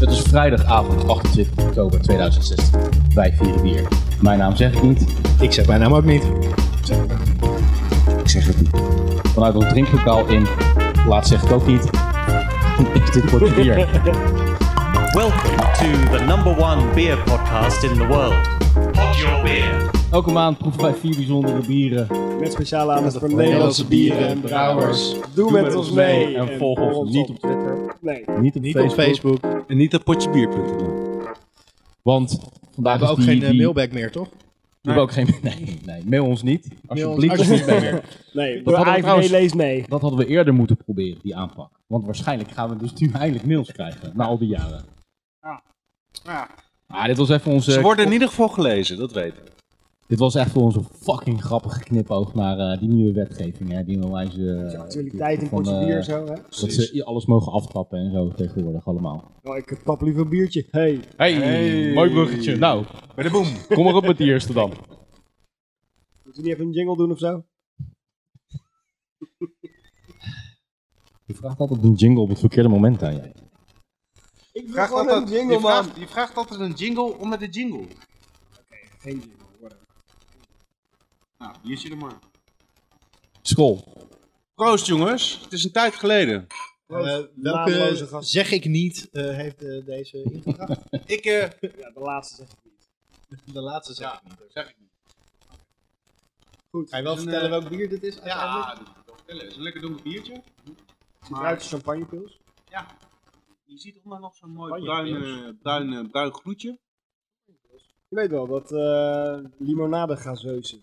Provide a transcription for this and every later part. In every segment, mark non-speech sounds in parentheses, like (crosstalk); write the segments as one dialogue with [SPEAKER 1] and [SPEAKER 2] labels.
[SPEAKER 1] Het is vrijdagavond 28 oktober 2016. Wij vieren bier. Mijn naam zeg ik niet.
[SPEAKER 2] Ik zeg mijn naam ook niet.
[SPEAKER 1] Ik zeg het niet. Vanuit ons drinklokaal in. Laat zeg ik ook niet. (laughs) Is dit voor bier?
[SPEAKER 2] (laughs)
[SPEAKER 3] Welcome to the number one beer podcast in the world. Pot your beer.
[SPEAKER 1] Elke maand proeven wij vier bijzondere bieren.
[SPEAKER 4] Met speciale aandacht voor Nederlandse bieren en brouwers. Doe, met, ons mee.
[SPEAKER 1] En volg ons niet op Twitter.
[SPEAKER 4] Nee.
[SPEAKER 1] Niet op
[SPEAKER 2] Niet
[SPEAKER 1] Facebook.
[SPEAKER 2] op Facebook. We
[SPEAKER 5] En niet op potjebier.nl.
[SPEAKER 1] Want vandaag
[SPEAKER 2] hebben
[SPEAKER 1] is
[SPEAKER 2] ook
[SPEAKER 1] die,
[SPEAKER 2] geen eh,
[SPEAKER 1] die-
[SPEAKER 2] mailback meer, toch?
[SPEAKER 1] We hebben ook geen... (laughs) Nee, nee, mail ons niet. Alsjeblieft.
[SPEAKER 2] alsjeblieft meer.
[SPEAKER 4] Nee,
[SPEAKER 1] hadden we
[SPEAKER 4] door AIVD
[SPEAKER 1] trouwens-
[SPEAKER 4] leest mee.
[SPEAKER 1] Dat hadden we eerder moeten proberen, die aanpak. Want waarschijnlijk gaan we dus nu eindelijk mails krijgen, na al die jaren. Ah, dit was even onze...
[SPEAKER 5] Ze worden in ieder geval gelezen, dat weten we.
[SPEAKER 1] Dit was echt voor onze fucking grappige knipoog naar eh, die nieuwe wetgeving. Hè, die een wijze. eh,
[SPEAKER 4] Actualiteit in
[SPEAKER 1] van,
[SPEAKER 4] potje
[SPEAKER 1] eh,
[SPEAKER 4] bier zo, hè?
[SPEAKER 1] Dat ze alles mogen aftrappen en zo tegenwoordig allemaal.
[SPEAKER 4] Nou, ik pap liever een biertje. Hey.
[SPEAKER 1] Hey, mooi bruggetje. Nou,
[SPEAKER 5] Bij de boom.
[SPEAKER 1] kom maar op met die eerste dan.
[SPEAKER 4] Moeten we niet even een jingle doen of zo?
[SPEAKER 1] Je vraagt altijd een jingle op het verkeerde moment aan jij.
[SPEAKER 4] Ik wil
[SPEAKER 5] Vraagt
[SPEAKER 4] gewoon
[SPEAKER 5] altijd,
[SPEAKER 4] een jingle,
[SPEAKER 5] je,
[SPEAKER 4] man.
[SPEAKER 5] vraagt, je vraagt altijd een jingle onder de jingle.
[SPEAKER 4] Geen jingle, whatever.
[SPEAKER 5] Nou, hier zit hem maar.
[SPEAKER 1] School.
[SPEAKER 5] Proost jongens, het is een tijd geleden.
[SPEAKER 2] Eh,
[SPEAKER 4] Naamloze
[SPEAKER 2] welke
[SPEAKER 4] gast.
[SPEAKER 2] zeg ik niet eh, heeft eh, deze ingebracht?
[SPEAKER 5] Ik, eh,
[SPEAKER 4] (laughs) Ja, de laatste zeg ik niet.
[SPEAKER 2] De laatste zeg ik niet.
[SPEAKER 5] zeg ik niet.
[SPEAKER 2] Goed. Ga je wel
[SPEAKER 5] Dus een,
[SPEAKER 2] vertellen
[SPEAKER 5] eh,
[SPEAKER 2] welk bier dit is?
[SPEAKER 5] Ja, Ah, dat moet ik wel vertellen. Het is een lekker donker biertje. Maar
[SPEAKER 4] Ruikt champagnepils?
[SPEAKER 5] ja, je ziet onder nog zo'n mooi
[SPEAKER 4] Spanje,
[SPEAKER 5] bruin,
[SPEAKER 4] jongens.
[SPEAKER 5] eh, bruin, eh, bruin gloedje.
[SPEAKER 4] Je weet wel, dat eh limonade gazeuze.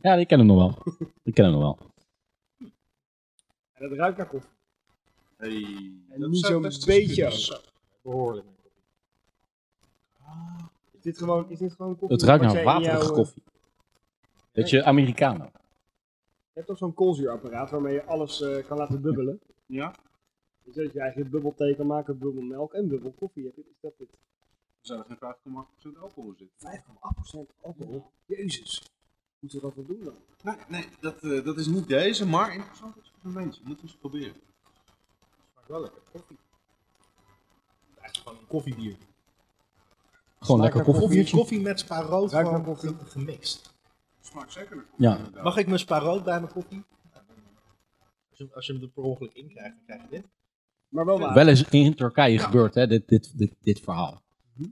[SPEAKER 1] Ja, die kennen hem nog wel. Die kennen hem nog wel.
[SPEAKER 4] En dat ruikt naar koffie.
[SPEAKER 5] Hey,
[SPEAKER 4] En niet zo'n beetje ook.
[SPEAKER 2] Behoorlijk.
[SPEAKER 4] Ah. Is dit gewoon, is dit gewoon koffie?
[SPEAKER 1] Het ruikt
[SPEAKER 4] Wat
[SPEAKER 1] naar
[SPEAKER 4] jij in jouw,
[SPEAKER 1] waterige
[SPEAKER 4] eh,
[SPEAKER 1] koffie. Weet je, Americano.
[SPEAKER 4] Je hebt toch zo'n koolzuurapparaat waarmee je alles eh, kan laten bubbelen?
[SPEAKER 5] Ja,
[SPEAKER 4] Dus dat je eigenlijk bubbelthee kan maken, bubbelmelk en bubbelkoffie. Heb je- Is dat dit?
[SPEAKER 5] er zou er geen 5,8% alcohol in zitten.
[SPEAKER 4] 5,8% alcohol. Jezus. Moeten we dat wel doen dan?
[SPEAKER 5] Nee, nee dat, eh, dat is niet deze, maar interessant experiment. Je moet eens proberen.
[SPEAKER 2] Smaakt wel lekker. Koffie. Eigenlijk gewoon een koffiebier.
[SPEAKER 1] Gewoon
[SPEAKER 4] Smaakt
[SPEAKER 1] lekker
[SPEAKER 4] naar koffie.
[SPEAKER 1] koffie.
[SPEAKER 2] Koffie, koffie met sparoot
[SPEAKER 4] Ruikt
[SPEAKER 2] gewoon
[SPEAKER 4] naar koffie.
[SPEAKER 2] ge- gemixt.
[SPEAKER 5] Smaakt zeker naar koffie.
[SPEAKER 1] Ja.
[SPEAKER 5] inderdaad.
[SPEAKER 2] Mag ik mijn sparoot bij mijn koffie? Nou, dan- Als je, als je hem er per ongeluk in krijgt, dan krijg je dit.
[SPEAKER 4] Maar wel waar.
[SPEAKER 1] Wel eens in Turkije gebeurd, hè, dit, dit, dit, dit verhaal.
[SPEAKER 4] Mhm.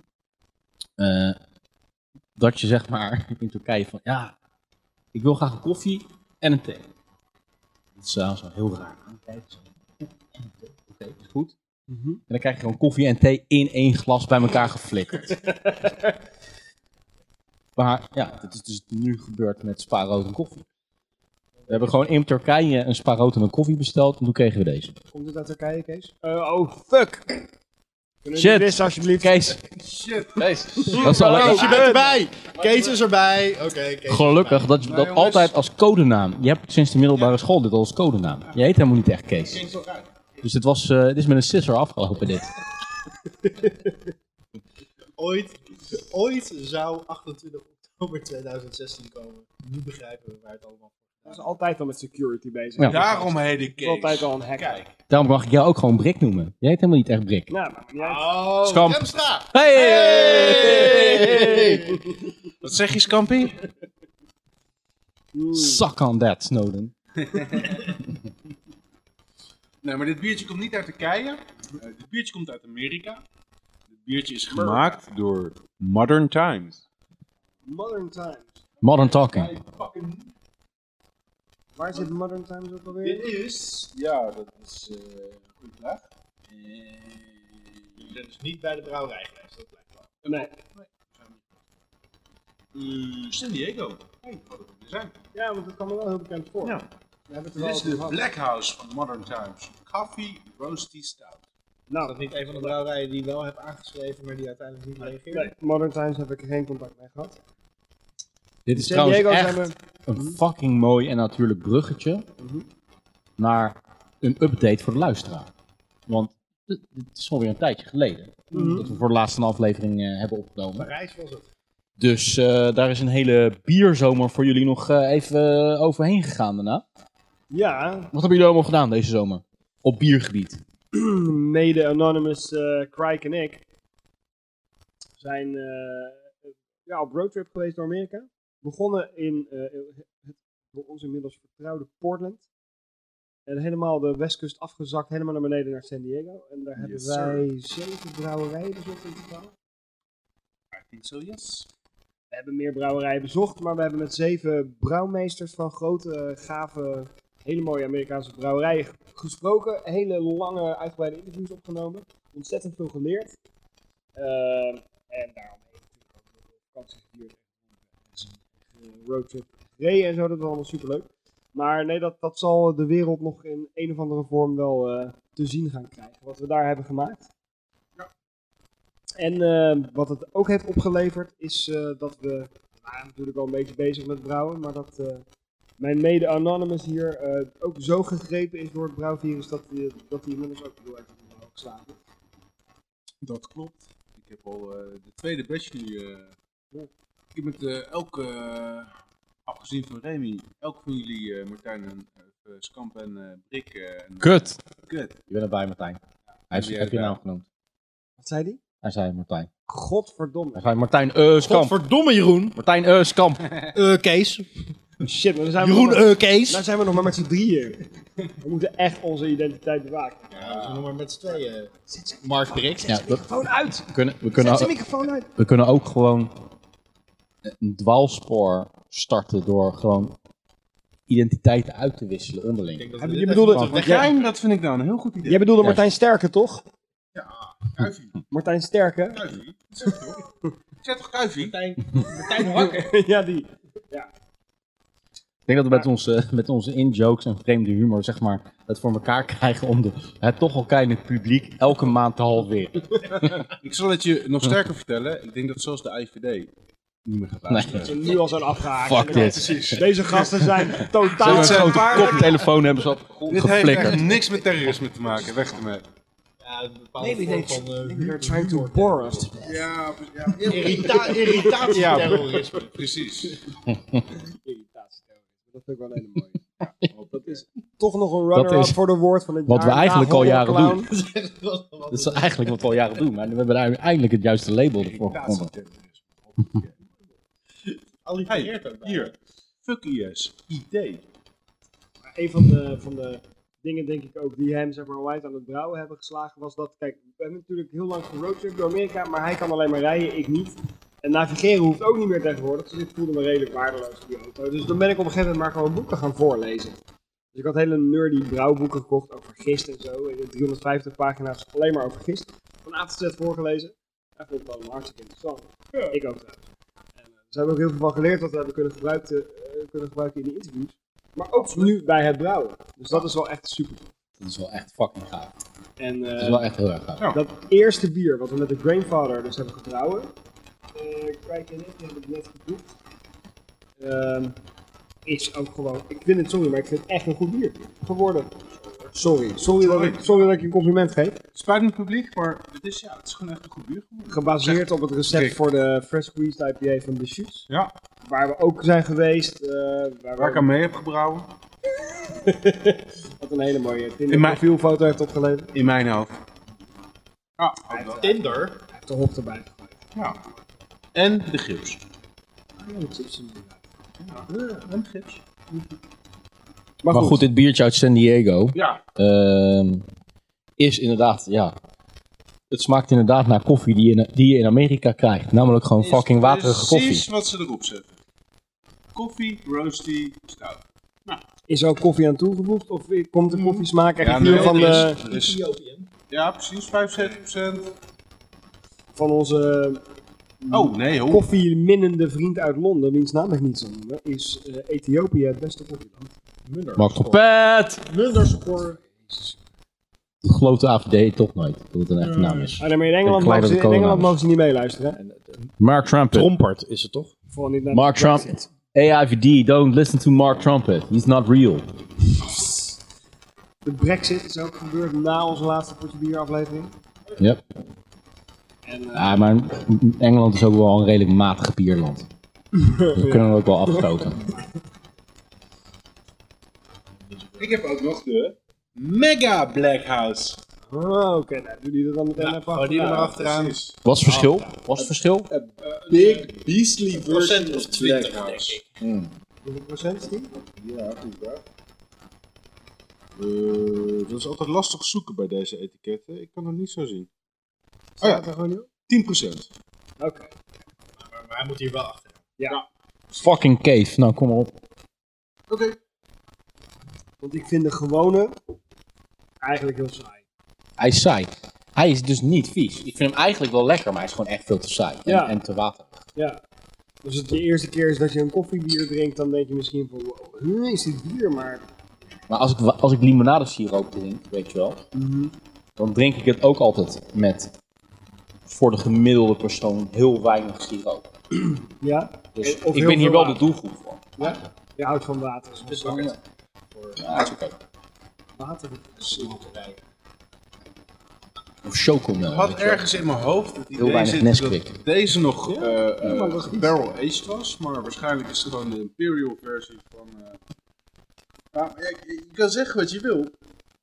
[SPEAKER 1] Eh, dat je zeg maar (laughs) in Turkije van, ja, ik wil graag een koffie en een thee. Dat is eh, zo heel raar. Kijk, zo, koffie en een thee. Oké, is goed.
[SPEAKER 4] Mhm.
[SPEAKER 1] En dan krijg je gewoon koffie en thee in één glas bij elkaar
[SPEAKER 4] (laughs)
[SPEAKER 1] geflikkerd. maar ja, dit is dus nu gebeurd met spaarrood en koffie. We hebben gewoon in Turkije een spaarrood en een koffie besteld en toen kregen we deze.
[SPEAKER 4] Komt dit uit Turkije, Kees? Eh, oh, fuck. Kunnen jullie
[SPEAKER 1] Shit.
[SPEAKER 4] wissen alsjeblieft?
[SPEAKER 1] Kees,
[SPEAKER 5] Shit.
[SPEAKER 1] dat is al lekker.
[SPEAKER 2] Kees, je bent erbij! Kees is erbij! Oké, Kees.
[SPEAKER 1] Gelukkig dat je dat
[SPEAKER 5] jongens.
[SPEAKER 1] altijd als codenaam. Je hebt sinds de middelbare school dit al als codenaam. Je heet helemaal niet echt Kees.
[SPEAKER 5] Klinkt wel uit.
[SPEAKER 1] Dus dit, was, eh, dit is met een sisser afgelopen dit.
[SPEAKER 2] Ooit, ooit zou 28 oktober 2016 komen. Nu begrijpen we waar het allemaal
[SPEAKER 4] Dat is altijd al met security bezig.
[SPEAKER 1] Ja.
[SPEAKER 5] Daarom heet
[SPEAKER 4] Dat
[SPEAKER 5] ik
[SPEAKER 4] is
[SPEAKER 5] Kees.
[SPEAKER 4] altijd al een hack.
[SPEAKER 5] Kijk.
[SPEAKER 1] Daarom mag ik jou ook gewoon Brik noemen. Jij heet helemaal niet echt Brik.
[SPEAKER 4] Nou, maar niet
[SPEAKER 5] Ah.
[SPEAKER 4] uit.
[SPEAKER 2] Oh,
[SPEAKER 1] Schamp.
[SPEAKER 2] Remstra!
[SPEAKER 1] Hey!
[SPEAKER 5] Wat zeg je, Scampy?
[SPEAKER 4] Mm.
[SPEAKER 1] Suck on that, Snowden.
[SPEAKER 5] Nee, maar dit biertje komt niet uit Turkije. Eh, dit biertje komt uit Amerika. Dit biertje is gemaakt door Modern Times.
[SPEAKER 4] Modern Times.
[SPEAKER 1] Modern talking.
[SPEAKER 4] Waar zit Modern Times ook
[SPEAKER 5] Dit
[SPEAKER 4] alweer?
[SPEAKER 5] is... Ja, dat is... eh, een goede vraag.
[SPEAKER 2] Jullie zijn dus niet bij de brouwerij geweest, dat blijkt wel.
[SPEAKER 4] Nee.
[SPEAKER 5] Eh, San Diego. Hey, wat het weer zijn.
[SPEAKER 4] Ja, want dat kwam me wel heel bekend voor.
[SPEAKER 5] Ja.
[SPEAKER 4] We hebben het er
[SPEAKER 5] Dit
[SPEAKER 4] wel
[SPEAKER 5] is
[SPEAKER 4] over
[SPEAKER 5] de
[SPEAKER 4] gehad.
[SPEAKER 5] Black House van Modern Times. Coffee Roasty Stout.
[SPEAKER 2] Is
[SPEAKER 4] Nou,
[SPEAKER 2] dat niet een van de brouwerijen die wel heb aangeschreven, maar die uiteindelijk niet reageerde?
[SPEAKER 4] nee, Modern Times heb ik geen contact mee gehad.
[SPEAKER 1] Dit is
[SPEAKER 4] San
[SPEAKER 1] trouwens
[SPEAKER 4] Diego zijn
[SPEAKER 1] echt een fucking mooi en natuurlijk bruggetje naar een update voor de luisteraar. Want het het is alweer een tijdje geleden dat we voor de laatste aflevering eh, hebben opgenomen.
[SPEAKER 2] Parijs was het.
[SPEAKER 1] Dus eh, daar is een hele bierzomer voor jullie nog eh, even eh, overheen gegaan daarna.
[SPEAKER 4] Ja,
[SPEAKER 1] Wat hebben jullie allemaal gedaan deze zomer? Op biergebied.
[SPEAKER 4] mede Anonymous, eh Crike en ik zijn eh, ja, op roadtrip geweest door Amerika. Begonnen in eh, het door ons inmiddels vertrouwde Portland. En helemaal de westkust afgezakt, helemaal naar beneden naar San Diego. En daar hebben
[SPEAKER 5] Yes,
[SPEAKER 4] wij zeven brouwerijen bezocht in totaal.
[SPEAKER 5] I think so, yes.
[SPEAKER 4] We hebben meer brouwerijen bezocht, maar we hebben met zeven brouwmeesters van grote, eh, gave, hele mooie Amerikaanse brouwerijen g- gesproken. Hele lange, uitgebreide interviews opgenomen. Ontzettend veel geleerd. Ehm, en daarom heeft natuurlijk ook heel veel vakantie geduurd. En een roadtrip gereden en zo, dat was allemaal superleuk. Maar nee, dat, dat zal de wereld nog in een of andere vorm wel eh, te zien gaan krijgen. Wat we daar hebben gemaakt. En eh, wat het ook heeft opgeleverd is eh, dat we, we waren natuurlijk al een beetje bezig met brouwen, maar dat eh, mijn mede Anonymous hier eh, ook zo gegrepen is door het brouwvirus dat hij dat die inmiddels ook heel erg in de melk slaat.
[SPEAKER 5] Dat klopt. Ik heb al eh, de tweede batch nu. eh,
[SPEAKER 4] Ja.
[SPEAKER 5] ik heb met eh, elk, eh, afgezien van Remy, elk van jullie, eh, Martijn en eh, Skamp en eh, Brik. eh, en-
[SPEAKER 1] Kut!
[SPEAKER 5] Kut.
[SPEAKER 1] Je bent erbij, Martijn. Hij heeft
[SPEAKER 5] Ja,
[SPEAKER 1] heb je
[SPEAKER 5] ja.
[SPEAKER 1] naam genoemd.
[SPEAKER 4] Wat zei die?
[SPEAKER 1] Hij zei Martijn. Hij
[SPEAKER 4] Godverdomme.
[SPEAKER 1] zei Martijn eh Skamp.
[SPEAKER 6] Godverdomme Jeroen.
[SPEAKER 1] Martijn eh Skamp.
[SPEAKER 6] Eh Kees.
[SPEAKER 4] Shit, maar dan zijn we
[SPEAKER 6] Jeroen
[SPEAKER 4] nog,
[SPEAKER 6] eh Kees.
[SPEAKER 4] nou zijn we nog maar met z'n drieën. We moeten echt onze identiteit bewaken.
[SPEAKER 2] Ja, we zijn nog maar met z'n tweeën.
[SPEAKER 1] Mark Brik. Ja, dat
[SPEAKER 4] Gewoon uit!
[SPEAKER 1] we kunnen, we, kunnen,
[SPEAKER 4] Zet de
[SPEAKER 1] ook-
[SPEAKER 4] microfoon uit!
[SPEAKER 1] we kunnen ook gewoon een dwaalspoor starten door gewoon identiteiten uit te wisselen onderling.
[SPEAKER 2] Ik denk dat
[SPEAKER 4] Heb
[SPEAKER 2] we
[SPEAKER 4] je
[SPEAKER 2] dit
[SPEAKER 4] bedoelde-
[SPEAKER 2] even
[SPEAKER 4] Wacht,
[SPEAKER 2] moeten
[SPEAKER 4] jij-
[SPEAKER 5] Martijn, dat vind ik nou een heel goed idee.
[SPEAKER 4] Jij bedoelde
[SPEAKER 1] Ja.
[SPEAKER 4] Martijn Sterke, toch?
[SPEAKER 5] Kuifie.
[SPEAKER 4] Martijn Sterke?
[SPEAKER 5] Kuifie. Zeg toch? Zeg toch Kuifie?
[SPEAKER 4] (laughs) ja, die.
[SPEAKER 1] Ik denk dat we met onze, (laughs) met onze in-jokes en vreemde humor, zeg maar, het voor elkaar (laughs) krijgen om de, het toch al kleine publiek elke maand te halveren.
[SPEAKER 5] Ik zal het je nog sterker vertellen. Ik denk dat zelfs de IVD niet meer gaat
[SPEAKER 1] Nee.
[SPEAKER 5] luisteren.
[SPEAKER 4] Ze nu al zijn afgehaakt.
[SPEAKER 1] Fuck
[SPEAKER 4] Ja,
[SPEAKER 1] dit.
[SPEAKER 4] Precies. Deze gasten zijn totaal...
[SPEAKER 5] Dit zijn paarden.
[SPEAKER 1] Koptelefoon hebben ze al
[SPEAKER 5] Dit heeft echt
[SPEAKER 1] geflikkerd.
[SPEAKER 5] niks met terrorisme te maken. Weg ermee.
[SPEAKER 2] Ja, een bepaalde vorm van eh,
[SPEAKER 4] They're
[SPEAKER 2] humor.
[SPEAKER 4] trying to bore us.
[SPEAKER 5] Ja, ja,
[SPEAKER 2] Irrita irritatieterrorisme.
[SPEAKER 5] precies.
[SPEAKER 4] Dat vind ik wel een hele mooie. dat is toch nog een
[SPEAKER 1] Dat
[SPEAKER 4] runner-up
[SPEAKER 1] is
[SPEAKER 4] voor de woord van het
[SPEAKER 1] wat
[SPEAKER 4] jaar.
[SPEAKER 1] we eigenlijk
[SPEAKER 4] Na
[SPEAKER 1] al jaren
[SPEAKER 4] Horrorclown.
[SPEAKER 1] doen.
[SPEAKER 2] (laughs) Wat
[SPEAKER 1] (laughs) Dat is
[SPEAKER 2] een-
[SPEAKER 1] eigenlijk wat we al jaren doen, maar we hebben daar eindelijk het juiste label ervoor gevonden.
[SPEAKER 2] allitereert ook bij.
[SPEAKER 5] Hier. Fuck IS. ID.
[SPEAKER 4] Maar Een van de, van de dingen, denk ik ook, die hem zeg maar wijd aan het brouwen hebben geslagen, was dat, kijk, we hebben natuurlijk heel lang geroadtrip door Amerika, maar hij kan alleen maar rijden, ik niet. En navigeren hoeft ook niet meer tegenwoordig, dus ik voelde me redelijk waardeloos in die auto. Dus dan ben ik op een gegeven moment maar gewoon boeken gaan voorlezen. Dus ik had hele nerdy brouwboeken gekocht over gist en zo. En 350 pagina's alleen maar over gist. Van A tot Z voorgelezen. Hij vond het allemaal hartstikke interessant. Ik ook trouwens. En, eh, dus daar hebben we ook heel veel van geleerd wat we hebben kunnen gebruiken, eh, kunnen gebruiken in de interviews. Maar ook nu bij het brouwen. Dus dat is wel echt super.
[SPEAKER 1] Dat is wel echt fucking gaaf.
[SPEAKER 4] En eh,
[SPEAKER 1] Dat is wel echt heel erg gaaf.
[SPEAKER 4] dat eerste bier wat we met de Grandfather dus hebben gebrouwen. eh Craig en ik hebben het net geproefd. Ehm, is ook gewoon, ik vind het sorry, maar ik vind het echt een goed bier geworden. Sorry, sorry dat ik, sorry dat ik je een compliment geef.
[SPEAKER 5] Spijt me publiek, maar het is, ja, het is gewoon echt een goed buur geworden.
[SPEAKER 4] Gebaseerd op het recept
[SPEAKER 5] Kijk.
[SPEAKER 4] voor de Fresh Squeezed IPA van de Shoots.
[SPEAKER 5] Ja.
[SPEAKER 4] Waar we ook zijn geweest. eh, waar
[SPEAKER 5] Waar ik
[SPEAKER 4] we,
[SPEAKER 5] aan mee heb gebrouwen.
[SPEAKER 4] wat een hele mooie Tinder
[SPEAKER 5] In mijn-
[SPEAKER 4] profielfoto heeft opgeleverd.
[SPEAKER 5] In mijn hoofd. Ja, ook wel.
[SPEAKER 2] Tinder.
[SPEAKER 4] Hij heeft de hop erbij gegooid.
[SPEAKER 5] ja. En de gips.
[SPEAKER 4] Ja, dat is hem inderdaad.
[SPEAKER 5] Eh, En de gips.
[SPEAKER 4] Maar,
[SPEAKER 1] Maar goed, dit biertje uit San Diego
[SPEAKER 5] Ja.
[SPEAKER 1] ehm, is inderdaad, ja. Het smaakt inderdaad naar koffie die je in, die je in Amerika krijgt. Namelijk gewoon fucking waterige
[SPEAKER 5] Precies
[SPEAKER 1] koffie.
[SPEAKER 5] wat ze erop zetten. Koffie, roasty, stout.
[SPEAKER 4] Is er ook koffie aan toegevoegd? Of komt
[SPEAKER 2] Mm.
[SPEAKER 4] de koffiesmaak echt
[SPEAKER 5] Ja,
[SPEAKER 4] hier
[SPEAKER 5] nee,
[SPEAKER 4] van,
[SPEAKER 5] er
[SPEAKER 4] de,
[SPEAKER 5] is- er is-
[SPEAKER 2] Ethiopië.
[SPEAKER 5] ja, precies. 75%.
[SPEAKER 4] van onze
[SPEAKER 5] Oh, nee hoor.
[SPEAKER 4] koffieminnende vriend uit Londen, wiens naam ik niet zal noemen, is eh, Ethiopië het beste koffieland.
[SPEAKER 1] Marco Pet!
[SPEAKER 2] Munderscore.
[SPEAKER 1] Glote AVD toch nooit, dat het een echte naam is.
[SPEAKER 4] Ah, nee, maar in Engeland,
[SPEAKER 1] Ik leid
[SPEAKER 4] mogen
[SPEAKER 1] dat
[SPEAKER 4] ze,
[SPEAKER 1] de
[SPEAKER 4] in
[SPEAKER 1] cola
[SPEAKER 4] Engeland
[SPEAKER 1] naam
[SPEAKER 4] mogen ze niet meeluisteren. hè?
[SPEAKER 1] Mark Trumpet.
[SPEAKER 6] Trompert is het toch?
[SPEAKER 4] Vooral niet naar
[SPEAKER 1] Mark
[SPEAKER 4] de
[SPEAKER 1] Trump.
[SPEAKER 4] Brexit.
[SPEAKER 1] AIVD, don't listen to Mark Trumpet. He's not real.
[SPEAKER 4] De Brexit is ook gebeurd na onze laatste Potje Bier aflevering.
[SPEAKER 1] Yep.
[SPEAKER 4] En, eh,
[SPEAKER 1] Ja, maar Engeland is ook wel een redelijk matig
[SPEAKER 4] (laughs)
[SPEAKER 1] bierland. Dus we kunnen er ook wel afstoten.
[SPEAKER 5] Ik heb ook nog de Mega Black House.
[SPEAKER 4] Oh, oké. Nou, doe die er dan meteen
[SPEAKER 2] Ja,
[SPEAKER 4] even
[SPEAKER 2] gewoon die er maar
[SPEAKER 4] achteraan.
[SPEAKER 2] achteraan.
[SPEAKER 5] Precies.
[SPEAKER 7] Wat is het
[SPEAKER 4] Ah.
[SPEAKER 7] verschil?
[SPEAKER 1] Wat is het verschil?
[SPEAKER 2] Big Beastly
[SPEAKER 5] Procent
[SPEAKER 2] version
[SPEAKER 5] of
[SPEAKER 2] of
[SPEAKER 5] 20,
[SPEAKER 2] 20
[SPEAKER 5] denk ik.
[SPEAKER 4] Hoeveel procent is die?
[SPEAKER 5] Oh, Ja, goed waar. Eh, dat is altijd lastig zoeken bij deze etiketten. Ik kan het niet zo zien. Oh ja,
[SPEAKER 4] Staat er gewoon niet op?
[SPEAKER 5] 10%.
[SPEAKER 4] Oké.
[SPEAKER 2] Maar, maar hij moet hier wel achter.
[SPEAKER 1] Fucking cave. Nou, kom maar op.
[SPEAKER 5] Oké.
[SPEAKER 4] Want ik vind de gewone eigenlijk heel saai.
[SPEAKER 1] Hij is saai. Hij is dus niet vies. Ik vind hem eigenlijk wel lekker, maar hij is gewoon echt veel te saai. En,
[SPEAKER 4] Ja.
[SPEAKER 1] en te waterig.
[SPEAKER 4] Ja. Als het de eerste keer is dat je een koffiebier drinkt, dan denk je misschien van, wow, huh, is dit bier? Maar
[SPEAKER 1] Maar als ik, wa- als ik limonadesiroop drink, weet je wel,
[SPEAKER 5] Mhm.
[SPEAKER 1] dan drink ik het ook altijd met voor de gemiddelde persoon heel weinig siroop.
[SPEAKER 4] ja,
[SPEAKER 1] Dus
[SPEAKER 4] En-
[SPEAKER 1] ik
[SPEAKER 4] of heel
[SPEAKER 1] ben hier
[SPEAKER 4] veel
[SPEAKER 1] wel de
[SPEAKER 4] water.
[SPEAKER 1] doelgroep voor.
[SPEAKER 4] ja. je houdt van water. Zo'n
[SPEAKER 2] Dus
[SPEAKER 4] soort
[SPEAKER 2] wakker.
[SPEAKER 1] Ja, dat is oké.
[SPEAKER 4] water.
[SPEAKER 1] Of chocomel.
[SPEAKER 5] Ik
[SPEAKER 1] weet
[SPEAKER 5] had
[SPEAKER 1] je wel.
[SPEAKER 5] ergens in mijn hoofd het idee
[SPEAKER 1] Heel weinig
[SPEAKER 5] zitten dat
[SPEAKER 1] Nesquik.
[SPEAKER 5] deze nog
[SPEAKER 4] Ja,
[SPEAKER 5] eh, eh,
[SPEAKER 4] ja, maar dat is iets.
[SPEAKER 5] barrel aged was, maar waarschijnlijk is het gewoon de imperial versie van... eh, Nou, ja, je, je kan zeggen wat je wil.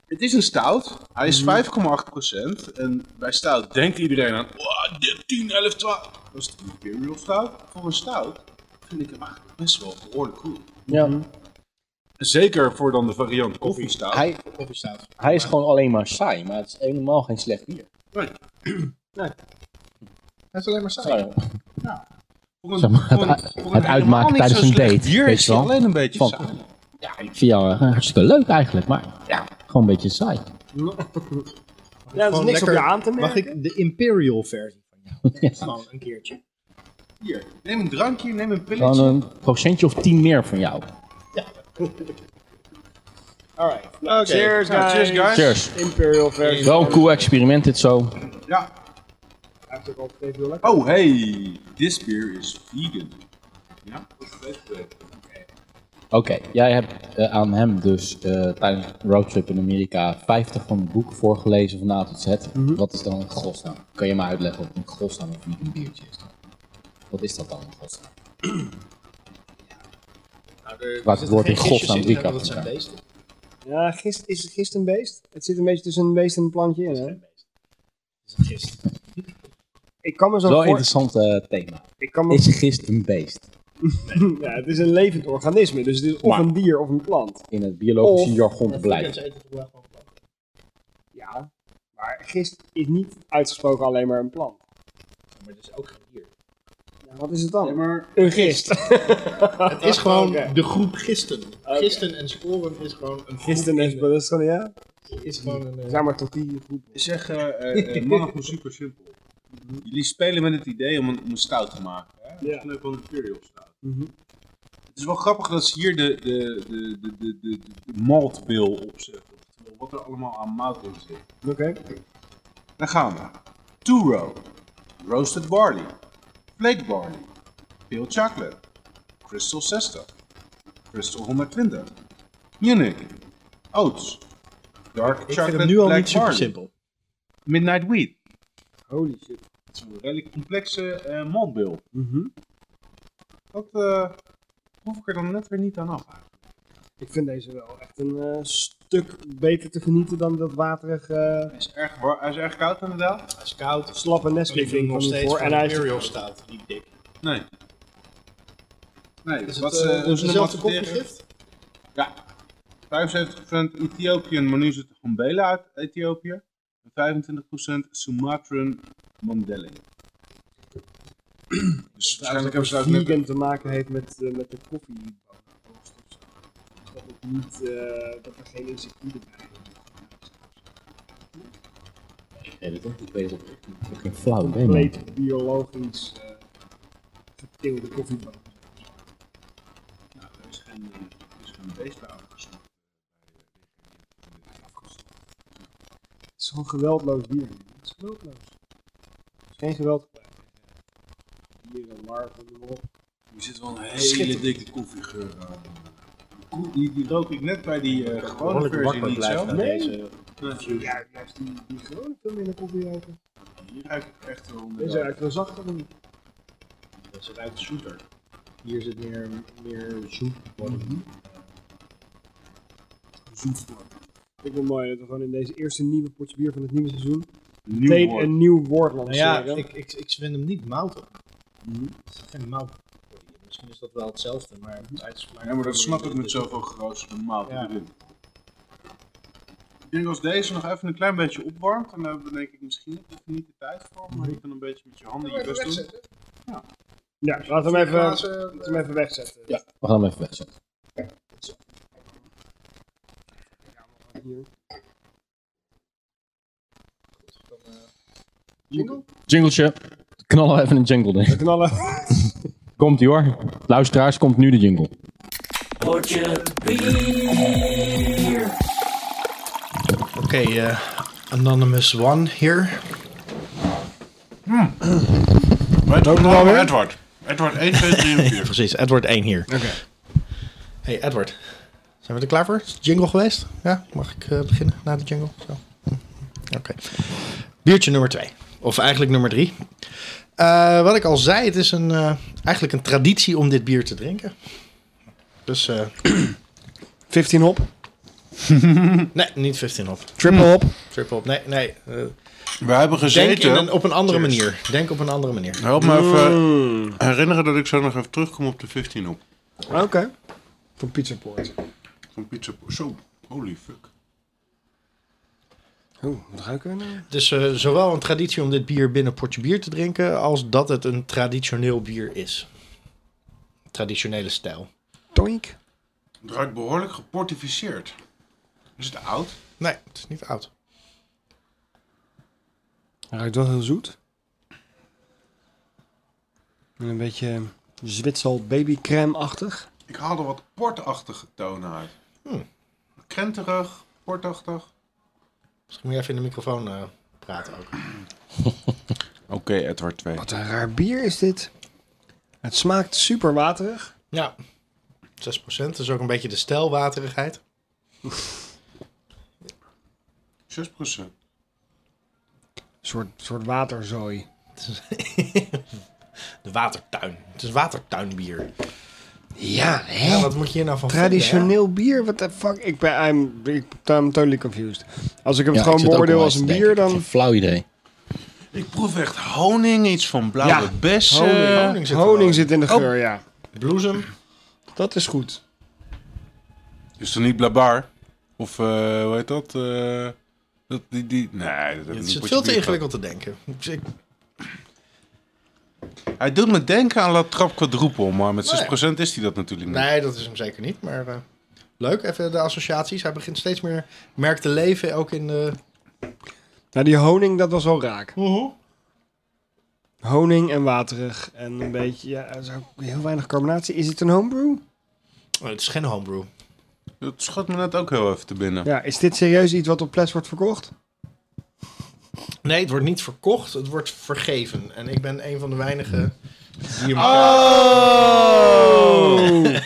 [SPEAKER 5] Het is een stout,
[SPEAKER 4] Mhm.
[SPEAKER 5] hij is 5,8% en bij stout denkt iedereen aan wow, dit 10, 11, 12. Dat is de imperial stout. Voor een stout vind ik hem eigenlijk best wel behoorlijk goed. Mhm.
[SPEAKER 1] Ja.
[SPEAKER 5] Zeker voor dan de variant koffie stout.
[SPEAKER 1] Hij,
[SPEAKER 2] Koffie staat.
[SPEAKER 1] hij is gewoon alleen maar saai, maar het is helemaal geen slecht bier.
[SPEAKER 2] Hij is alleen maar saai.
[SPEAKER 1] Saai.
[SPEAKER 5] Voor een-
[SPEAKER 1] Zeg maar,
[SPEAKER 5] voor een-
[SPEAKER 1] het-
[SPEAKER 5] voor
[SPEAKER 1] het
[SPEAKER 5] een
[SPEAKER 1] uitmaken
[SPEAKER 5] helemaal niet
[SPEAKER 1] tijdens
[SPEAKER 5] zo
[SPEAKER 1] een
[SPEAKER 5] slecht
[SPEAKER 1] date,
[SPEAKER 5] bier
[SPEAKER 1] weet
[SPEAKER 5] is
[SPEAKER 1] je
[SPEAKER 5] hij
[SPEAKER 1] wel.
[SPEAKER 5] alleen een beetje
[SPEAKER 1] Van-
[SPEAKER 5] saai.
[SPEAKER 1] Ja, ik vind jou eh, hartstikke leuk eigenlijk, maar ja, gewoon een beetje saai.
[SPEAKER 4] Ja, dat is
[SPEAKER 7] Gewoon
[SPEAKER 4] niks op je
[SPEAKER 7] lekker-
[SPEAKER 4] aan te merken.
[SPEAKER 7] Mag ik de Imperial versie van jou?
[SPEAKER 1] Ja,
[SPEAKER 2] Gewoon een keertje.
[SPEAKER 5] Hier, neem een drankje, neem een pilletje.
[SPEAKER 1] gewoon een procentje of tien meer van jou.
[SPEAKER 4] Alright. Cheers,
[SPEAKER 5] Nou,
[SPEAKER 4] guys.
[SPEAKER 5] cheers, guys.
[SPEAKER 1] Cheers.
[SPEAKER 4] Imperial version.
[SPEAKER 1] Wel een cool experiment dit zo.
[SPEAKER 5] Ja.
[SPEAKER 4] Hij heeft ook altijd even heel lekker.
[SPEAKER 5] Oh, hey. This beer is vegan. Ja, dat weet ik wel.
[SPEAKER 1] Oké, jij hebt eh, aan hem dus eh, tijdens een roadtrip in Amerika 50 van het boek voorgelezen van A tot Z.
[SPEAKER 2] Mhm.
[SPEAKER 1] Wat is dan een godsnaam? Kan je me uitleggen wat een godsnaam of niet een biertje is dan? Wat is dat dan een godsnaam?
[SPEAKER 2] Nou, er
[SPEAKER 1] Waar het
[SPEAKER 2] zitten
[SPEAKER 1] woord
[SPEAKER 2] geen
[SPEAKER 1] in godsnaam
[SPEAKER 2] gistjes in,
[SPEAKER 1] drie
[SPEAKER 2] want
[SPEAKER 1] kappen
[SPEAKER 2] Dat zijn
[SPEAKER 1] staan.
[SPEAKER 2] beesten.
[SPEAKER 4] Ja, gist, is het gist een beest? Het zit een beetje tussen een beest en een plantje in, hè?
[SPEAKER 2] Dat is een gist.
[SPEAKER 4] Ik kan me zo
[SPEAKER 1] Wel een
[SPEAKER 4] voor...
[SPEAKER 1] interessant eh, thema.
[SPEAKER 4] Ik kan me...
[SPEAKER 1] Is gist een beest?
[SPEAKER 4] (laughs) ja, het is een levend organisme, dus het is of
[SPEAKER 1] Maar-
[SPEAKER 4] een dier of een plant.
[SPEAKER 1] In het biologische
[SPEAKER 4] Of-
[SPEAKER 1] jargon
[SPEAKER 2] Maar
[SPEAKER 1] te
[SPEAKER 2] vegans
[SPEAKER 1] blijven.
[SPEAKER 2] eten toch wel gewoon planten?
[SPEAKER 4] Ja, maar gist is niet uitgesproken alleen maar een plant.
[SPEAKER 2] Maar dat is ook geen dier.
[SPEAKER 4] Ja, wat is het dan?
[SPEAKER 5] Ja, maar
[SPEAKER 4] Een gist. (laughs)
[SPEAKER 2] Het is gewoon
[SPEAKER 4] Oké.
[SPEAKER 2] de groep gisten. Gisten en sporen is gewoon een groep.
[SPEAKER 4] Gisten is,
[SPEAKER 2] in-
[SPEAKER 4] dat is gewoon, ja.
[SPEAKER 2] is gewoon een. eh,
[SPEAKER 4] Zeg maar tot die groep.
[SPEAKER 5] zeg, eh
[SPEAKER 7] (laughs)
[SPEAKER 5] eh, eh, mannen gewoon super simpel. Jullie spelen met het idee om een, om een stout te maken. Hè?
[SPEAKER 4] Ja.
[SPEAKER 5] Dat is leuk van een Imperial stout.
[SPEAKER 4] Mhm.
[SPEAKER 5] Het is wel grappig dat ze hier de, de, de, de, de, de, de maltbil opzetten. Oftewel, Wat er allemaal aan mout in zit.
[SPEAKER 4] Oké.
[SPEAKER 5] Dan gaan we. Turo. Roasted barley. Flake barley. Pale chocolate. Crystal 60. Crystal 120. Munich. Oats. Dark
[SPEAKER 7] Ik vind
[SPEAKER 5] chocolate
[SPEAKER 7] hem nu al
[SPEAKER 5] black
[SPEAKER 7] niet super
[SPEAKER 5] barley.
[SPEAKER 7] simpel.
[SPEAKER 5] Midnight wheat.
[SPEAKER 4] Holy shit.
[SPEAKER 5] Dat is een redelijk complexe eh maltbil.
[SPEAKER 4] Mhm.
[SPEAKER 5] Dat eh hoef ik er dan net weer niet aan af. eigenlijk.
[SPEAKER 4] Ik vind deze wel echt een eh, stuk beter te genieten dan dat waterige, eh,
[SPEAKER 5] Hij is erg, war- hij is erg koud inderdaad.
[SPEAKER 2] Hij is koud.
[SPEAKER 4] slappe
[SPEAKER 2] Ik
[SPEAKER 4] Nesquik
[SPEAKER 2] vind
[SPEAKER 4] ding
[SPEAKER 2] nog
[SPEAKER 4] van
[SPEAKER 2] steeds
[SPEAKER 4] hiervoor.
[SPEAKER 2] voor
[SPEAKER 4] En hij is
[SPEAKER 2] Imperial staat, die dik.
[SPEAKER 5] Nee. Nee,
[SPEAKER 2] Is
[SPEAKER 5] wat
[SPEAKER 2] het
[SPEAKER 5] ze-
[SPEAKER 2] eh,
[SPEAKER 5] hoe ze hem
[SPEAKER 2] dezelfde
[SPEAKER 5] adverteren-
[SPEAKER 2] kopiegift?
[SPEAKER 5] Ja. 75% Ethiopian, maar nu zit er Gambela uit Ethiopië. En 25% Sumatran Mandeli. Dus waarschijnlijk hebben ze daar ook net...
[SPEAKER 4] vegan te maken heeft met, eh, met de koffie. Dat het niet, eh, dat er geen insecten bij
[SPEAKER 1] Ik weet het ook niet. Ik weet het ook niet. Ik heb geen flauw idee, man.
[SPEAKER 4] compleet biologisch eh geteelde koffiebonen.
[SPEAKER 5] Nou, er is geen, eh, er is geen beest bij afgesnapt.
[SPEAKER 4] Het is gewoon geweldloos dier. Het is geweldloos. Er is geen geweld gebruikt. Dieren, larven, noem maar op.
[SPEAKER 5] Er zit wel een hele dikke koffiegeur aan. Koe- Die, die rook ik net bij die eh, gewone
[SPEAKER 7] Behoorlijk
[SPEAKER 5] versie
[SPEAKER 7] wakker
[SPEAKER 5] niet zo.
[SPEAKER 7] blijven.
[SPEAKER 4] Nee.
[SPEAKER 2] Nou
[SPEAKER 7] deze.
[SPEAKER 4] Ja, juist die, die gewone veel minder koffie ruiken.
[SPEAKER 5] Hier ruik ik echt wel eh, onder.
[SPEAKER 4] Deze ruikt wel zachter dan die.
[SPEAKER 2] Dat is uit zoeter. Hier zit meer,
[SPEAKER 4] Mhm.
[SPEAKER 2] meer zoet.
[SPEAKER 4] Eh, zoet voor. ik wel mooi dat we gewoon in deze eerste nieuwe potje bier van het nieuwe seizoen
[SPEAKER 8] Nieuw
[SPEAKER 4] meteen
[SPEAKER 8] woord.
[SPEAKER 4] een nieuw woord Nou lanceren.
[SPEAKER 2] ja, ik, ik, ik zwin hem niet mout op. Het is geen mout. Misschien is dat wel hetzelfde, maar het is voor mij-
[SPEAKER 8] Ja, maar dat snap ik met zoveel grootste normaal
[SPEAKER 2] Ja.
[SPEAKER 8] erin. Ik denk als deze nog even een klein beetje opwarmt, dan hebben we denk ik misschien ik heb er niet de tijd voor, maar je kan een beetje met je handen je best doen.
[SPEAKER 4] ja, laten we hem even, laten
[SPEAKER 2] Glazen,
[SPEAKER 4] we hem even wegzetten.
[SPEAKER 2] Ja.
[SPEAKER 1] We gaan hem even wegzetten.
[SPEAKER 4] Hier.
[SPEAKER 1] Jingletje. Knallen we even een jingle in.
[SPEAKER 4] We knallen.
[SPEAKER 1] Komt ie hoor. Luisteraars, komt nu de jingle.
[SPEAKER 2] Oké, eh, Anonymous One hier.
[SPEAKER 8] Weet ook nog wel Nou, Edward. Edward 1, 2, 3 en 4.
[SPEAKER 2] Precies, Edward 1 hier. Oké. Hey Edward, zijn we er klaar voor? Is het jingle geweest? Ja, mag ik eh, beginnen na de jingle? Zo. Hm. Oké. Biertje nummer 2. Of eigenlijk nummer 3. wat ik al zei, het is een, eh, eigenlijk een traditie om dit bier te drinken. Dus eh,
[SPEAKER 4] (clears throat) 15 hop.
[SPEAKER 2] (laughs) nee, niet 15 op.
[SPEAKER 4] Triple hop.
[SPEAKER 2] Triple op. Nee, nee. eh,
[SPEAKER 8] We hebben
[SPEAKER 2] denk in
[SPEAKER 8] gezeten.
[SPEAKER 2] een, op een andere manier. Denk op een andere manier.
[SPEAKER 8] Help me even herinneren dat ik zo nog even terugkom op de 15 op.
[SPEAKER 4] Oké. Van Pizza Port.
[SPEAKER 8] Van pizza. Zo, holy fuck.
[SPEAKER 4] Oeh, wat ruiken we nou?
[SPEAKER 2] Het is eh, zowel een traditie om dit bier binnen een potje bier te drinken, als dat het een traditioneel bier is. Traditionele stijl.
[SPEAKER 4] Toink.
[SPEAKER 8] Het ruikt behoorlijk geportificeerd. Is het oud?
[SPEAKER 2] Nee, het is niet oud.
[SPEAKER 4] Hij ruikt wel heel zoet. En een beetje Zwitserl babycrème-achtig.
[SPEAKER 8] Ik haalde wat portachtige tonen uit.
[SPEAKER 2] Hmm.
[SPEAKER 8] Krenterig, portachtig.
[SPEAKER 2] Misschien moet je even in de microfoon eh, praten ook.
[SPEAKER 8] Oké, Edward 2.
[SPEAKER 4] Wat een raar bier is dit. Het smaakt super waterig.
[SPEAKER 2] Ja, 6%. Dat is ook een beetje de stijlwaterigheid.
[SPEAKER 8] 6%.
[SPEAKER 4] Een soort, soort waterzooi.
[SPEAKER 2] De watertuin. Het is watertuinbier.
[SPEAKER 4] Ja, hè?
[SPEAKER 2] Ja, wat moet je hier nou van vinden,
[SPEAKER 4] Traditioneel bier? What the fuck? Ik ben I'm, ik, I'm totally confused. Als ik hem
[SPEAKER 1] Ja, ik
[SPEAKER 4] gewoon
[SPEAKER 1] zit ook
[SPEAKER 4] beoordeel
[SPEAKER 1] wel
[SPEAKER 4] als
[SPEAKER 1] eens
[SPEAKER 4] een
[SPEAKER 1] te
[SPEAKER 4] bier,
[SPEAKER 1] denken. Ik vind het Een
[SPEAKER 4] dan...
[SPEAKER 1] flauw idee.
[SPEAKER 8] Ik proef echt honing, iets van blauwe
[SPEAKER 4] Ja,
[SPEAKER 8] bessen.
[SPEAKER 2] honing, honing. zit er wel in.
[SPEAKER 4] eh, Honing zit in de geur, ja.
[SPEAKER 2] hè? eh, Bloesem.
[SPEAKER 4] Dat is goed.
[SPEAKER 8] Is dat niet blabar? Of eh, hoe heet dat? Eh, dat die, die, nee, dat
[SPEAKER 2] Het
[SPEAKER 8] is
[SPEAKER 2] zit veel te ingewikkeld te denken. Dus ik-
[SPEAKER 8] Hij doet me denken aan La Trap Quadruple, maar met
[SPEAKER 2] Nee.
[SPEAKER 8] 6% is hij dat natuurlijk niet.
[SPEAKER 2] Nee, dat is hem zeker niet. Maar eh, leuk, even de associaties. Hij begint steeds meer merk te leven, ook in de...
[SPEAKER 4] Nou, die honing, dat was wel raak. Honing en waterig en een beetje... Ja, er is ook heel weinig carbonatie. Is het een homebrew?
[SPEAKER 2] Oh, het is geen homebrew.
[SPEAKER 8] Dat schot me net ook heel even te binnen.
[SPEAKER 4] Ja, is dit serieus iets wat op fles wordt verkocht?
[SPEAKER 2] Nee, het wordt niet verkocht, het wordt vergeven. En ik ben een van de weinigen die hem...
[SPEAKER 4] Ah, Oh. (laughs)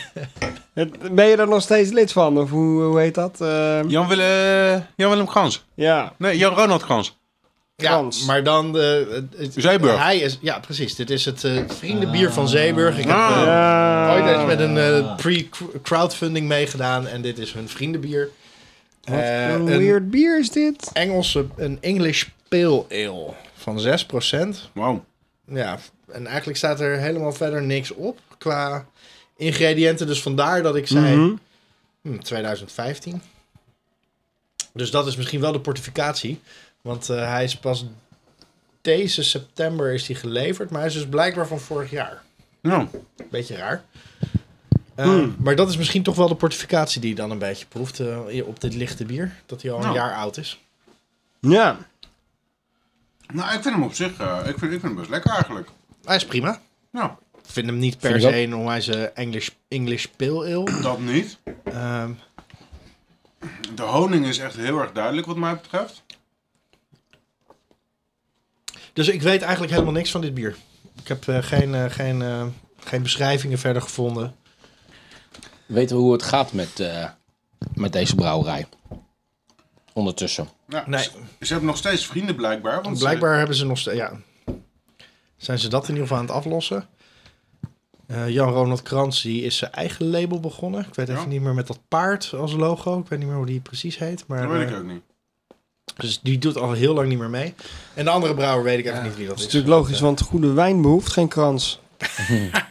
[SPEAKER 4] Het- ben je daar nog steeds lid van? Of hoe, hoe heet dat? Eh,
[SPEAKER 8] Jan, Wille, Jan Willem Gans.
[SPEAKER 4] ja.
[SPEAKER 8] Nee, Jan Ronald Gans.
[SPEAKER 2] Ja,
[SPEAKER 4] Frans.
[SPEAKER 2] maar dan... de het, het-
[SPEAKER 8] Zeeburg.
[SPEAKER 2] Hij is, ja, precies. Dit is het eh, vriendenbier van Zeeburg. Ik heb
[SPEAKER 8] Ah.
[SPEAKER 2] eh,
[SPEAKER 4] Ja.
[SPEAKER 2] ooit eens met een eh, pre-crowdfunding meegedaan. En dit is hun vriendenbier.
[SPEAKER 4] Wat
[SPEAKER 2] Eh,
[SPEAKER 4] een
[SPEAKER 2] een-
[SPEAKER 4] weird bier is dit?
[SPEAKER 2] Engelse, een English Pale Ale van 6%.
[SPEAKER 8] Wow.
[SPEAKER 2] Ja, en eigenlijk staat er helemaal verder niks op qua ingrediënten. Dus vandaar dat ik zei
[SPEAKER 4] Mhm.
[SPEAKER 2] hm, 2015. Dus dat is misschien wel de portificatie. Want eh, hij is pas deze september is hij geleverd. Maar hij is dus blijkbaar van vorig jaar.
[SPEAKER 8] Nou,
[SPEAKER 2] Beetje raar. Eh, Maar dat is misschien toch wel de portificatie die je dan een beetje proeft eh, op dit lichte bier. Dat hij al een
[SPEAKER 8] Nou.
[SPEAKER 2] jaar oud is.
[SPEAKER 4] Ja.
[SPEAKER 8] (laughs) nou, ik vind hem op zich, eh, ik, vind, ik vind hem best lekker eigenlijk.
[SPEAKER 2] Hij is prima.
[SPEAKER 8] Nou,
[SPEAKER 2] Ik vind hem niet per
[SPEAKER 1] Vind ik ook.
[SPEAKER 2] se een onwijze English, English pale ale.
[SPEAKER 8] (clears throat) dat niet.
[SPEAKER 2] Ehm,
[SPEAKER 8] De honing is echt heel erg duidelijk wat mij betreft.
[SPEAKER 2] dus ik weet eigenlijk helemaal niks van dit bier. Ik heb eh, geen, eh, geen, eh, geen beschrijvingen verder gevonden.
[SPEAKER 1] Weten we hoe het gaat met, eh, met deze brouwerij? Ondertussen.
[SPEAKER 8] Nou,
[SPEAKER 2] Nee.
[SPEAKER 8] ze, ze hebben nog steeds vrienden blijkbaar. Want ze-
[SPEAKER 2] Blijkbaar hebben ze nog steeds... Ja, zijn ze dat in ieder geval aan het aflossen. Eh, Eh, Jan-Ronald Krans die is zijn eigen label begonnen. Ik weet
[SPEAKER 8] Ja.
[SPEAKER 2] even niet meer met dat paard als logo. Ik weet niet meer hoe die precies heet. Maar,
[SPEAKER 8] Dat weet
[SPEAKER 2] eh,
[SPEAKER 8] ik ook niet.
[SPEAKER 2] Dus die doet al heel lang niet meer mee. En de andere brouwer weet ik even niet wie dat
[SPEAKER 4] Dat
[SPEAKER 2] is.
[SPEAKER 4] is natuurlijk logisch, want goede wijn behoeft geen krans.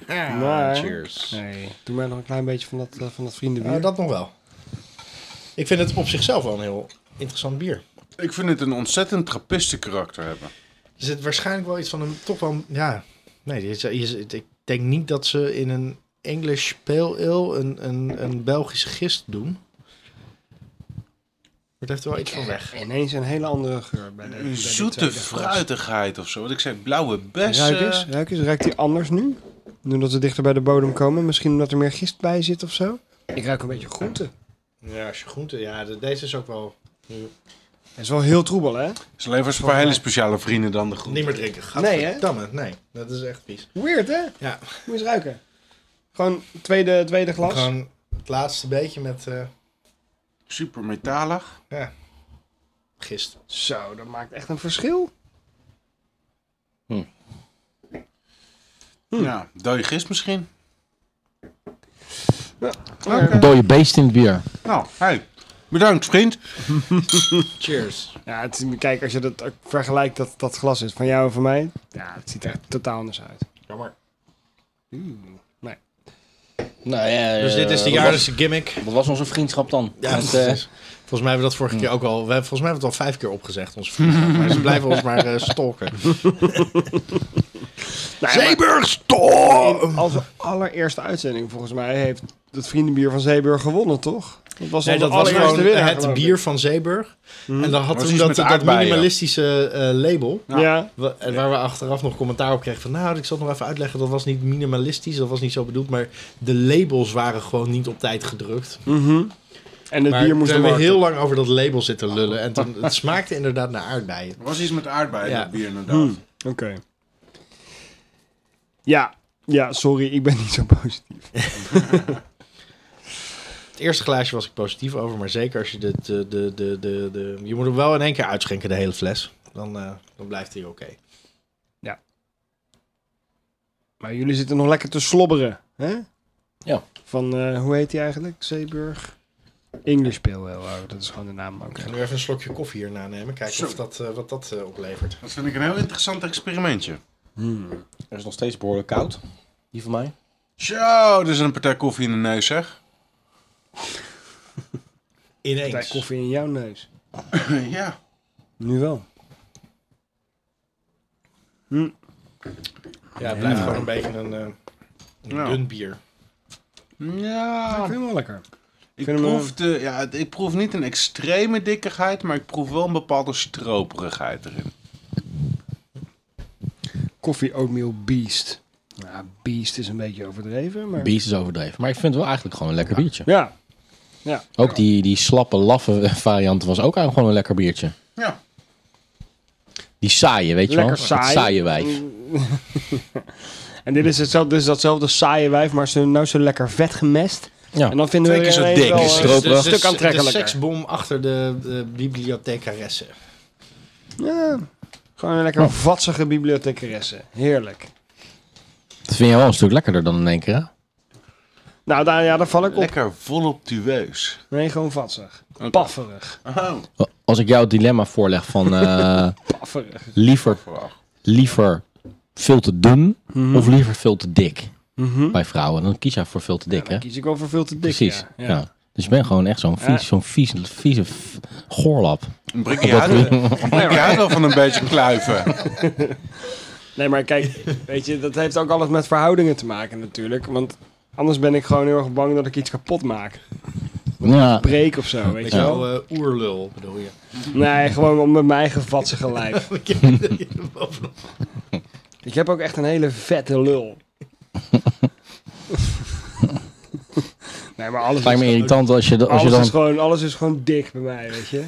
[SPEAKER 1] Nou,
[SPEAKER 4] maar,
[SPEAKER 2] Cheers.
[SPEAKER 4] Nee. Doe mij nog een klein beetje van dat, eh, van dat vriendenbier.
[SPEAKER 2] Nou, dat nog wel. Ik vind het op zichzelf wel een heel interessant bier.
[SPEAKER 8] Ik vind het een ontzettend trappisten karakter hebben.
[SPEAKER 2] Er zit waarschijnlijk wel iets van een toch wel. Ja, nee, je, je- je- ik denk niet dat ze in een English pale ale een, een, een Belgische gist doen. Maar het heeft er wel iets van weg.
[SPEAKER 4] Ineens een hele andere geur bij de, bij
[SPEAKER 8] Een
[SPEAKER 4] dit
[SPEAKER 8] zoete
[SPEAKER 4] tweede glas.
[SPEAKER 8] fruitigheid of zo. Wat ik zei, blauwe bessen.
[SPEAKER 4] Ruik eens, ruik eens. Ruikt die anders nu? Nu dat we dichter bij de bodem komen. Misschien omdat er meer gist bij zit of zo. Ik ruik een beetje groente.
[SPEAKER 2] Ja, als je groente. Ja, de- deze is ook wel.
[SPEAKER 4] Het is wel heel troebel, hè?
[SPEAKER 8] Het is alleen voor een paar hele speciale vrienden dan de groep.
[SPEAKER 2] Niet meer drinken.
[SPEAKER 4] Nee, hè?
[SPEAKER 2] Gadverdamme, Nee, dat is echt vies.
[SPEAKER 4] Weird, hè?
[SPEAKER 2] Ja.
[SPEAKER 4] Moet je eens ruiken. Gewoon tweede, tweede glas.
[SPEAKER 2] Gewoon het laatste beetje met eh,
[SPEAKER 8] Super metalig.
[SPEAKER 2] gist.
[SPEAKER 4] Zo, dat maakt echt een verschil.
[SPEAKER 8] Ja, dode gist misschien.
[SPEAKER 1] Dode beest in het bier.
[SPEAKER 8] Nou, hey. Bedankt, vriend.
[SPEAKER 2] Cheers.
[SPEAKER 4] Ja, het, is- kijk, als je dat ook vergelijkt, dat, dat glas is van jou en van mij. Ja, het ziet er echt totaal anders uit.
[SPEAKER 2] Jammer.
[SPEAKER 1] Nou ja,
[SPEAKER 2] Dus dit is de jaarlijkse gimmick.
[SPEAKER 1] Wat was onze vriendschap dan?
[SPEAKER 2] Ja,
[SPEAKER 1] Want, eh,
[SPEAKER 2] precies. volgens mij hebben we dat vorige keer ook al. We, hebben- volgens mij hebben we het al vijf keer opgezegd, onze vrienden. maar ze blijven ons maar
[SPEAKER 4] (laughs)
[SPEAKER 2] eh, stalken. Zeeburg, stalk!
[SPEAKER 4] Als allereerste uitzending, volgens mij, heeft het vriendenbier van Zeeburg gewonnen, toch? Dat was
[SPEAKER 2] Nee,
[SPEAKER 4] al
[SPEAKER 2] dat
[SPEAKER 4] de
[SPEAKER 2] was
[SPEAKER 4] allereerste
[SPEAKER 2] gewoon
[SPEAKER 4] winnaar,
[SPEAKER 2] het
[SPEAKER 4] geloof ik. Hmm.
[SPEAKER 2] bier van Zeeburg. En dan had
[SPEAKER 8] Maar
[SPEAKER 2] toen
[SPEAKER 8] precies
[SPEAKER 2] dat,
[SPEAKER 8] met de
[SPEAKER 2] dat
[SPEAKER 8] aardbeien.
[SPEAKER 2] minimalistische eh, label.
[SPEAKER 4] Ja. Ja.
[SPEAKER 2] wa- en Waar we achteraf nog commentaar op kregen van... Nou, ik zal het nog even uitleggen. Dat was niet minimalistisch. Dat was niet zo bedoeld. Maar de labels waren gewoon niet op tijd gedrukt.
[SPEAKER 4] mhm. En het
[SPEAKER 2] Maar
[SPEAKER 4] bier moest Oh.
[SPEAKER 2] toen
[SPEAKER 4] dan
[SPEAKER 2] hebben we heel lang over dat label zitten lullen. En toen, het smaakte inderdaad naar aardbeien.
[SPEAKER 8] Er was iets met aardbeien
[SPEAKER 2] Ja.
[SPEAKER 8] dat bier inderdaad.
[SPEAKER 4] Oké. Ja. Ja, sorry, ik ben (laughs) niet zo positief.
[SPEAKER 2] Het eerste glaasje was ik positief over, maar zeker als je de, de, de, de, de, de- Je moet hem wel in één keer uitschenken, de hele fles. Dan, eh, dan blijft hij oké.
[SPEAKER 4] Maar jullie zitten nog lekker te slobberen, hè?
[SPEAKER 1] Ja.
[SPEAKER 4] Van, eh, hoe heet die eigenlijk? Zeeburg? English Pale Ale, oh, dat is gewoon de naam.
[SPEAKER 2] Ik
[SPEAKER 4] Oké.
[SPEAKER 2] ga nu even een slokje koffie hierna nemen, kijken
[SPEAKER 8] Zo.
[SPEAKER 2] of dat, eh, wat dat eh, oplevert.
[SPEAKER 8] Dat vind ik een heel interessant experimentje.
[SPEAKER 1] Er eh, is nog steeds behoorlijk koud. Die van mij.
[SPEAKER 8] Zo, er is een partij koffie in de neus, zeg.
[SPEAKER 4] Partij
[SPEAKER 2] Ineens.
[SPEAKER 4] koffie in jouw neus.
[SPEAKER 8] (laughs) ja.
[SPEAKER 4] Nu wel.
[SPEAKER 2] Ja, het blijft gewoon een beetje een, eh, een
[SPEAKER 8] Ja.
[SPEAKER 2] dun bier.
[SPEAKER 8] Ja.
[SPEAKER 4] vind hem wel lekker.
[SPEAKER 8] Ik
[SPEAKER 4] vind hem, eh,
[SPEAKER 8] proef, de, ja, het- ik proef niet een extreme dikkigheid, maar ik proef wel een bepaalde stroperigheid erin.
[SPEAKER 4] Koffie Oatmeal Beast. Ja, Beast is een beetje overdreven, maar...
[SPEAKER 1] Beest is overdreven. Maar ik vind het wel eigenlijk gewoon een lekker biertje.
[SPEAKER 4] Ja.
[SPEAKER 1] Ook die, die slappe, laffe variant was ook eigenlijk gewoon een lekker biertje.
[SPEAKER 8] Ja.
[SPEAKER 1] Die saaie, weet je
[SPEAKER 4] Lekker
[SPEAKER 1] wel?
[SPEAKER 4] Mm. saai.
[SPEAKER 1] Het saaie wijf.
[SPEAKER 4] En dit is, hetzelfde, dit is datzelfde saaie wijf, maar ze nou zo lekker vet gemest.
[SPEAKER 1] Ja.
[SPEAKER 4] En dan vinden we
[SPEAKER 8] Twee keer
[SPEAKER 4] er
[SPEAKER 8] zo
[SPEAKER 4] ineens
[SPEAKER 8] dik
[SPEAKER 4] wel,
[SPEAKER 8] is
[SPEAKER 4] eh,
[SPEAKER 1] het. Stroperig.
[SPEAKER 4] Een stuk aantrekkelijker.
[SPEAKER 2] Oh, De seksbom achter de, de bibliothecaresse.
[SPEAKER 4] Ja. Gewoon een lekker vatsige bibliothecaresse. Heerlijk.
[SPEAKER 1] Dat vind jij wel een stuk lekkerder dan in één keer, hè?
[SPEAKER 4] Nou, daar, ja, daar val ik op.
[SPEAKER 8] Lekker voluptueus.
[SPEAKER 4] Nee, gewoon vatsig. Pafferig.
[SPEAKER 8] Oh,
[SPEAKER 1] Als ik jou het dilemma voorleg van
[SPEAKER 4] (laughs)
[SPEAKER 1] eh,
[SPEAKER 4] Pafferig.
[SPEAKER 1] liever, liever veel te dun
[SPEAKER 4] Mhm.
[SPEAKER 1] of liever veel te dik bij vrouwen, dan kies jij voor veel te dik, hè?
[SPEAKER 4] Dan kies ik wel voor veel te dik.
[SPEAKER 1] Precies.
[SPEAKER 4] ja.
[SPEAKER 1] Ja.
[SPEAKER 4] Ja.
[SPEAKER 1] Dus je bent gewoon echt zo'n
[SPEAKER 4] Ja.
[SPEAKER 1] vies, zo'n vies, vieze f- goorlap.
[SPEAKER 8] een brikje uit, ik hou wel van een beetje kluiven.
[SPEAKER 4] Nee, maar kijk, weet je, dat heeft ook alles met verhoudingen te maken natuurlijk. Want anders ben ik gewoon heel erg bang dat ik iets kapot maak.
[SPEAKER 1] Ja.
[SPEAKER 4] Breek of zo, weet je
[SPEAKER 2] Zo
[SPEAKER 4] wel.
[SPEAKER 2] eh, oerlul bedoel je.
[SPEAKER 4] Nee, gewoon om met mijn eigen vatsige (laughs) lijf. Ik heb ook echt een hele vette lul. Nee, maar alles,
[SPEAKER 1] Het lijkt me
[SPEAKER 4] is,
[SPEAKER 1] irritant als je, da- als je
[SPEAKER 4] alles,
[SPEAKER 1] dan...
[SPEAKER 4] is gewoon, alles is gewoon dik bij mij, weet je.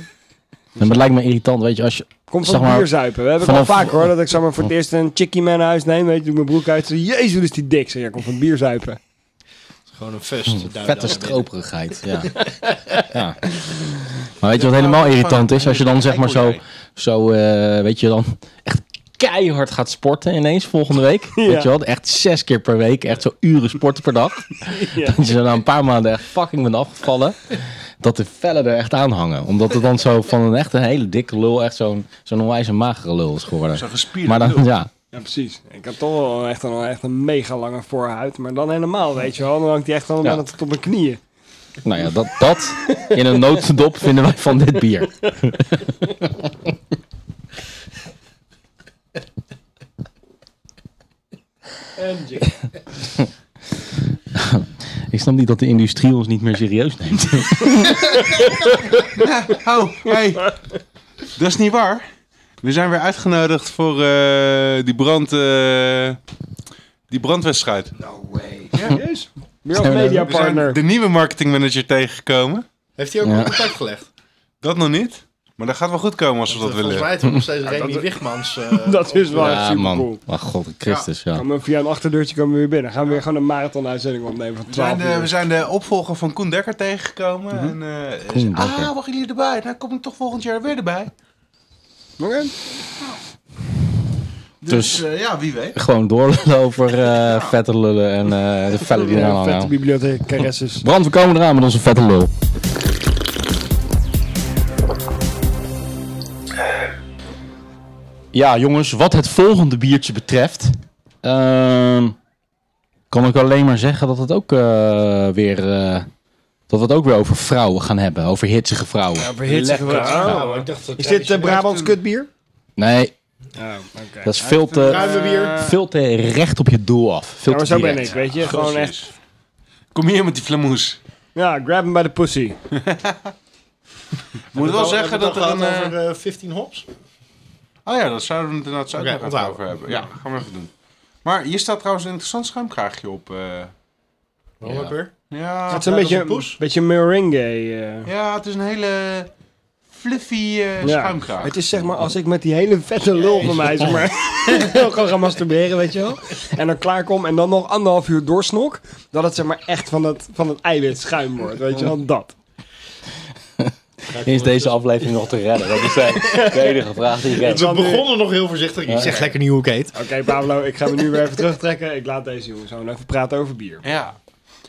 [SPEAKER 1] Maar het lijkt me irritant, weet je, als je...
[SPEAKER 4] Komt van
[SPEAKER 1] Zeg maar,
[SPEAKER 4] bier zuipen. We hebben het
[SPEAKER 1] vanaf-
[SPEAKER 4] al vaak hoor. Dat ik zeg maar voor het eerst een chickie man naar huis neem. Weet je, doe ik mijn broek uit. Jezus, is die dik. Zeg, ja, komt van bier zuipen.
[SPEAKER 2] Gewoon een
[SPEAKER 4] Hmm.
[SPEAKER 2] fust.
[SPEAKER 1] Vette stroperigheid, ja. (laughs) ja. Maar weet je wat helemaal irritant is? Als je dan zeg maar zo, zo eh, weet je dan, echt keihard gaat sporten ineens volgende
[SPEAKER 8] (laughs)
[SPEAKER 1] week. Weet je wel? Echt zes keer per week. Echt zo uren sporten per
[SPEAKER 8] (laughs)
[SPEAKER 1] dag. Dat je er na een paar maanden echt fucking bent afgevallen. Dat de vellen er echt aan hangen. Omdat het dan zo van een echt een hele dikke lul echt zo'n zo'n onwijze magere lul is geworden.
[SPEAKER 8] Zo'n gespierde
[SPEAKER 1] Maar dan,
[SPEAKER 8] lul.
[SPEAKER 1] ja.
[SPEAKER 4] Ja, precies. Ik heb toch wel echt een, echt een mega lange voorhuid. Maar dan helemaal, weet je wel. Dan hangt die echt allemaal
[SPEAKER 1] Ja.
[SPEAKER 4] tot op mijn knieën.
[SPEAKER 1] Nou ja, dat, dat in een notendop vinden wij van dit bier. Ik snap niet dat de industrie ons niet meer serieus neemt.
[SPEAKER 8] Oh, hey. Dat is niet waar. We zijn weer uitgenodigd voor eh, die, brand, eh, die brandwedstrijd.
[SPEAKER 4] Serieus? Weer als
[SPEAKER 1] Zijn we daar-
[SPEAKER 8] We zijn
[SPEAKER 4] mediapartner.
[SPEAKER 8] de nieuwe marketingmanager tegengekomen.
[SPEAKER 2] Heeft hij ook
[SPEAKER 1] Ja.
[SPEAKER 2] een contact gelegd?
[SPEAKER 8] Dat nog niet. Maar dat gaat wel goed komen als we dat
[SPEAKER 2] Volgens
[SPEAKER 8] willen.
[SPEAKER 2] mij heeft hij nog steeds Remy Wichmans. eh,
[SPEAKER 4] (laughs) Dat is wel echt
[SPEAKER 1] Ja,
[SPEAKER 4] super
[SPEAKER 1] man.
[SPEAKER 4] cool.
[SPEAKER 1] Maar god, Christus, ja.
[SPEAKER 4] Komen we via een achterdeurtje komen we weer binnen. Gaan we weer gewoon een marathon-uitzending opnemen van
[SPEAKER 8] We zijn,
[SPEAKER 4] 12
[SPEAKER 8] de, we
[SPEAKER 4] uur.
[SPEAKER 8] zijn de opvolger van Koen Dekker tegengekomen. en, eh,
[SPEAKER 1] Mhm. Koen
[SPEAKER 8] zei,
[SPEAKER 1] Dekker.
[SPEAKER 8] ah, waren jullie erbij? Nou, kom ik toch volgend jaar weer erbij.
[SPEAKER 4] Oké.
[SPEAKER 8] Dus,
[SPEAKER 1] Dus-
[SPEAKER 8] eh, ja, wie weet.
[SPEAKER 1] Gewoon doorlullen over eh, vette lullen en eh, de vellen die eraan
[SPEAKER 4] Vette
[SPEAKER 1] hangen.
[SPEAKER 4] bibliotheek, caresses.
[SPEAKER 1] Brand, we komen eraan met onze vette lul. Ja, jongens, wat het volgende biertje betreft... ehm, kan ik alleen maar zeggen dat het ook eh, weer... eh, dat we het ook weer over vrouwen gaan hebben. Over hitsige vrouwen.
[SPEAKER 2] Nou, ik dacht dat
[SPEAKER 4] Is dit eh, Brabants kutbier?
[SPEAKER 1] Nee,
[SPEAKER 4] Oh, oké.
[SPEAKER 1] dat is veel te,
[SPEAKER 2] Ruime bier.
[SPEAKER 8] Eh,
[SPEAKER 1] veel te recht op je doel af. Veel
[SPEAKER 4] Ja, maar
[SPEAKER 1] te
[SPEAKER 4] zo ben
[SPEAKER 1] direct.
[SPEAKER 4] ik, weet je. Gewoon echt,
[SPEAKER 8] Kom hier met die flamoes.
[SPEAKER 4] ja, grab hem bij de pussy.
[SPEAKER 8] Ik moet wel zeggen dat er een...
[SPEAKER 2] Over
[SPEAKER 8] eh,
[SPEAKER 2] eh, 15 hops.
[SPEAKER 8] Oh ja, dat zouden we het inderdaad zo ook
[SPEAKER 2] Oké,
[SPEAKER 8] nog even
[SPEAKER 2] onthouden.
[SPEAKER 8] over hebben. Ja, gaan we even doen. Maar hier staat trouwens een interessant schuimkraagje op. eh.
[SPEAKER 2] Waarom ook weer?
[SPEAKER 8] ja,
[SPEAKER 4] Het is een
[SPEAKER 2] dat
[SPEAKER 4] beetje,
[SPEAKER 2] is een poes.
[SPEAKER 4] beetje meringue. eh.
[SPEAKER 8] ja, het is een hele fluffy eh
[SPEAKER 4] Ja.
[SPEAKER 8] schuimkraag.
[SPEAKER 4] Het is zeg maar als ik met die hele vette lul van mij zeg maar, (laughs) heel gewoon ga masturberen, weet je wel. En dan klaarkom en dan nog anderhalf uur doorsnok. Dat het zeg maar echt van het, van het eiwit schuim wordt, weet je wel. Dat.
[SPEAKER 1] Is deze aflevering nog te redden? Dat is de
[SPEAKER 4] (laughs)
[SPEAKER 1] de enige vraag die ik heb.
[SPEAKER 2] We begonnen nog heel voorzichtig. Je zegt lekker niet hoe ik heet.
[SPEAKER 4] Oké Pablo, ik ga me nu weer even terugtrekken. Ik laat deze jongens gewoon even praten over bier.
[SPEAKER 8] Ja.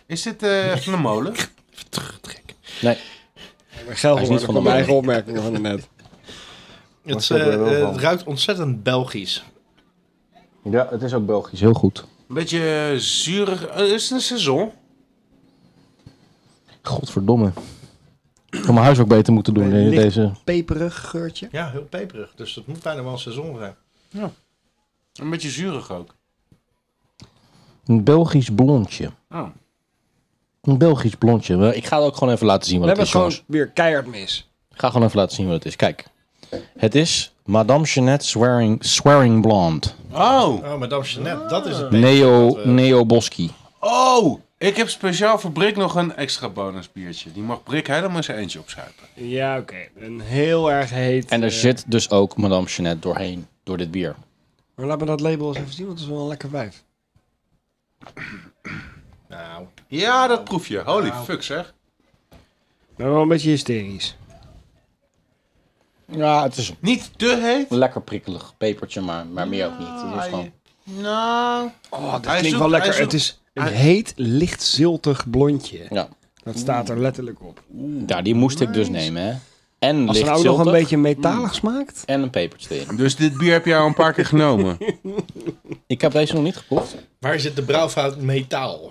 [SPEAKER 8] Is dit eh, van de molen?
[SPEAKER 1] Nee,
[SPEAKER 4] Ik ben geil
[SPEAKER 1] Hij is niet
[SPEAKER 4] geworden
[SPEAKER 1] van
[SPEAKER 4] van
[SPEAKER 1] de
[SPEAKER 4] mijn eigen opmerkingen van net.
[SPEAKER 2] Het,
[SPEAKER 4] snap ik
[SPEAKER 2] eh,
[SPEAKER 4] wel
[SPEAKER 2] eh,
[SPEAKER 4] van.
[SPEAKER 2] het ruikt ontzettend Belgisch.
[SPEAKER 1] ja, het is ook Belgisch, heel goed.
[SPEAKER 8] Een beetje eh, zuurig. eh, is het een seizoen?
[SPEAKER 1] Godverdomme. Ik had mijn huis ook beter moeten doen.
[SPEAKER 4] Nee,
[SPEAKER 1] eh,
[SPEAKER 4] licht.
[SPEAKER 1] Deze.
[SPEAKER 4] Peperig geurtje.
[SPEAKER 2] Ja, heel peperig. Dus dat moet bijna wel een seizoen zijn.
[SPEAKER 8] Een beetje zuurig ook.
[SPEAKER 1] Een Belgisch blondje.
[SPEAKER 8] Oh.
[SPEAKER 1] Een Belgisch blondje. Wel, Ik ga het ook gewoon even laten zien
[SPEAKER 4] We
[SPEAKER 1] wat het
[SPEAKER 4] hebben
[SPEAKER 1] is,
[SPEAKER 4] het gewoon
[SPEAKER 1] jongens.
[SPEAKER 4] weer keihard mis.
[SPEAKER 1] Ik ga gewoon even laten zien wat het is. Kijk. Het is Madame Jeanette Swearing, Swearing Blonde.
[SPEAKER 8] Oh!
[SPEAKER 2] Oh, Madame Jeanette, dat is het
[SPEAKER 1] Neo, Neo Boski.
[SPEAKER 8] Oh! Ik heb speciaal voor Brik nog een extra bonus biertje. Die mag Brik helemaal zijn eentje opschuipen.
[SPEAKER 4] Ja, oké. Een heel erg heet...
[SPEAKER 1] En er
[SPEAKER 4] eh,
[SPEAKER 1] zit dus ook Madame Jeanette doorheen. Door dit bier.
[SPEAKER 4] Maar laat me dat label eens even zien, want het is wel een lekker wijf.
[SPEAKER 2] Nou,
[SPEAKER 8] Ja, dat proef je. Holy fuck zeg.
[SPEAKER 4] Maar wel een beetje hysterisch.
[SPEAKER 1] Ja, het is
[SPEAKER 8] Niet te heet.
[SPEAKER 1] een lekker prikkelig pepertje, maar, maar meer ook niet. Het is gewoon...
[SPEAKER 8] Nou.
[SPEAKER 4] Oh, dat
[SPEAKER 8] Hij
[SPEAKER 4] klinkt
[SPEAKER 8] zoekt-
[SPEAKER 4] wel lekker.
[SPEAKER 8] hij zoekt-
[SPEAKER 4] het is een
[SPEAKER 8] hij-
[SPEAKER 4] heet, licht ziltig blondje.
[SPEAKER 1] Ja.
[SPEAKER 4] Dat staat er letterlijk op.
[SPEAKER 1] Ja, die moest ik dus nemen, hè. En
[SPEAKER 4] Als er
[SPEAKER 1] licht
[SPEAKER 4] nou ook nog een
[SPEAKER 1] ziltig
[SPEAKER 4] beetje metalig smaakt.
[SPEAKER 1] en een pepertje erin.
[SPEAKER 8] Dus dit bier heb jij al een paar keer genomen.
[SPEAKER 1] Ik heb deze nog niet geproefd.
[SPEAKER 2] waar zit de brouwfout metaal?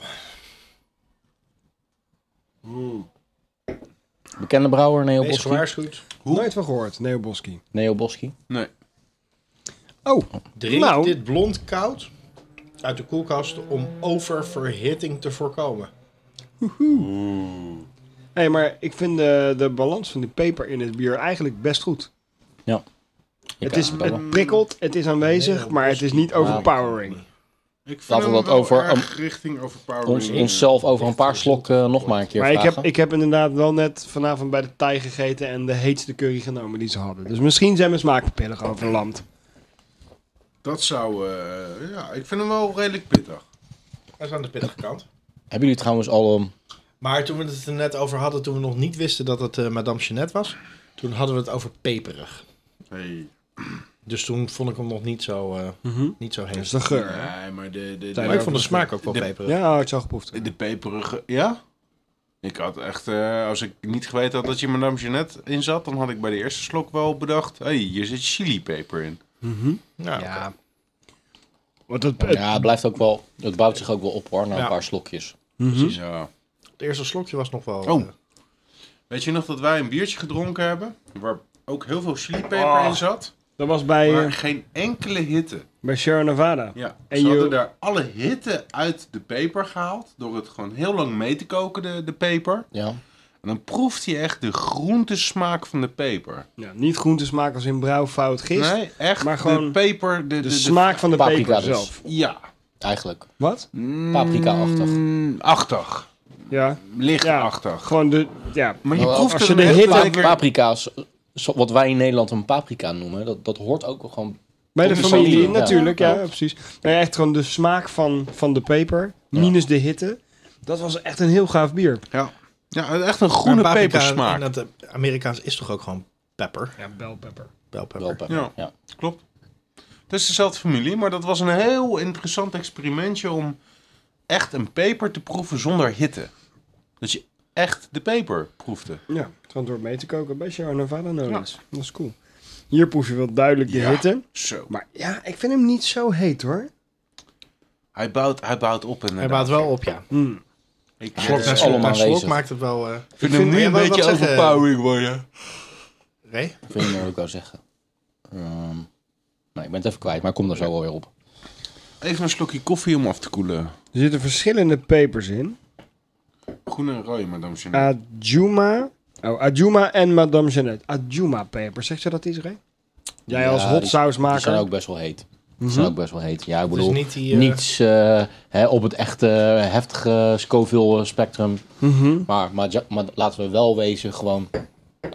[SPEAKER 1] Bekende brouwer Neo
[SPEAKER 2] Wees
[SPEAKER 1] Boski.
[SPEAKER 2] gewaarschuwd.
[SPEAKER 4] Nooit van gehoord, Neo Boski.
[SPEAKER 1] Neo Boski.
[SPEAKER 8] (laughs) Nee.
[SPEAKER 4] Oh,
[SPEAKER 2] Drink
[SPEAKER 4] Nou.
[SPEAKER 2] dit blond koud uit de koelkast om oververhitting te voorkomen.
[SPEAKER 4] hey, maar ik vind de, de balans van die peper in het bier eigenlijk best goed.
[SPEAKER 1] Ja. Je
[SPEAKER 4] Het,
[SPEAKER 1] kan
[SPEAKER 4] is,
[SPEAKER 1] hem bellen.
[SPEAKER 4] het prikkelt, het is aanwezig,
[SPEAKER 2] Neo
[SPEAKER 4] maar het is niet
[SPEAKER 2] Boski.
[SPEAKER 4] overpowering.
[SPEAKER 1] Ah,
[SPEAKER 8] Ik vind
[SPEAKER 1] Laten we
[SPEAKER 8] hem
[SPEAKER 1] dat
[SPEAKER 8] wel
[SPEAKER 1] over-
[SPEAKER 8] erg richting overpowering.
[SPEAKER 1] ons, onszelf over een paar slokken eh, nog maar een keer
[SPEAKER 4] Maar ik
[SPEAKER 1] vragen.
[SPEAKER 4] heb, ik heb inderdaad wel net vanavond bij de Thai gegeten en de heetste curry genomen die ze hadden. Dus misschien zijn mijn smaakpapillen gewoon verlamd.
[SPEAKER 8] Dat zou... eh, ja, ik vind hem wel redelijk pittig.
[SPEAKER 2] Dat is aan de pittige kant.
[SPEAKER 1] Hebben jullie trouwens al... ehm,
[SPEAKER 4] Eh,
[SPEAKER 2] Maar toen we het er net over hadden, toen we nog niet wisten dat het eh, Madame Jeanette was, toen hadden we het over peperig.
[SPEAKER 8] Hey.
[SPEAKER 2] Dus toen vond ik hem nog niet zo, eh, niet zo
[SPEAKER 4] Dat
[SPEAKER 1] Dus
[SPEAKER 2] heen.
[SPEAKER 4] is de geur. hè?
[SPEAKER 8] Nee, maar de... de,
[SPEAKER 2] Maar ik vond de smaak ook wel
[SPEAKER 8] de-
[SPEAKER 2] peperig.
[SPEAKER 4] Ja, ik zou geproefd hebben.
[SPEAKER 8] De peperige... Ja? Ik had echt... eh, als ik niet geweten had dat je Madame Jeannette in zat... dan had ik bij de eerste slok wel bedacht... hé, hey, hier zit chilipeper in.
[SPEAKER 2] Ja, oké.
[SPEAKER 9] Ja. Want dat,
[SPEAKER 1] Ja, het blijft ook wel, het bouwt zich ook wel op hoor, na een
[SPEAKER 2] Ja.
[SPEAKER 1] paar slokjes.
[SPEAKER 8] Precies, ja.
[SPEAKER 2] Het eerste slokje was nog wel...
[SPEAKER 8] Oh.
[SPEAKER 2] eh,
[SPEAKER 8] Weet je nog dat wij een biertje gedronken hebben... waar ook heel veel chilipeper in zat...
[SPEAKER 4] Dat was bij,
[SPEAKER 8] maar
[SPEAKER 4] eh,
[SPEAKER 8] geen enkele hitte.
[SPEAKER 4] bij Sierra Nevada.
[SPEAKER 8] Ja,
[SPEAKER 4] En
[SPEAKER 8] ze hadden
[SPEAKER 4] je-
[SPEAKER 8] daar alle hitte uit de peper gehaald... door het gewoon heel lang mee te koken, de, de peper.
[SPEAKER 1] Ja.
[SPEAKER 8] En dan proeft je echt de groentesmaak van de peper.
[SPEAKER 4] Ja, niet groentesmaak als in brouw, fout, gist.
[SPEAKER 8] Nee, echt.
[SPEAKER 4] maar
[SPEAKER 8] de
[SPEAKER 4] gewoon
[SPEAKER 8] peper, de, de,
[SPEAKER 4] de
[SPEAKER 8] de-
[SPEAKER 4] smaak van de
[SPEAKER 1] Paprika
[SPEAKER 4] peper
[SPEAKER 1] dus.
[SPEAKER 4] zelf.
[SPEAKER 8] ja.
[SPEAKER 1] Eigenlijk.
[SPEAKER 4] Wat?
[SPEAKER 1] Paprika-achtig.
[SPEAKER 8] Mm, achtig.
[SPEAKER 4] Ja,
[SPEAKER 8] Lichtachtig.
[SPEAKER 4] gewoon de... Ja,
[SPEAKER 8] Maar je
[SPEAKER 1] Wel,
[SPEAKER 8] proeft
[SPEAKER 4] als je
[SPEAKER 8] er
[SPEAKER 4] de
[SPEAKER 8] echt
[SPEAKER 4] hitte-
[SPEAKER 8] wel
[SPEAKER 1] Pa-
[SPEAKER 8] weer-
[SPEAKER 1] paprika's, zo- wat wij in Nederland een paprika noemen, dat, dat hoort ook wel gewoon...
[SPEAKER 4] bij de
[SPEAKER 1] Op de
[SPEAKER 4] familie
[SPEAKER 1] familie, ja.
[SPEAKER 4] natuurlijk, ja,
[SPEAKER 1] Ja.
[SPEAKER 4] precies. Nee, echt gewoon de smaak van, van de peper, minus de hitte. Dat was echt een heel gaaf bier.
[SPEAKER 8] Ja, echt een groene
[SPEAKER 2] maar paprika
[SPEAKER 8] pepersmaak.
[SPEAKER 2] In het eh, Amerikaans is toch ook gewoon pepper?
[SPEAKER 4] Ja, belpepper.
[SPEAKER 2] Wel pepper.
[SPEAKER 1] Wel,
[SPEAKER 8] Ja.
[SPEAKER 1] ja.
[SPEAKER 8] Klopt. Het is dezelfde familie, maar dat was een heel interessant experimentje om echt een peper te proeven zonder hitte. Dat je echt de peper proefde.
[SPEAKER 4] Ja, gewoon door mee te koken bij Sierra Nevada nodig. Dat is cool. Hier proef je wel duidelijk de
[SPEAKER 8] Ja.
[SPEAKER 4] hitte.
[SPEAKER 8] Zo.
[SPEAKER 4] Maar ja, ik vind hem niet zo heet hoor.
[SPEAKER 8] Hij bouwt, hij bouwt op en
[SPEAKER 2] Hij baat wel op, ja.
[SPEAKER 4] Hmm.
[SPEAKER 8] Ik
[SPEAKER 2] Slok
[SPEAKER 8] eh,
[SPEAKER 2] na
[SPEAKER 1] is
[SPEAKER 2] slok,
[SPEAKER 1] allemaal
[SPEAKER 2] na slok
[SPEAKER 1] aanwezig.
[SPEAKER 2] maakt het wel... eh
[SPEAKER 8] vind hem nu
[SPEAKER 2] Ja,
[SPEAKER 8] een
[SPEAKER 2] wat-
[SPEAKER 8] beetje
[SPEAKER 2] wat zeggen-
[SPEAKER 8] overpowering worden.
[SPEAKER 2] Ray?
[SPEAKER 1] Dat wil je nou ook wel zeggen. Ehm, nou, ik ben het even kwijt, maar ik kom er zo wel weer op.
[SPEAKER 8] Even een slokje koffie om af te koelen.
[SPEAKER 4] Er zitten verschillende pepers in.
[SPEAKER 8] Groen en rooi, madame Jeannette.
[SPEAKER 4] Ajuma. Oh, Ajuma en Madame Jeannette. Ajuma pepers. Zegt ze dat iets, Ray? Jij
[SPEAKER 1] Ja,
[SPEAKER 4] als
[SPEAKER 1] die-
[SPEAKER 4] hot
[SPEAKER 1] Die zijn
[SPEAKER 4] sausmaker.
[SPEAKER 1] ook best wel heet. Die
[SPEAKER 4] Mhm.
[SPEAKER 1] zijn ook best wel heet. Ja, ik
[SPEAKER 2] Dus
[SPEAKER 1] bedoel,
[SPEAKER 2] niet die... eh,
[SPEAKER 1] niets eh, hè, op het echte heftige Scoville eh, spectrum.
[SPEAKER 4] Mhm.
[SPEAKER 1] Maar, maar, ja- maar laten we wel wezen, gewoon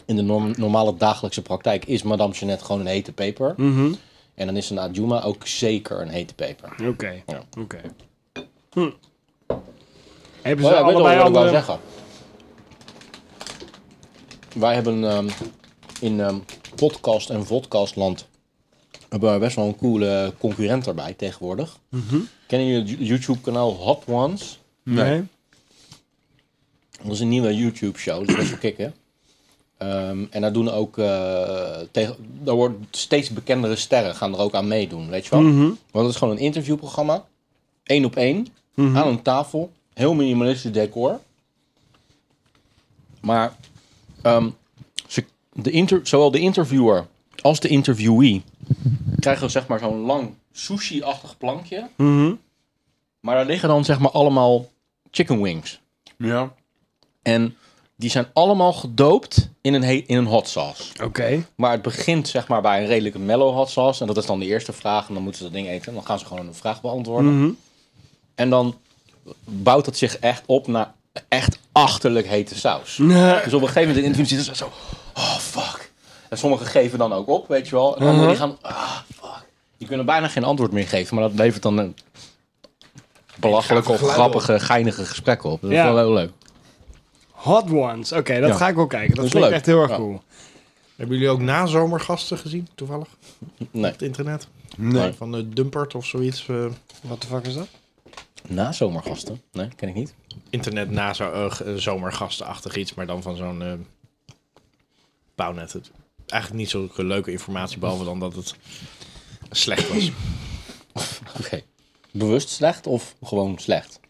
[SPEAKER 1] in de norm- normale dagelijkse praktijk is Madame Jeannette gewoon een hete peper.
[SPEAKER 4] Mhm.
[SPEAKER 1] En dan is een Adjuma ook zeker een hete peper.
[SPEAKER 4] Oké.
[SPEAKER 1] Ja.
[SPEAKER 4] Oké. Hm. Hebben
[SPEAKER 1] Oh
[SPEAKER 4] ze
[SPEAKER 1] ja, ik weet nog
[SPEAKER 4] allebei
[SPEAKER 1] wat ik wou
[SPEAKER 4] andere...
[SPEAKER 1] zeggen. Wij hebben ehm, in ehm, podcast en vodcastland hebben we best wel een coole concurrent erbij tegenwoordig.
[SPEAKER 4] Mhm.
[SPEAKER 1] Kennen jullie het YouTube kanaal Hot Ones?
[SPEAKER 4] Nee.
[SPEAKER 1] Dat is een nieuwe YouTube show, dat is best wel kicken. Ehm, en daar doen ook eh, tegen, daar worden steeds bekendere sterren gaan er ook aan meedoen, weet je wel?
[SPEAKER 4] Mhm.
[SPEAKER 1] Want het is gewoon een interviewprogramma, één op één,
[SPEAKER 4] Mhm.
[SPEAKER 1] aan een tafel, heel minimalistisch decor. Maar ehm, ze, de inter, zowel de interviewer als de interviewee krijgen zeg maar zo'n lang sushi-achtig plankje,
[SPEAKER 4] Mhm.
[SPEAKER 1] maar daar liggen dan zeg maar allemaal chicken wings.
[SPEAKER 8] Ja.
[SPEAKER 1] En die zijn allemaal gedoopt in een, he- in een hot sauce.
[SPEAKER 4] Oké. (laughs)
[SPEAKER 1] Maar het begint zeg maar bij een redelijke mellow hot sauce. En dat is dan de eerste vraag. En dan moeten ze dat ding eten. En dan gaan ze gewoon een vraag beantwoorden.
[SPEAKER 4] Mhm.
[SPEAKER 1] En dan bouwt het zich echt op naar echt achterlijk hete saus.
[SPEAKER 4] Nee.
[SPEAKER 1] Dus op een gegeven moment in de interview zitten ze zo... Oh, fuck. En sommigen geven dan ook op, weet je wel. En
[SPEAKER 4] Uh-huh.
[SPEAKER 1] anderen die gaan... Ah, fuck. Die kunnen bijna geen antwoord meer geven. Maar dat levert dan een belachelijke of grappige, geinige gesprek op. Dat is
[SPEAKER 4] Ja.
[SPEAKER 1] wel heel leuk.
[SPEAKER 4] Hot Ones. Oké, dat
[SPEAKER 1] Ja.
[SPEAKER 4] ga ik wel kijken. Dat
[SPEAKER 1] is
[SPEAKER 4] is klinkt
[SPEAKER 1] leuk.
[SPEAKER 4] echt heel erg
[SPEAKER 1] Ja.
[SPEAKER 4] cool.
[SPEAKER 2] Hebben jullie ook nazomergasten gezien, toevallig?
[SPEAKER 1] Nee.
[SPEAKER 2] Op het internet?
[SPEAKER 1] Nee.
[SPEAKER 2] Van de Dumpert of zoiets. eh,
[SPEAKER 4] Wat de fuck is dat?
[SPEAKER 1] Na zomergasten? Nee, ken ik niet.
[SPEAKER 2] internet na zo, eh, g- eh, zomergastenachtig iets, maar dan van zo'n eh bouwnet. Het- Eigenlijk niet zulke leuke informatie, behalve dan dat het slecht was.
[SPEAKER 1] Oké. Bewust slecht of gewoon slecht?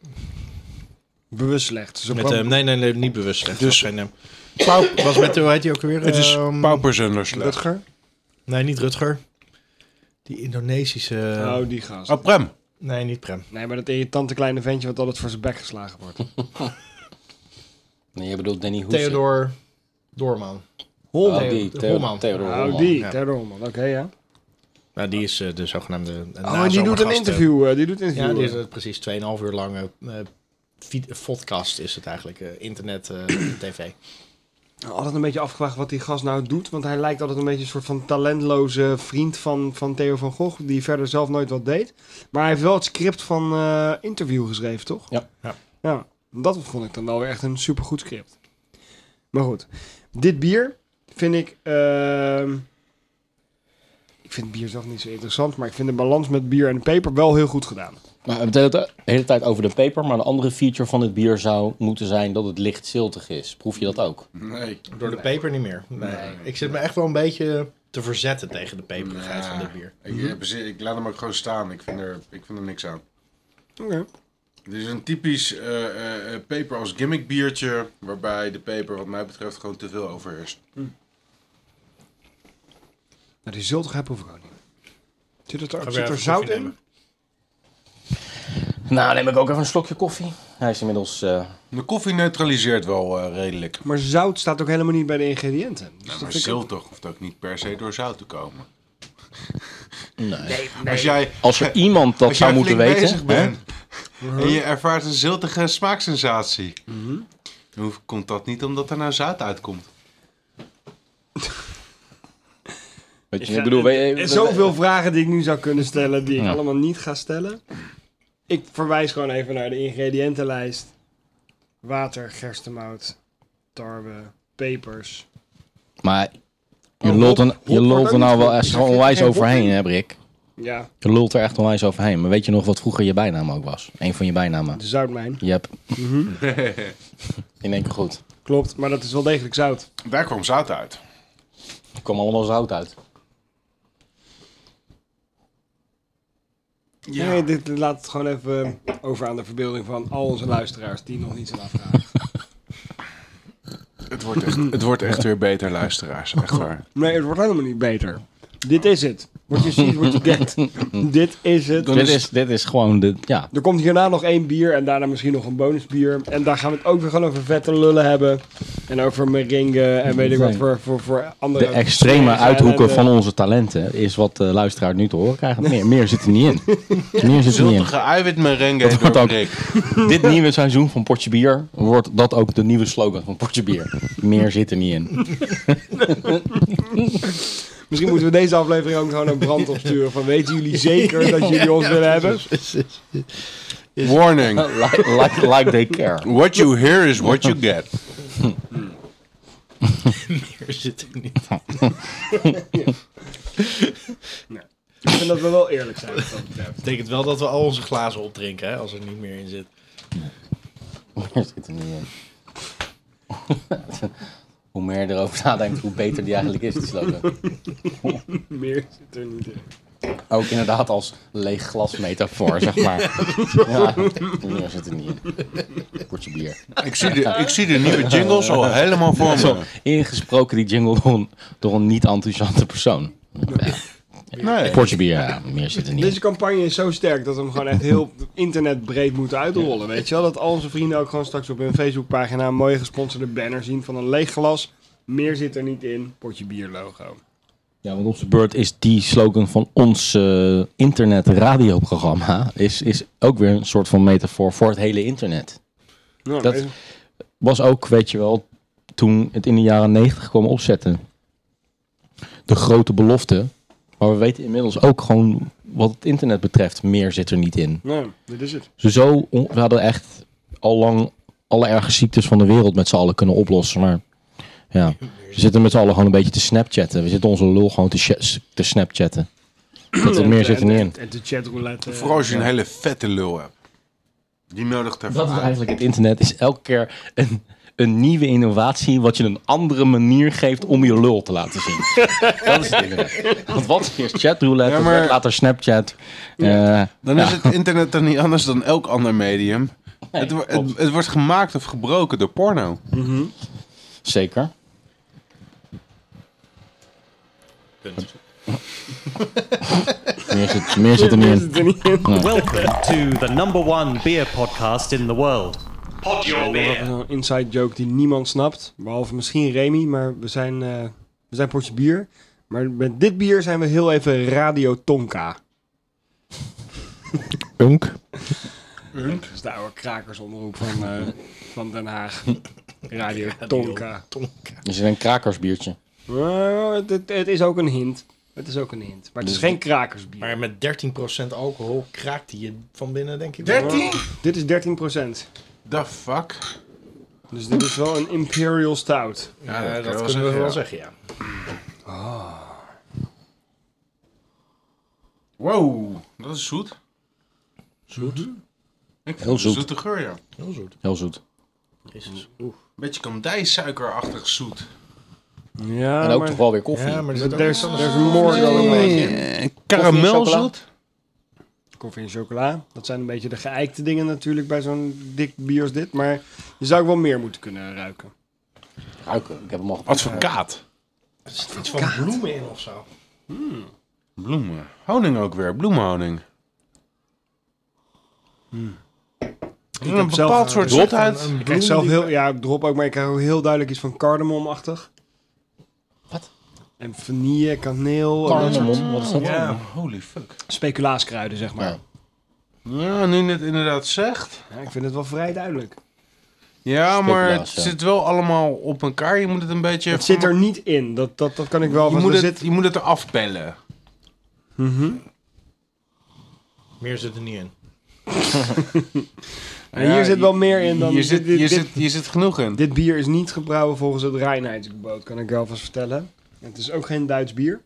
[SPEAKER 4] Bewust slecht. Ze
[SPEAKER 2] Met,
[SPEAKER 4] pro-
[SPEAKER 2] eh, nee, nee, nee, niet bewust slecht.
[SPEAKER 8] Dus-
[SPEAKER 2] Dus was, geen, eh, Pauw- was met, hoe heet die ook weer?
[SPEAKER 8] Het is
[SPEAKER 2] Ehm,
[SPEAKER 8] paupers en slecht.
[SPEAKER 4] Rutger?
[SPEAKER 2] Nee, niet Rutger. Die Indonesische...
[SPEAKER 4] Oh, die gast.
[SPEAKER 8] Oh, Prem.
[SPEAKER 2] Nee, niet Prem.
[SPEAKER 4] Nee, maar dat irritante kleine ventje wat altijd voor zijn bek geslagen
[SPEAKER 1] Oh,
[SPEAKER 4] wordt.
[SPEAKER 1] Nee, je bedoelt Danny Hoes.
[SPEAKER 2] Theodor Doorman. Oh,
[SPEAKER 1] Holman. die, Theo-
[SPEAKER 2] Holman.
[SPEAKER 1] Theodor Holman.
[SPEAKER 4] Oh, die.
[SPEAKER 2] ja.
[SPEAKER 4] Terror Oké, ja.
[SPEAKER 2] Nou, die is eh, de zogenaamde
[SPEAKER 4] Oh, en Oh, die doet een interview. eh, die doet een
[SPEAKER 2] Ja,
[SPEAKER 4] interview.
[SPEAKER 2] die is het precies 2,5 uur lange eh vid- podcast is het eigenlijk. eh, internet, eh, tv.
[SPEAKER 4] Altijd een beetje afgevraagd wat die gast nou doet. Want hij lijkt altijd een beetje een soort van talentloze vriend van, van Theo van Gogh. Die verder zelf nooit wat deed. Maar hij heeft wel het script van eh, interview geschreven, toch?
[SPEAKER 1] Ja.
[SPEAKER 2] Ja.
[SPEAKER 4] ja. Dat vond ik dan wel weer echt een supergoed script. Maar goed. Dit bier vind ik... ehm, Ik vind bier zelf niet zo interessant, maar ik vind de balans met bier en peper wel heel goed gedaan.
[SPEAKER 1] Maar we hebben het de hele tijd over de peper, maar de andere feature van dit bier zou moeten zijn dat het licht ziltig is. Proef je dat ook?
[SPEAKER 8] Nee.
[SPEAKER 2] Door de peper niet meer. Nee. Ik zit me echt wel een beetje te verzetten tegen de peperigheid van dit bier.
[SPEAKER 8] Ik, heb zin- ik laat hem ook gewoon staan. Ik vind er, ik vind er niks aan.
[SPEAKER 4] Oké.
[SPEAKER 8] Dit is een typisch eh, eh, eh, peper als gimmick biertje. Waarbij de peper, wat mij betreft, gewoon te veel overheerst.
[SPEAKER 4] Nou, die ziltigheid proef ik ook niet. Zit het er,
[SPEAKER 2] weer
[SPEAKER 4] zit er
[SPEAKER 2] even
[SPEAKER 4] zout
[SPEAKER 2] koffie
[SPEAKER 4] in?
[SPEAKER 2] nemen.
[SPEAKER 1] Nou, neem ik ook even een slokje koffie. Hij is inmiddels... eh,
[SPEAKER 8] De koffie neutraliseert wel eh, redelijk.
[SPEAKER 4] Maar zout staat ook helemaal niet bij de ingrediënten. Dus
[SPEAKER 8] Nou,
[SPEAKER 4] dat
[SPEAKER 8] maar
[SPEAKER 4] vind ik ook-
[SPEAKER 8] ziltig hoeft ook niet per se door zout te komen. (laughs)
[SPEAKER 1] nee.
[SPEAKER 8] Als jij,
[SPEAKER 1] Als er iemand dat
[SPEAKER 8] als
[SPEAKER 1] zou
[SPEAKER 8] jij
[SPEAKER 1] moeten
[SPEAKER 8] flink bezig
[SPEAKER 1] weten... hè?
[SPEAKER 8] bent
[SPEAKER 1] Mhm.
[SPEAKER 8] en je ervaart een ziltige smaaksensatie. Dan hoeft- komt dat niet omdat er nou zout uitkomt.
[SPEAKER 1] Weet je, ik bedoel, we-
[SPEAKER 4] Er
[SPEAKER 1] we-
[SPEAKER 4] zijn zoveel vragen die ik nu zou kunnen stellen, die ik
[SPEAKER 1] Ja.
[SPEAKER 4] allemaal niet ga stellen. Ik verwijs gewoon even naar de ingrediëntenlijst. Water, gerstemout, tarwe, pepers.
[SPEAKER 1] Maar je
[SPEAKER 4] Oh,
[SPEAKER 1] lult
[SPEAKER 4] hop,
[SPEAKER 1] er,
[SPEAKER 4] hop
[SPEAKER 1] je
[SPEAKER 4] wordt
[SPEAKER 1] lult
[SPEAKER 4] ook
[SPEAKER 1] er nou
[SPEAKER 4] niet
[SPEAKER 1] wel
[SPEAKER 4] goed.
[SPEAKER 1] echt
[SPEAKER 4] Daar zit
[SPEAKER 1] onwijs
[SPEAKER 4] geen hop
[SPEAKER 1] overheen,
[SPEAKER 4] in.
[SPEAKER 1] hè Brik?
[SPEAKER 4] Ja,
[SPEAKER 1] Je lult er echt onwijs overheen. Maar weet je nog wat vroeger je bijnaam ook was? Een van je bijnamen.
[SPEAKER 4] de zoutmijn.
[SPEAKER 1] Jep. Mhm. (laughs) In één keer goed.
[SPEAKER 4] Klopt, maar dat is wel degelijk zout.
[SPEAKER 8] Daar kwam zout uit.
[SPEAKER 1] Er kwam allemaal zout uit.
[SPEAKER 4] Nee, dit laat het gewoon even over aan de verbeelding van al onze luisteraars die nog niet zijn afgehaald.
[SPEAKER 8] Het wordt echt, het wordt echt weer beter, luisteraars. Echt
[SPEAKER 1] (laughs)
[SPEAKER 8] waar.
[SPEAKER 4] Nee, het wordt helemaal niet beter. Dit is het. Wat je ziet, wat je denkt. Dit is het.
[SPEAKER 1] Dit is, dit is gewoon de... Ja.
[SPEAKER 4] Er komt hierna nog één bier en daarna misschien nog een bonusbier. En daar gaan we het ook weer gewoon over vette lullen hebben. En over meringen en weet ik wat voor, voor, voor andere... eh,
[SPEAKER 1] De extreme
[SPEAKER 4] smerige
[SPEAKER 1] uithoeken van
[SPEAKER 4] ellende.
[SPEAKER 1] onze talenten is wat de luisteraar nu te horen krijgt. Meer, meer zit er niet in. (laughs) Meer zit er niet in.
[SPEAKER 8] Ziltige eiwitmerengue
[SPEAKER 1] Dat wordt
[SPEAKER 8] door
[SPEAKER 1] ook-
[SPEAKER 8] Rick.
[SPEAKER 1] Dit nieuwe seizoen van Potje Bier wordt dat ook de nieuwe slogan van Potje Bier. Meer zit er niet in.
[SPEAKER 4] Misschien moeten we deze aflevering ook gewoon een brand opsturen. Van weten
[SPEAKER 1] (laughs)
[SPEAKER 4] jullie zeker dat jullie ons willen hebben?
[SPEAKER 8] Warning.
[SPEAKER 1] Like, like, like they care.
[SPEAKER 8] What you hear is what you
[SPEAKER 1] (laughs)
[SPEAKER 8] get.
[SPEAKER 2] Hier zit ik niet.
[SPEAKER 4] Ik vind dat we wel eerlijk zijn wat dat betreft.
[SPEAKER 2] betekent wel dat we al onze glazen opdrinken, hè, als er niet meer in zit.
[SPEAKER 1] Meer zit er niet in. (laughs) hoe meer je erover nadenkt, hoe beter die eigenlijk is, die slogan.
[SPEAKER 4] Meer zit er niet in.
[SPEAKER 1] Ook inderdaad als leeg glas metafoor, (laughs) zeg maar. Ja, meer zit er niet in. Potje Bier.
[SPEAKER 8] Ik zie de, ik zie de nieuwe jingles al helemaal voor me.
[SPEAKER 1] Ingesproken die jingle door een, door een niet-enthousiante persoon. Ja.
[SPEAKER 8] Nee.
[SPEAKER 1] Potje Bier, ja, meer zit er niet in.
[SPEAKER 4] Deze campagne is zo sterk dat we hem gewoon echt heel internetbreed moeten uitrollen. Weet je wel? Dat al onze vrienden ook gewoon straks op hun Facebookpagina een mooie gesponsorde banner zien van een leeg glas. Meer zit er niet in. Potje bier logo.
[SPEAKER 1] Ja, want op zijn beurt is die slogan van ons eh internetradioprogramma is, is ook weer een soort van metafoor voor het hele internet.
[SPEAKER 4] Nou,
[SPEAKER 1] Dat-
[SPEAKER 4] weet-
[SPEAKER 1] Was ook, weet je wel, toen het in de jaren negentig kwam opzetten. De grote belofte. Maar we weten inmiddels ook gewoon wat het internet betreft, meer zit er niet in.
[SPEAKER 4] nou, dit is het.
[SPEAKER 1] Dus zo, on- we hadden echt al lang alle erge ziektes van de wereld met z'n allen kunnen oplossen. Maar ja, we zitten met z'n allen gewoon een beetje te snapchatten. We zitten onze lul gewoon te, sh- te snapchatten. Dat er meer zit er niet in.
[SPEAKER 4] En de chatroulette.
[SPEAKER 8] Vooral als je een hele vette lul hebt. Die nodigt daarvoor
[SPEAKER 1] Dat is
[SPEAKER 8] uit.
[SPEAKER 1] eigenlijk het internet. Is elke keer een, een nieuwe innovatie wat je een andere manier geeft om je lul te laten (laughs) zien. dat is het internet. Want wat is eerst chatroulette,
[SPEAKER 8] Ja, maar-
[SPEAKER 1] later Snapchat. eh,
[SPEAKER 8] Dan is het internet dan niet anders dan elk ander medium. het, wo-
[SPEAKER 1] klopt.
[SPEAKER 8] het, het wordt gemaakt of gebroken door porno.
[SPEAKER 1] zeker. meer, zit, meer zit er niet in.
[SPEAKER 3] Welcome to the number one beer podcast in the world. Pod your beer.
[SPEAKER 4] Een inside joke die niemand snapt. Behalve misschien Remy, maar we zijn, eh, we zijn potje bier. Maar met dit bier zijn we heel even Radio Tonka.
[SPEAKER 2] Unk.
[SPEAKER 4] Dat is de oude krakersomroep van, (laughs) eh, van Den Haag. (laughs) Radio Tonka.
[SPEAKER 1] Is het een krakersbiertje?
[SPEAKER 4] Nou, het, het- het is ook een hint. Het is ook een hint. Dus Maar het is geen krakersbier.
[SPEAKER 2] Maar met 13% alcohol kraakt hij je van binnen, denk ik.
[SPEAKER 4] Dit is 13%.
[SPEAKER 8] The fuck?
[SPEAKER 4] Dus dit is wel een Imperial Stout.
[SPEAKER 2] Ja,
[SPEAKER 8] Ja,
[SPEAKER 2] dat,
[SPEAKER 8] dat kan je wel
[SPEAKER 2] kunnen we
[SPEAKER 8] zeggen,
[SPEAKER 2] wel zeggen,
[SPEAKER 8] ja.
[SPEAKER 2] ja.
[SPEAKER 8] Wow, dat is zoet. Mhm.
[SPEAKER 2] Zoet.
[SPEAKER 8] Ik vind
[SPEAKER 1] Heel
[SPEAKER 8] een
[SPEAKER 1] zoet.
[SPEAKER 8] Zoete geur, ja.
[SPEAKER 2] Heel zoet.
[SPEAKER 1] Heel zoet.
[SPEAKER 2] Jezus. Oeh.
[SPEAKER 8] Beetje kandijsuikerachtig zoet.
[SPEAKER 4] Ja,
[SPEAKER 1] en ook
[SPEAKER 4] Ah, maar...
[SPEAKER 1] toch wel weer koffie.
[SPEAKER 2] maar
[SPEAKER 4] But there's, there's more
[SPEAKER 1] Eh,
[SPEAKER 4] dan een
[SPEAKER 2] Nee.
[SPEAKER 4] beetje.
[SPEAKER 2] Karamelzoet.
[SPEAKER 4] Koffie en chocola. Dat zijn een beetje de geëikte dingen natuurlijk bij zo'n dik bier als dit. Maar je zou ook wel meer moeten kunnen ruiken.
[SPEAKER 1] Ruiken. Ik heb hem al gepakt.
[SPEAKER 8] Advocaat.
[SPEAKER 2] Er zit iets van bloemen in of zo.
[SPEAKER 8] Bloemen. Honing ook weer, bloemenhoning.
[SPEAKER 4] Ik
[SPEAKER 8] Een
[SPEAKER 4] Hmm. heb
[SPEAKER 8] bepaald
[SPEAKER 4] zelf, eh,
[SPEAKER 8] soort
[SPEAKER 4] drop
[SPEAKER 8] zoetheid.
[SPEAKER 2] van een
[SPEAKER 4] Ik krijg
[SPEAKER 2] bloem
[SPEAKER 4] zelf
[SPEAKER 2] die-
[SPEAKER 4] heel, ja, ik drop ook, maar ik krijg ook heel duidelijk iets van cardamomachtig.
[SPEAKER 1] Wat?
[SPEAKER 4] En vanille, kaneel, en Oh, dat soort
[SPEAKER 1] Cardamom. Wat is dat?
[SPEAKER 8] Ja, holy fuck.
[SPEAKER 4] speculaaskruiden, zeg maar.
[SPEAKER 1] Ja.
[SPEAKER 8] Ja, nu je het inderdaad zegt.
[SPEAKER 4] Ja, ik vind het wel vrij duidelijk.
[SPEAKER 8] Ja, maar het
[SPEAKER 1] Speculaas, ja.
[SPEAKER 8] zit wel allemaal op elkaar. Je moet het een beetje...
[SPEAKER 4] Het zit er niet in, dat, dat, dat kan ik wel.
[SPEAKER 8] je,
[SPEAKER 4] want
[SPEAKER 8] moet
[SPEAKER 4] er
[SPEAKER 8] het,
[SPEAKER 4] zit-
[SPEAKER 8] je moet het eraf bellen.
[SPEAKER 4] Mhm.
[SPEAKER 2] Meer zit er niet in.
[SPEAKER 4] En hier zit wel meer in dan
[SPEAKER 8] Hier zit,
[SPEAKER 4] dit,
[SPEAKER 8] hier
[SPEAKER 4] dit-
[SPEAKER 8] zit, hier zit genoeg in.
[SPEAKER 4] Dit bier is niet gebrouwen volgens het reinheidsgebod, kan ik je alvast vertellen. Het is ook geen Duits bier.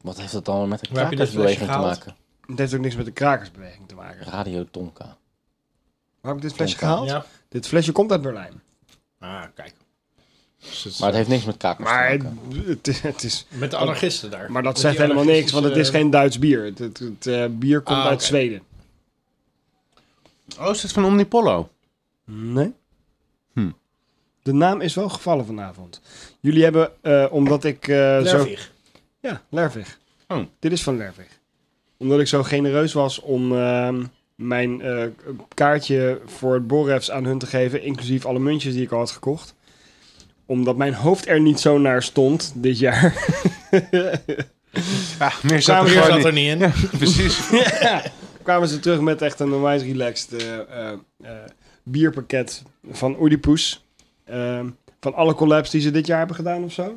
[SPEAKER 1] Wat heeft dat dan met een
[SPEAKER 2] Waar heb je dit
[SPEAKER 1] krakersbeweging te
[SPEAKER 2] flesje gehaald?
[SPEAKER 1] maken?
[SPEAKER 4] Het heeft ook niks met de krakersbeweging te maken.
[SPEAKER 1] Radio Tonka.
[SPEAKER 4] Waar heb ik dit flesje
[SPEAKER 1] Tonka.
[SPEAKER 4] gehaald? Dit flesje komt uit Berlijn.
[SPEAKER 2] Ah, kijk. Dus het is-
[SPEAKER 1] Maar het heeft niks met kakers
[SPEAKER 4] Maar
[SPEAKER 1] te
[SPEAKER 4] het,
[SPEAKER 1] maken.
[SPEAKER 4] het is- het is,
[SPEAKER 2] met de anarchisten daar.
[SPEAKER 4] maar dat
[SPEAKER 2] Met
[SPEAKER 4] zegt
[SPEAKER 2] die
[SPEAKER 4] helemaal niks, want het is
[SPEAKER 2] anarchistische-
[SPEAKER 4] geen Duits bier. Het, het, het, eh, bier komt
[SPEAKER 2] Ah,
[SPEAKER 4] uit
[SPEAKER 2] oké.
[SPEAKER 4] Zweden.
[SPEAKER 8] Oh, is dit van Omnipollo?
[SPEAKER 4] Nee.
[SPEAKER 8] Hm.
[SPEAKER 4] De naam is wel gevallen vanavond. Jullie hebben, eh, omdat ik eh, zo...
[SPEAKER 2] Lervig.
[SPEAKER 4] Ja, Lervig.
[SPEAKER 8] Oh.
[SPEAKER 4] Dit is van Lervig. Omdat ik zo genereus was om ehm, mijn eh, kaartje voor het Borrefs aan hun te geven, inclusief alle muntjes die ik al had gekocht. Omdat mijn hoofd er niet zo naar stond dit jaar.
[SPEAKER 8] Ja, meer zat er
[SPEAKER 4] Kwamen-
[SPEAKER 2] Meer
[SPEAKER 8] gewoon
[SPEAKER 2] zat
[SPEAKER 8] niet.
[SPEAKER 2] er niet in.
[SPEAKER 8] Precies.
[SPEAKER 4] kwamen ze terug met echt een onwijs relaxed eh, eh, eh, bierpakket van Oedipus. Ehm, van alle collabs die ze dit jaar hebben gedaan of zo.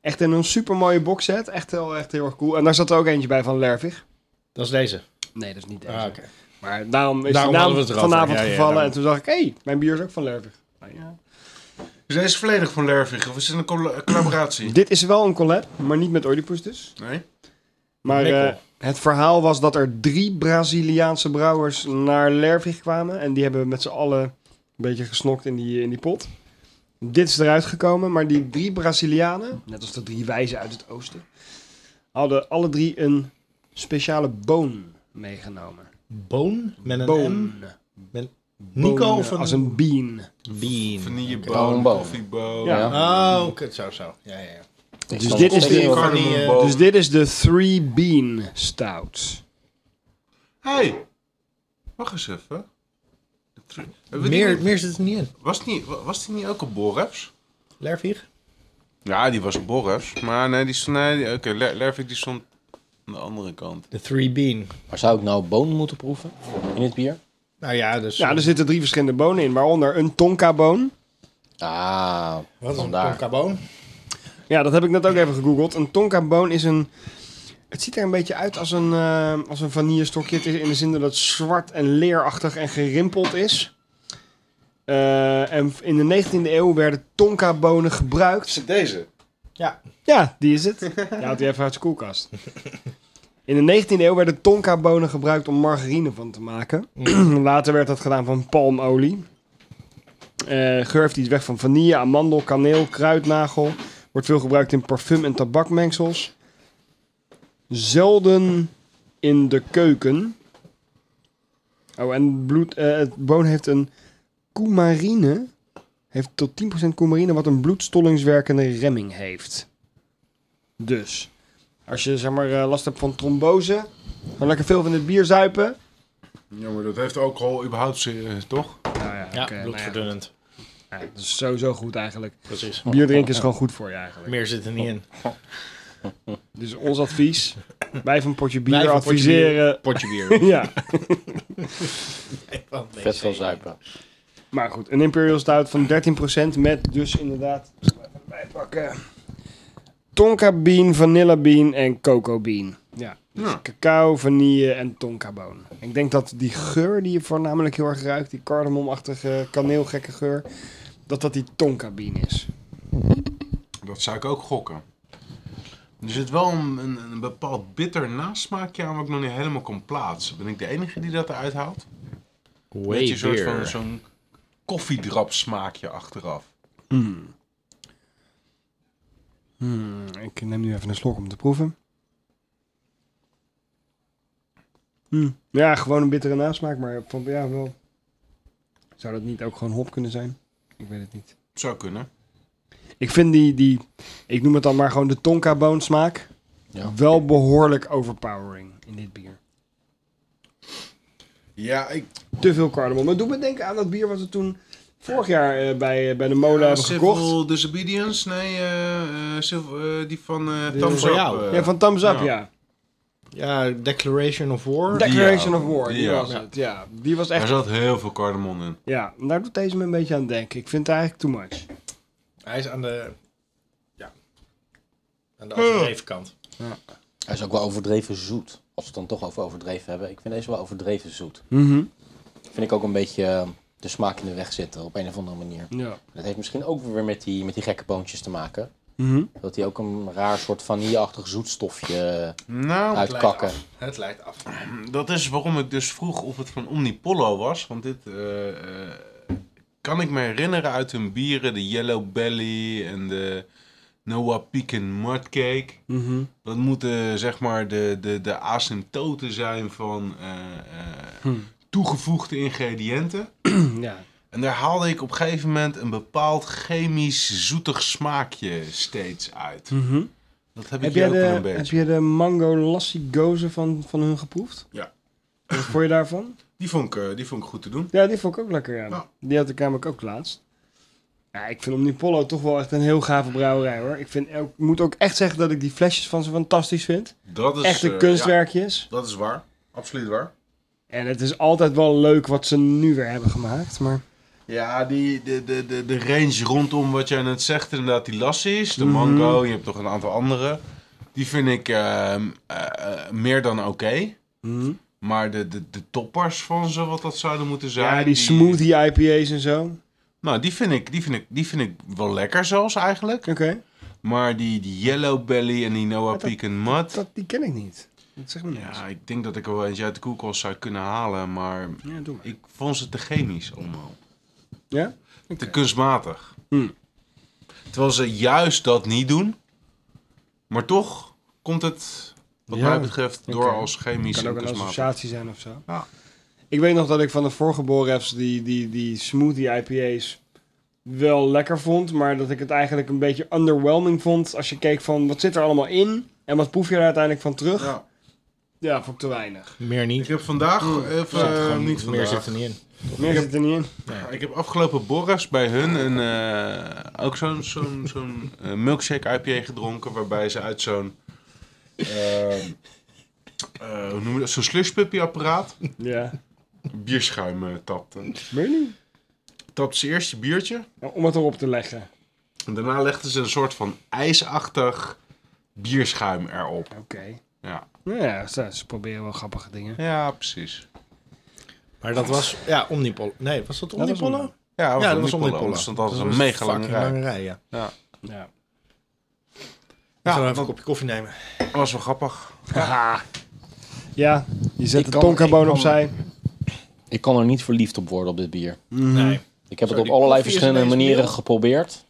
[SPEAKER 4] Echt in een supermooie boxset. Echt heel, echt heel erg cool. En daar zat er ook eentje bij van Lervig.
[SPEAKER 2] Dat is deze.
[SPEAKER 4] Nee, dat is niet
[SPEAKER 2] Ah, oké.
[SPEAKER 4] Maar daarom is
[SPEAKER 2] Daarom
[SPEAKER 4] de naam
[SPEAKER 2] hadden we het erover.
[SPEAKER 4] vanavond
[SPEAKER 2] Ja, ja,
[SPEAKER 4] gevallen.
[SPEAKER 2] daarom.
[SPEAKER 4] en toen dacht ik, hé, hey, mijn bier is ook van Lervig. Nou ja.
[SPEAKER 8] Dus deze is volledig van Lervig. Of is het een colla- collaboratie?
[SPEAKER 4] Dit is wel een collab, maar niet met Oedipus dus.
[SPEAKER 8] Nee?
[SPEAKER 4] Maar
[SPEAKER 2] Mikkel.
[SPEAKER 4] eh, het verhaal was dat er drie Braziliaanse brouwers naar Lervig kwamen. En die hebben met z'n allen een beetje gesnokt in die, in die pot. Dit is eruit gekomen, maar die drie Brazilianen, net als de drie wijzen uit het oosten, hadden alle drie een speciale boon meegenomen.
[SPEAKER 2] Boon met een
[SPEAKER 4] Boon.
[SPEAKER 2] M. Nico
[SPEAKER 4] Boon,
[SPEAKER 2] of een...
[SPEAKER 4] als een bean.
[SPEAKER 2] bean.
[SPEAKER 8] Vanilleboon,
[SPEAKER 1] Boonboon.
[SPEAKER 8] koffieboon.
[SPEAKER 4] Ja.
[SPEAKER 2] Oh, kut, zo, zo. Ja, ja, ja.
[SPEAKER 1] Ik
[SPEAKER 4] dus
[SPEAKER 1] stond
[SPEAKER 4] dit is
[SPEAKER 1] steeds
[SPEAKER 4] de-
[SPEAKER 1] wel-
[SPEAKER 2] Kan die, eh,
[SPEAKER 8] Boon.
[SPEAKER 4] Dus dit is de Three Bean Stout.
[SPEAKER 8] Hey, wacht eens even. De tru- Hebben we die
[SPEAKER 2] Meer,
[SPEAKER 8] niet-
[SPEAKER 2] meer zit er niet in.
[SPEAKER 8] was, het niet, wa- was die niet ook op Borrefs?
[SPEAKER 2] Lervig?
[SPEAKER 8] Ja, die was op Borrefs. Maar nee, die stond... Nee, die- Oké, Ler- Lervik die stond aan de andere kant.
[SPEAKER 2] De three bean.
[SPEAKER 1] Maar zou ik nou boon moeten proeven in het bier?
[SPEAKER 2] Nou ja, dus...
[SPEAKER 4] Ja, er zitten drie verschillende bonen in, waaronder een tonka-boon.
[SPEAKER 1] Ah,
[SPEAKER 2] Wat is een
[SPEAKER 1] vandaar.
[SPEAKER 2] tonkaboon?
[SPEAKER 4] Ja, dat heb ik net ook even gegoogeld. Een tonka boon is een... Het ziet er een beetje uit als een, eh als een vanillestokje. Het is in de zin dat het zwart en leerachtig en gerimpeld is. Eh, en in de 19e eeuw werden tonka bonen gebruikt.
[SPEAKER 8] deze?
[SPEAKER 4] Ja, die is het. Je haalt die even uit de koelkast. In de 19e eeuw werden tonkabonen gebruikt om margarine van te maken. (clears throat) Later werd dat gedaan van palmolie. Eh geur heeft iets weg van vanille, amandel, kaneel, kruidnagel. Wordt veel gebruikt in parfum- en tabakmengsels. Zelden in de keuken. Oh, en bloed, eh, het boon heeft een coumarine. Heeft tot 10% coumarine, wat een bloedstollingswerkende remming heeft. Dus, als je zeg maar eh, last hebt van trombose, dan lekker veel van dit bier zuipen.
[SPEAKER 8] Ja, maar dat heeft alcohol überhaupt, eh, toch?
[SPEAKER 4] Nou ja,
[SPEAKER 2] Ja,
[SPEAKER 4] oké, nou
[SPEAKER 2] bloedverdunnend.
[SPEAKER 4] ja, ja, dat is sowieso goed eigenlijk.
[SPEAKER 2] Precies.
[SPEAKER 4] Bier drinken is gewoon goed voor je eigenlijk.
[SPEAKER 2] Meer zit er niet in.
[SPEAKER 4] Dus ons advies, wij van Potje Bier
[SPEAKER 2] Wij van Potje Bier.
[SPEAKER 4] adviseren...
[SPEAKER 2] Potje (laughs) bier.
[SPEAKER 4] (laughs) ja,
[SPEAKER 1] Vet veel zuipen.
[SPEAKER 4] maar goed, een Imperial Stout van 13% met dus inderdaad... ik zal Even bijpakken. Tonka bean, vanilla bean en cocoa bean. Ja, dus
[SPEAKER 8] Ja.
[SPEAKER 4] cacao, vanille en tonkaboon. Ik denk dat die geur die je voornamelijk heel erg ruikt, die cardamomachtige kaneelgekke geur, dat dat die tonka bean is.
[SPEAKER 8] Dat zou ik ook gokken. Er zit wel een, een, een bepaald bitter nasmaakje aan wat ik nog niet helemaal kon plaatsen. Ben ik de enige die dat eruit haalt? Weet je, een soort van zo'n koffiedrap smaakje achteraf.
[SPEAKER 4] Hmm, ik neem nu even een slok om te proeven. Hmm, Ja, gewoon een bittere nasmaak, maar van, ja, wel. Zou dat niet ook gewoon hop kunnen zijn? Ik weet het niet.
[SPEAKER 8] Zou kunnen.
[SPEAKER 4] Ik vind die, die ik noem het dan maar gewoon de tonka boonsmaak,
[SPEAKER 1] Ja.
[SPEAKER 4] wel behoorlijk overpowering in dit bier.
[SPEAKER 8] Ja, ik,
[SPEAKER 4] Te veel cardamom. Maar doe me denken aan dat bier wat we toen vorig jaar eh, bij, eh, bij de molen hebben
[SPEAKER 8] Civil
[SPEAKER 4] gekocht.
[SPEAKER 8] Disobedience? Nee, eh, eh, Civil- eh, die van eh
[SPEAKER 2] Die
[SPEAKER 8] Thumbs
[SPEAKER 2] voor
[SPEAKER 8] Up,
[SPEAKER 2] jou.
[SPEAKER 8] eh.
[SPEAKER 4] Ja, van Thumbs Up,
[SPEAKER 8] ja.
[SPEAKER 4] ja.
[SPEAKER 2] Ja, Declaration of War.
[SPEAKER 8] Die
[SPEAKER 4] Declaration
[SPEAKER 8] oude.
[SPEAKER 4] of War, die
[SPEAKER 8] Die
[SPEAKER 4] was
[SPEAKER 8] oude.
[SPEAKER 4] het. Ja, die was
[SPEAKER 8] Daar
[SPEAKER 4] echt...
[SPEAKER 8] zat heel veel cardamom in.
[SPEAKER 4] Ja, Nou, en daar doet deze me een beetje aan denken. Ik vind het eigenlijk too much.
[SPEAKER 2] Hij is aan de... Ja. Aan de overdreven kant.
[SPEAKER 1] Hij is ook wel overdreven zoet. Als we het dan toch over overdreven hebben. Ik vind deze wel overdreven zoet.
[SPEAKER 8] Mhm.
[SPEAKER 1] Vind ik ook een beetje eh, de smaak in de weg zitten op een of andere manier.
[SPEAKER 4] Ja.
[SPEAKER 1] Dat heeft misschien ook weer met die, met die gekke boontjes te maken.
[SPEAKER 8] Mhm.
[SPEAKER 1] Dat die ook een raar soort vanilleachtig zoetstofje
[SPEAKER 8] Nou,
[SPEAKER 1] uitkakken.
[SPEAKER 2] Het lijkt af.
[SPEAKER 8] dat is waarom ik dus vroeg of het van Omnipollo was. Want dit eh, eh, kan ik me herinneren uit hun bieren. De Yellow Belly en de Noah Pecan Mudcake.
[SPEAKER 4] Mhm.
[SPEAKER 8] Dat moeten zeg maar de, de, de asymptoten zijn van eh, eh,
[SPEAKER 4] Hm.
[SPEAKER 8] toegevoegde
[SPEAKER 4] (clears throat)
[SPEAKER 8] ingrediënten.
[SPEAKER 4] ja.
[SPEAKER 8] En daar haalde ik op een gegeven moment een bepaald chemisch zoetig smaakje steeds uit. Dat heb,
[SPEAKER 4] Mhm. Heb, jij
[SPEAKER 8] ik hier ook wel een
[SPEAKER 4] de, heb
[SPEAKER 8] beetje.
[SPEAKER 4] je de mango lassi gozer van, van hun geproefd?
[SPEAKER 8] Ja.
[SPEAKER 4] Wat vond je daarvan?
[SPEAKER 8] Die, vond ik, eh, die vond ik goed te doen.
[SPEAKER 4] Ja, die vond ik ook lekker, ja.
[SPEAKER 8] Ja.
[SPEAKER 4] Die had ik namelijk ook laatst. Ja, ik vind Omnipollo toch wel echt een heel gave brouwerij, hoor. Ik, vind, ook- ik moet ook echt zeggen dat ik die flesjes van ze fantastisch vind.
[SPEAKER 8] Dat is,
[SPEAKER 4] Echte
[SPEAKER 8] eh,
[SPEAKER 4] kunstwerkjes.
[SPEAKER 8] ja, dat is waar. Absoluut waar.
[SPEAKER 4] En het is altijd wel leuk wat ze nu weer hebben gemaakt, maar...
[SPEAKER 8] Ja, die, de, de, de, de range rondom wat jij net zegt, inderdaad, die lassies, de mango, je hebt toch een aantal andere. Die vind ik ehm, eh, eh, meer dan oké. Maar de, de, de toppers van ze, wat dat zouden moeten zijn.
[SPEAKER 4] Ja, die, smoothie IPA's en zo. Oké.
[SPEAKER 8] Nou, die vind, ik, die, vind ik, die vind ik wel lekker zelfs eigenlijk. Maar die, die Yellow Belly en die Noah
[SPEAKER 4] dat-
[SPEAKER 8] Peak en Mud.
[SPEAKER 4] Dat, die ken ik niet. Dat zegt me niks.
[SPEAKER 8] Ja, ik denk dat ik er wel eentje uit de koelkast zou kunnen halen, maar
[SPEAKER 4] Ja, doe maar.
[SPEAKER 8] ik vond ze te chemisch allemaal.
[SPEAKER 4] Ja?
[SPEAKER 8] Te kunstmatig.
[SPEAKER 4] Hmm.
[SPEAKER 8] Terwijl ze juist dat niet doen, maar toch komt het, wat
[SPEAKER 4] Ja,
[SPEAKER 8] mij betreft, door
[SPEAKER 4] oké.
[SPEAKER 8] als chemisch
[SPEAKER 4] kan
[SPEAKER 8] en
[SPEAKER 4] ook een
[SPEAKER 8] kunstmatig.
[SPEAKER 4] associatie zijn of zo.
[SPEAKER 8] Ja.
[SPEAKER 4] Ik weet nog dat ik van de voorgeboren refs die, die, die smoothie IPA's wel lekker vond. Maar dat ik het eigenlijk een beetje underwhelming vond. Als je keek van wat zit er allemaal in en wat proef je er uiteindelijk van terug.
[SPEAKER 8] Ja.
[SPEAKER 4] Ja, vond ik te weinig.
[SPEAKER 2] Meer
[SPEAKER 8] Ik
[SPEAKER 2] niet.
[SPEAKER 8] heb vandaag,
[SPEAKER 4] Hmm.
[SPEAKER 8] even,
[SPEAKER 2] Zit gewoon
[SPEAKER 8] eh, niet
[SPEAKER 2] meer
[SPEAKER 8] vandaag,
[SPEAKER 2] zit er niet in.
[SPEAKER 4] Meer zit er niet in.
[SPEAKER 8] Ja, Ik heb afgelopen borras bij hun een, eh, ook zo'n zo'n zo'n eh, milkshake IPA gedronken. Waarbij ze uit zo'n. eh, eh, hoe noem je dat? Zo'n slushpuppy apparaat.
[SPEAKER 4] Ja.
[SPEAKER 8] Bierschuim eh, tapte.
[SPEAKER 4] Meen je niet?
[SPEAKER 8] Tapte ze eerst je biertje.
[SPEAKER 4] Nou, Om het erop te leggen.
[SPEAKER 8] En daarna legden ze een soort van ijsachtig bierschuim erop.
[SPEAKER 4] Oké.
[SPEAKER 8] Ja,
[SPEAKER 4] Nou Ja, ze, ze proberen wel grappige dingen.
[SPEAKER 8] ja precies.
[SPEAKER 2] Maar dat was... Ja, Omnipollo. Nee, was dat Omnipollo?
[SPEAKER 4] Omnipollo.
[SPEAKER 8] Ja,
[SPEAKER 2] ja, dus dat was
[SPEAKER 8] Omnipollo.
[SPEAKER 2] Omnipollo.
[SPEAKER 8] anders, want Dat was een
[SPEAKER 2] was
[SPEAKER 8] mega lange
[SPEAKER 2] fucking
[SPEAKER 8] rij.
[SPEAKER 2] lange rij, ja.
[SPEAKER 4] Ja.
[SPEAKER 2] Ik ga
[SPEAKER 8] Ja,
[SPEAKER 2] even een
[SPEAKER 8] dat-
[SPEAKER 2] kopje koffie nemen.
[SPEAKER 8] Dat was wel grappig.
[SPEAKER 4] Ja, je zet
[SPEAKER 1] Ik
[SPEAKER 4] de
[SPEAKER 1] kan- ik
[SPEAKER 4] tonkaboon
[SPEAKER 1] kan-
[SPEAKER 4] opzij.
[SPEAKER 1] Ik kan er niet verliefd op worden op dit bier.
[SPEAKER 2] Nee.
[SPEAKER 1] Ik heb
[SPEAKER 2] Zo,
[SPEAKER 1] het op
[SPEAKER 2] die
[SPEAKER 1] allerlei
[SPEAKER 2] koffie is
[SPEAKER 1] verschillende
[SPEAKER 2] ineens
[SPEAKER 1] manieren
[SPEAKER 2] mild.
[SPEAKER 1] geprobeerd.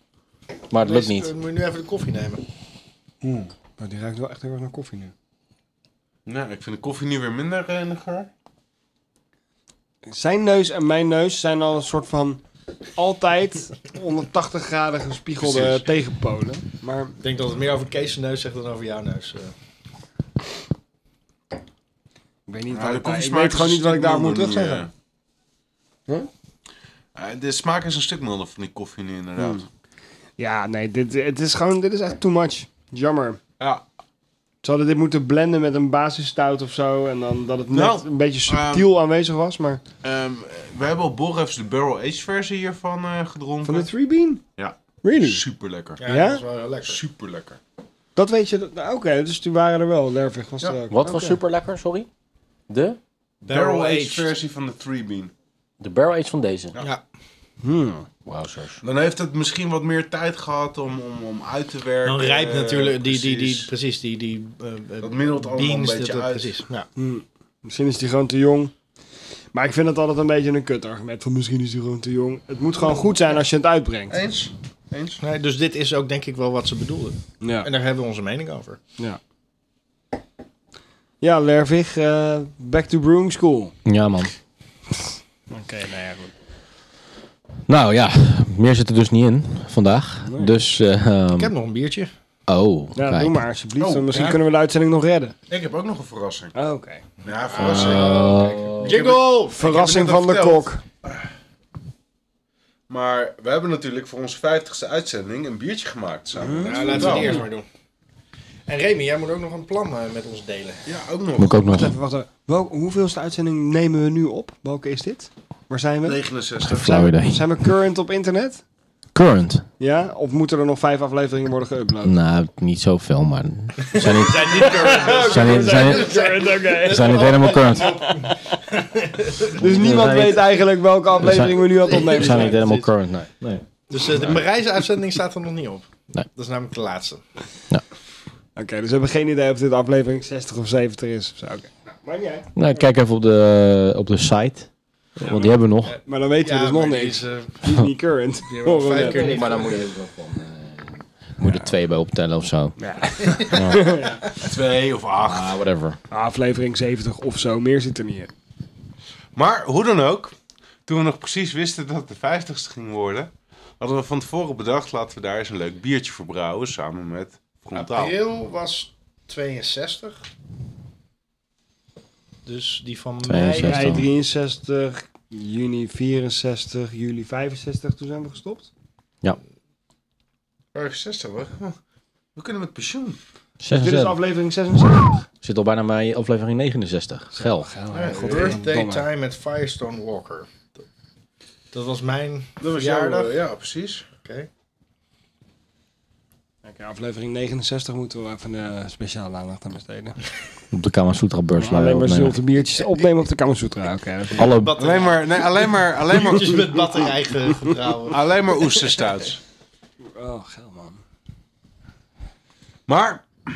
[SPEAKER 1] Maar het lukt niet.
[SPEAKER 2] eh, Moet je nu even de koffie nemen.
[SPEAKER 4] Maar Nou, die ruikt wel echt heel erg naar koffie nu.
[SPEAKER 8] Nou, ik vind de koffie nu weer minder eh, in de geur.
[SPEAKER 4] Zijn neus en mijn neus zijn al een soort van altijd (laughs) 180 graden gespiegelde
[SPEAKER 8] Precies.
[SPEAKER 4] tegenpolen. Maar
[SPEAKER 2] Ik denk dat het meer over Kees' neus zegt dan over jouw neus. eh.
[SPEAKER 4] ik weet, niet
[SPEAKER 8] Ja,
[SPEAKER 4] waar
[SPEAKER 8] Nou, de
[SPEAKER 4] ik,
[SPEAKER 8] koffie
[SPEAKER 4] ik
[SPEAKER 8] smaakt dus
[SPEAKER 4] weet gewoon
[SPEAKER 8] een
[SPEAKER 4] niet wat ik
[SPEAKER 8] stuk
[SPEAKER 4] daar moet
[SPEAKER 8] milder nu,
[SPEAKER 4] terugzeggen.
[SPEAKER 8] eh.
[SPEAKER 4] Huh?
[SPEAKER 8] Eh, de smaak is een stuk milder van die koffie nu, inderdaad.
[SPEAKER 4] Ja, nee, dit, het is gewoon, dit is echt too much. Jammer.
[SPEAKER 8] Ja,
[SPEAKER 4] Ze hadden dit moeten blenden met een basisstout of zo. En dan dat het net
[SPEAKER 8] Nou,
[SPEAKER 4] een beetje subtiel aanwezig was. Maar
[SPEAKER 8] ehm, we hebben op Borrefs de Barrel Age versie hiervan eh, gedronken.
[SPEAKER 4] van de Three Bean?
[SPEAKER 8] Ja.
[SPEAKER 4] Really?
[SPEAKER 8] Super lekker.
[SPEAKER 4] Ja?
[SPEAKER 2] dat is wel heel lekker.
[SPEAKER 8] Super lekker.
[SPEAKER 4] Dat weet je. dat- nou, Oké, dus die waren er wel. Lervig was
[SPEAKER 8] Ja.
[SPEAKER 4] er ook.
[SPEAKER 1] Wat was
[SPEAKER 4] Oké.
[SPEAKER 1] super lekker, sorry? De?
[SPEAKER 8] Barrel Age
[SPEAKER 2] aged.
[SPEAKER 8] versie van de Three Bean.
[SPEAKER 1] De barrel age van deze.
[SPEAKER 2] Ja.
[SPEAKER 1] Wauw, zus.
[SPEAKER 8] Dan heeft het misschien wat meer tijd gehad om, om, om uit te werken.
[SPEAKER 2] Dan rijpt natuurlijk die, die, die,
[SPEAKER 8] Precies.
[SPEAKER 2] Eh, precies, die, die eh, eh,
[SPEAKER 8] Dat mindert allemaal een
[SPEAKER 2] beans,
[SPEAKER 8] beetje
[SPEAKER 2] dat-
[SPEAKER 8] uit.
[SPEAKER 2] Precies, ja.
[SPEAKER 4] Misschien is die gewoon te jong. Maar ik vind het altijd een beetje een kut argument. Van misschien is die gewoon te jong. Het moet gewoon goed zijn als je het uitbrengt.
[SPEAKER 8] Eens? Eens?
[SPEAKER 2] Nee, dus dit is ook denk ik wel wat ze bedoelden. En
[SPEAKER 4] Ja,
[SPEAKER 2] daar hebben we onze mening over.
[SPEAKER 4] ja. ja Lervig, eh, back to brewing school.
[SPEAKER 1] Ja, man.
[SPEAKER 2] Oké, nou ja, goed.
[SPEAKER 1] Nou ja, meer zit er dus niet in vandaag. Dus, eh, ehm,
[SPEAKER 2] Ik heb nog een biertje.
[SPEAKER 1] oh,
[SPEAKER 4] Ja,
[SPEAKER 1] kijk.
[SPEAKER 4] doe maar alsjeblieft.
[SPEAKER 8] Oh,
[SPEAKER 4] want misschien
[SPEAKER 8] ja.
[SPEAKER 4] kunnen we de uitzending nog redden.
[SPEAKER 8] Ik heb ook nog een verrassing.
[SPEAKER 4] Ah, Oké.
[SPEAKER 8] Ja, verrassing.
[SPEAKER 2] Jingle!
[SPEAKER 4] Verrassing
[SPEAKER 8] Ik heb
[SPEAKER 4] van
[SPEAKER 8] het
[SPEAKER 4] de
[SPEAKER 8] net al
[SPEAKER 4] kok.
[SPEAKER 8] Maar we hebben natuurlijk voor onze vijftigste uitzending een biertje gemaakt samen.
[SPEAKER 2] Nou, laten we het eerst maar doen. En Remy, jij moet ook nog een plan eh, met ons delen.
[SPEAKER 8] Ja, ook nog.
[SPEAKER 1] Moet ik ook nog
[SPEAKER 4] Wacht even, wacht even. Wel, hoeveelste uitzending nemen we nu op? Welke is dit? Waar zijn we?
[SPEAKER 8] 69.
[SPEAKER 1] flauw
[SPEAKER 4] Zijn we,
[SPEAKER 1] idee.
[SPEAKER 4] zijn we current op internet?
[SPEAKER 1] Current?
[SPEAKER 4] Ja? Of moeten er nog vijf afleveringen worden geüpload?
[SPEAKER 1] Nou, niet zoveel, maar... Zijn
[SPEAKER 3] (laughs)
[SPEAKER 1] niet,
[SPEAKER 2] Zijn niet current.
[SPEAKER 1] zijn niet, zijn niet,
[SPEAKER 4] Current,
[SPEAKER 1] (laughs)
[SPEAKER 4] oké.
[SPEAKER 1] zijn niet helemaal current.
[SPEAKER 4] Dus niemand
[SPEAKER 1] zijn niet-
[SPEAKER 4] weet eigenlijk welke aflevering we nu aan het opnemen
[SPEAKER 1] Zijn niet
[SPEAKER 4] zijn.
[SPEAKER 1] helemaal current, nee. nee.
[SPEAKER 2] Dus eh, de Parijs-uitzending staat er nog niet op.
[SPEAKER 1] Nee.
[SPEAKER 2] Dat is namelijk de laatste.
[SPEAKER 4] Oké, dus we hebben geen idee of dit aflevering 60 of 70 is. of zo, oké.
[SPEAKER 5] Maar niet uit.
[SPEAKER 1] Nou, kijk even op de, op de site. Want die hebben we nog.
[SPEAKER 4] Maar dan weten we dus nog
[SPEAKER 2] maar die
[SPEAKER 4] niks.
[SPEAKER 2] is, eh,
[SPEAKER 4] Die is niet current.
[SPEAKER 2] die hebben we
[SPEAKER 4] Horen we
[SPEAKER 2] vijf
[SPEAKER 4] net.
[SPEAKER 2] keer niet. eh,
[SPEAKER 1] dan moet je er van... Moet er twee bij optellen of zo. Ja.
[SPEAKER 8] Twee of acht.
[SPEAKER 1] whatever.
[SPEAKER 4] Aflevering 70 of zo, meer zit er niet in.
[SPEAKER 8] Maar hoe dan ook, toen we nog precies wisten dat het de 50ste ging worden, hadden we van tevoren bedacht, laten we daar eens een leuk biertje voor brouwen samen met Frontaal.
[SPEAKER 2] April was 62. Dus die van mij...
[SPEAKER 1] 62.
[SPEAKER 4] Mei 63, juni 64, juli 65, toen zijn we gestopt.
[SPEAKER 8] 65, hoor. We kunnen met pensioen.
[SPEAKER 4] Dit is
[SPEAKER 1] 66.
[SPEAKER 4] aflevering 76.
[SPEAKER 1] Zit al bijna bij aflevering 69. Gel.
[SPEAKER 2] Ja, birthday Time met Firestone Walker. Dat was (laughs) mijn
[SPEAKER 8] Dat was
[SPEAKER 2] verjaardag.
[SPEAKER 8] jouw, eh, ja, precies.
[SPEAKER 4] Oké, aflevering 69 moeten we even eh speciale aandacht aan besteden.
[SPEAKER 1] Op de Kama Sutra beurs. eh,
[SPEAKER 4] Alleen Ah, maar
[SPEAKER 1] opnemen.
[SPEAKER 4] zilver biertjes opnemen op de Kamasutra. Oké, dat is-
[SPEAKER 1] Alle,
[SPEAKER 8] Alleen maar, nee, alleen maar, alleen
[SPEAKER 2] Biertjes
[SPEAKER 8] maar,
[SPEAKER 2] met batterij ge- (laughs) getrouwen.
[SPEAKER 8] alleen maar oesterstouts.
[SPEAKER 4] Oh, geil man.
[SPEAKER 8] Maar, (clears throat)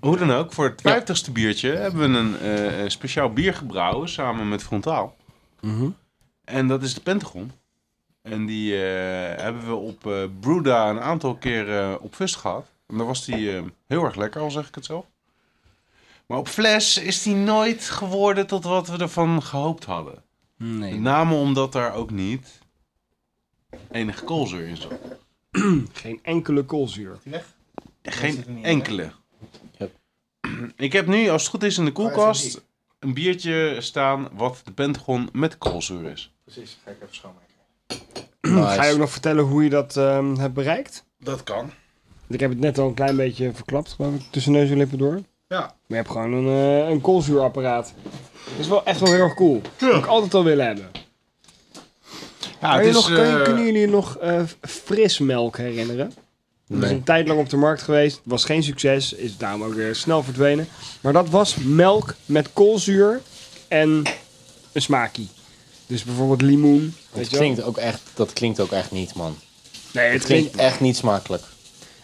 [SPEAKER 8] hoe dan ook, voor het 50ste biertje hebben we een eh, eh, speciaal bier gebrouwen samen met Frontaal. En dat is de Pentagon. En die eh, hebben we op eh Bruda een aantal keer eh, op vis gehad. En daar was die eh, heel erg lekker, al zeg ik het zelf. Maar op fles is die nooit geworden tot wat we ervan gehoopt hadden.
[SPEAKER 4] Nee.
[SPEAKER 8] Met name omdat daar ook niet enige koolzuur in zat.
[SPEAKER 4] Geen enkele koolzuur.
[SPEAKER 8] Geen enkele. (clears throat) Ik heb nu, als het goed is, in de koelkast een biertje staan wat de Pentagon met koolzuur is.
[SPEAKER 2] Precies, ga ik even schoonmaken.
[SPEAKER 4] Ga je ook nog vertellen hoe je dat ehm, hebt bereikt?
[SPEAKER 8] Dat kan.
[SPEAKER 4] Want Ik heb het net al een klein beetje verklapt, geloof ik, tussen neus en lippen door.
[SPEAKER 8] Ja.
[SPEAKER 4] Maar je hebt gewoon een, eh, een koolzuurapparaat. Dat is wel echt wel heel erg cool. Dat heb ik altijd al willen hebben.
[SPEAKER 8] Ja,
[SPEAKER 4] Kan
[SPEAKER 8] het
[SPEAKER 4] je
[SPEAKER 8] is,
[SPEAKER 4] nog, kun je-
[SPEAKER 8] eh,
[SPEAKER 4] kunnen jullie nog eh, frismelk herinneren? Dat is een tijd lang op de markt geweest. Was geen succes. Is daarom ook weer snel verdwenen. Maar dat was melk met koolzuur en een smaakie. Dus bijvoorbeeld limoen.
[SPEAKER 1] het
[SPEAKER 4] Weet je wel?
[SPEAKER 1] klinkt ook echt, dat klinkt ook echt niet, man.
[SPEAKER 4] Nee, het
[SPEAKER 1] Het klinkt
[SPEAKER 4] klinkt...
[SPEAKER 1] echt niet smakelijk.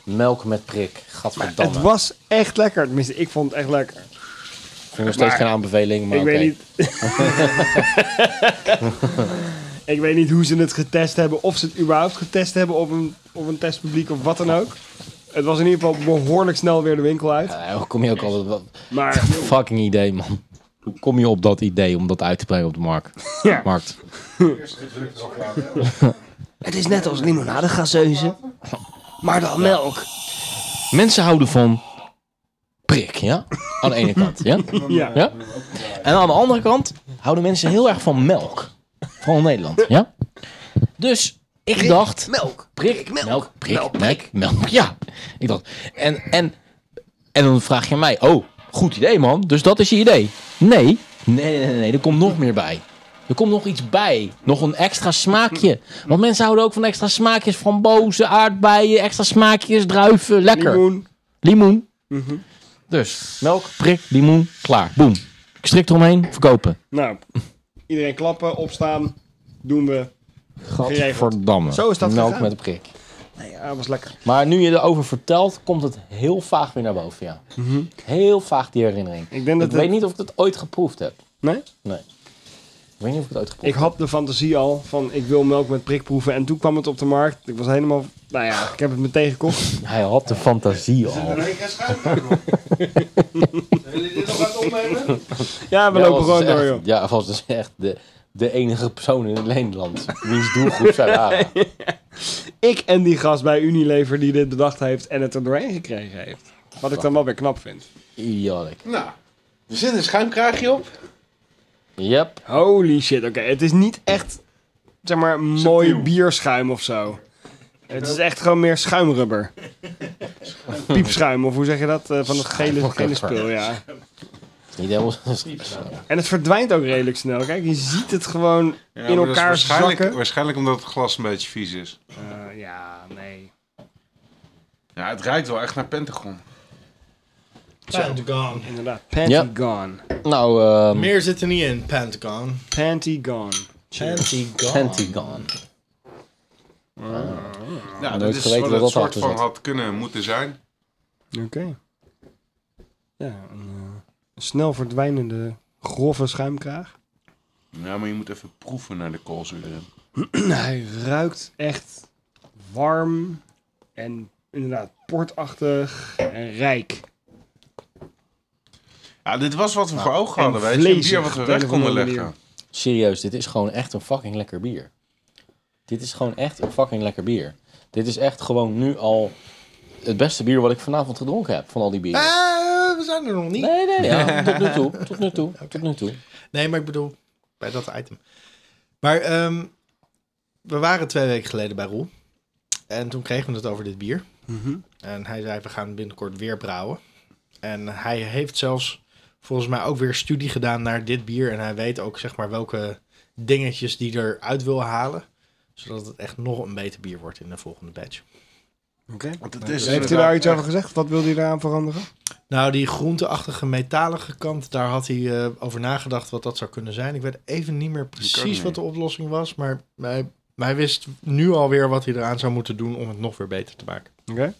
[SPEAKER 1] Melk met prik.
[SPEAKER 4] Het
[SPEAKER 1] Gadverdamme.
[SPEAKER 4] was echt lekker. Tenminste, ik vond het echt lekker.
[SPEAKER 1] Ik vind nog steeds
[SPEAKER 4] maar-
[SPEAKER 1] geen aanbeveling, maar
[SPEAKER 4] ik
[SPEAKER 1] oké.
[SPEAKER 4] weet niet... (laughs) ik weet niet hoe ze het getest hebben. Of ze het überhaupt getest hebben op een, op een testpubliek of wat dan ook. Het was in ieder geval behoorlijk snel weer de winkel uit.
[SPEAKER 1] Ja, Nou, hoe kom je ook altijd... Wat,
[SPEAKER 4] Maar
[SPEAKER 1] fucking idee, man. Hoe kom je op dat idee om dat uit te brengen op de markt?
[SPEAKER 4] (laughs) Ja.
[SPEAKER 1] markt.
[SPEAKER 10] Het is net als limonadegazeuze, maar dan melk.
[SPEAKER 1] Mensen houden van prik, ja? Aan de ene kant, ja?
[SPEAKER 4] ja.
[SPEAKER 1] ja? En aan de andere kant houden mensen heel erg van melk. Vooral in Nederland, ja? Dus ik dacht...
[SPEAKER 10] Melk.
[SPEAKER 1] Prik, melk, prik, melk, melk, ja. Ik dacht, en, en, en dan vraag je mij, oh, goed idee man, dus dat is je idee. Nee, nee, nee, nee, nee, er komt nog meer bij. Er komt nog iets bij, nog een extra smaakje. Want mensen houden ook van extra smaakjes, frambozen, aardbeien, extra smaakjes, druiven, lekker.
[SPEAKER 4] Limoen. Mhm.
[SPEAKER 1] Limoen. Dus, melk, prik, limoen, klaar, boem. Ik strik eromheen, verkopen.
[SPEAKER 4] Nou, iedereen klappen, opstaan. Doen we.
[SPEAKER 1] Gadverdamme.
[SPEAKER 4] Zo is dat
[SPEAKER 1] Melk
[SPEAKER 4] gegaan.
[SPEAKER 1] met een prik.
[SPEAKER 4] Nee, ja, dat was lekker.
[SPEAKER 1] Maar nu je erover vertelt, komt het heel vaag weer naar boven, ja. Heel vaag die herinnering.
[SPEAKER 4] Mhm. Ik denk dat
[SPEAKER 1] ik
[SPEAKER 4] het-
[SPEAKER 1] weet niet of ik het ooit geproefd heb.
[SPEAKER 4] Nee?
[SPEAKER 1] Nee. Ik weet niet of ik het ooit geproefd
[SPEAKER 4] Ik had de fantasie al van ik wil melk met prik proeven. En toen kwam het op de markt. Ik was helemaal... Nou ja, ik heb het meteen gekocht.
[SPEAKER 1] heb. Hij had de fantasie al.
[SPEAKER 8] (laughs)
[SPEAKER 4] Ja, we
[SPEAKER 1] Ja,
[SPEAKER 4] lopen
[SPEAKER 1] was
[SPEAKER 4] gewoon
[SPEAKER 1] dus
[SPEAKER 4] door,
[SPEAKER 1] echt-
[SPEAKER 4] joh.
[SPEAKER 1] Ja, was dus echt de, de enige persoon in het Nederland. Wiens doelgroep zij waren.
[SPEAKER 4] Ik en die gast bij Unilever die dit bedacht heeft en het er doorheen gekregen heeft. Wat ik dan wel weer knap vind.
[SPEAKER 1] Idiotic.
[SPEAKER 8] Nou, er zit een schuimkraagje op.
[SPEAKER 1] Yep.
[SPEAKER 4] Holy shit, oké. Het is niet echt, zeg maar, mooi bierschuim of zo. Het is echt gewoon meer schuimrubber. Piepschuim, of hoe zeg je dat? Eh, van het gele, gele spul, ja.
[SPEAKER 1] Is Niet helemaal...
[SPEAKER 4] En het verdwijnt ook redelijk snel. Kijk, je ziet het gewoon in elkaar
[SPEAKER 8] waarschijnlijk,
[SPEAKER 4] zakken.
[SPEAKER 8] Waarschijnlijk omdat het glas een beetje vies is.
[SPEAKER 4] Eh, ja, nee.
[SPEAKER 8] Ja, het ruikt wel echt naar Pentagon.
[SPEAKER 2] Pentagon.
[SPEAKER 4] Inderdaad. Pantygon.
[SPEAKER 1] nou, ehm
[SPEAKER 2] Meer zit er niet in, Pentagon.
[SPEAKER 4] Pantygon.
[SPEAKER 2] Pentagon.
[SPEAKER 1] Pentagon.
[SPEAKER 8] Ja,
[SPEAKER 1] nooit
[SPEAKER 8] dat is
[SPEAKER 1] geweten
[SPEAKER 8] wat
[SPEAKER 1] dat
[SPEAKER 8] het
[SPEAKER 1] dat
[SPEAKER 8] soort
[SPEAKER 1] achter
[SPEAKER 8] van
[SPEAKER 1] zat.
[SPEAKER 8] had kunnen moeten zijn.
[SPEAKER 4] Oké. Ja, een eh, snel verdwijnende grove schuimkraag. (clears throat)
[SPEAKER 8] Ja, maar je moet even proeven naar de koolzuur.
[SPEAKER 4] Hij ruikt echt warm en inderdaad portachtig en rijk.
[SPEAKER 8] Ja, dit was wat we voor ogen
[SPEAKER 4] en
[SPEAKER 8] hadden, weet je. Een bier
[SPEAKER 4] vlezig,
[SPEAKER 8] wat we
[SPEAKER 4] op de een
[SPEAKER 8] weg
[SPEAKER 4] of
[SPEAKER 8] konden
[SPEAKER 4] andere
[SPEAKER 8] leggen.
[SPEAKER 1] Serieus, dit is gewoon echt een fucking lekker bier. Dit is gewoon echt een fucking lekker bier. Dit is echt gewoon nu al het beste bier wat ik vanavond gedronken heb van al die bieren.
[SPEAKER 2] Eh, we zijn er nog niet.
[SPEAKER 1] Nee, nee, ja. tot nu toe. Tot nu toe. Tot nu toe.
[SPEAKER 2] Nee, maar ik bedoel, bij dat item. Maar ehm, we waren twee weken geleden bij Roel. En toen kregen we het over dit bier. En hij zei, we gaan binnenkort weer brouwen. En hij heeft zelfs volgens mij ook weer studie gedaan naar dit bier. En hij weet ook zeg maar welke dingetjes die eruit wil halen. Zodat het echt nog een beter bier wordt in de volgende batch.
[SPEAKER 8] Want het is
[SPEAKER 4] Heeft u daar iets over gezegd? Wat wilde u daaraan veranderen?
[SPEAKER 2] Nou, die groenteachtige metalige kant, daar had hij eh, over nagedacht wat dat zou kunnen zijn. Ik weet even niet meer
[SPEAKER 8] ook
[SPEAKER 2] precies
[SPEAKER 8] niet.
[SPEAKER 2] wat de oplossing was, maar hij, hij wist nu alweer wat hij eraan zou moeten doen om het nog weer beter te maken.
[SPEAKER 4] Oké.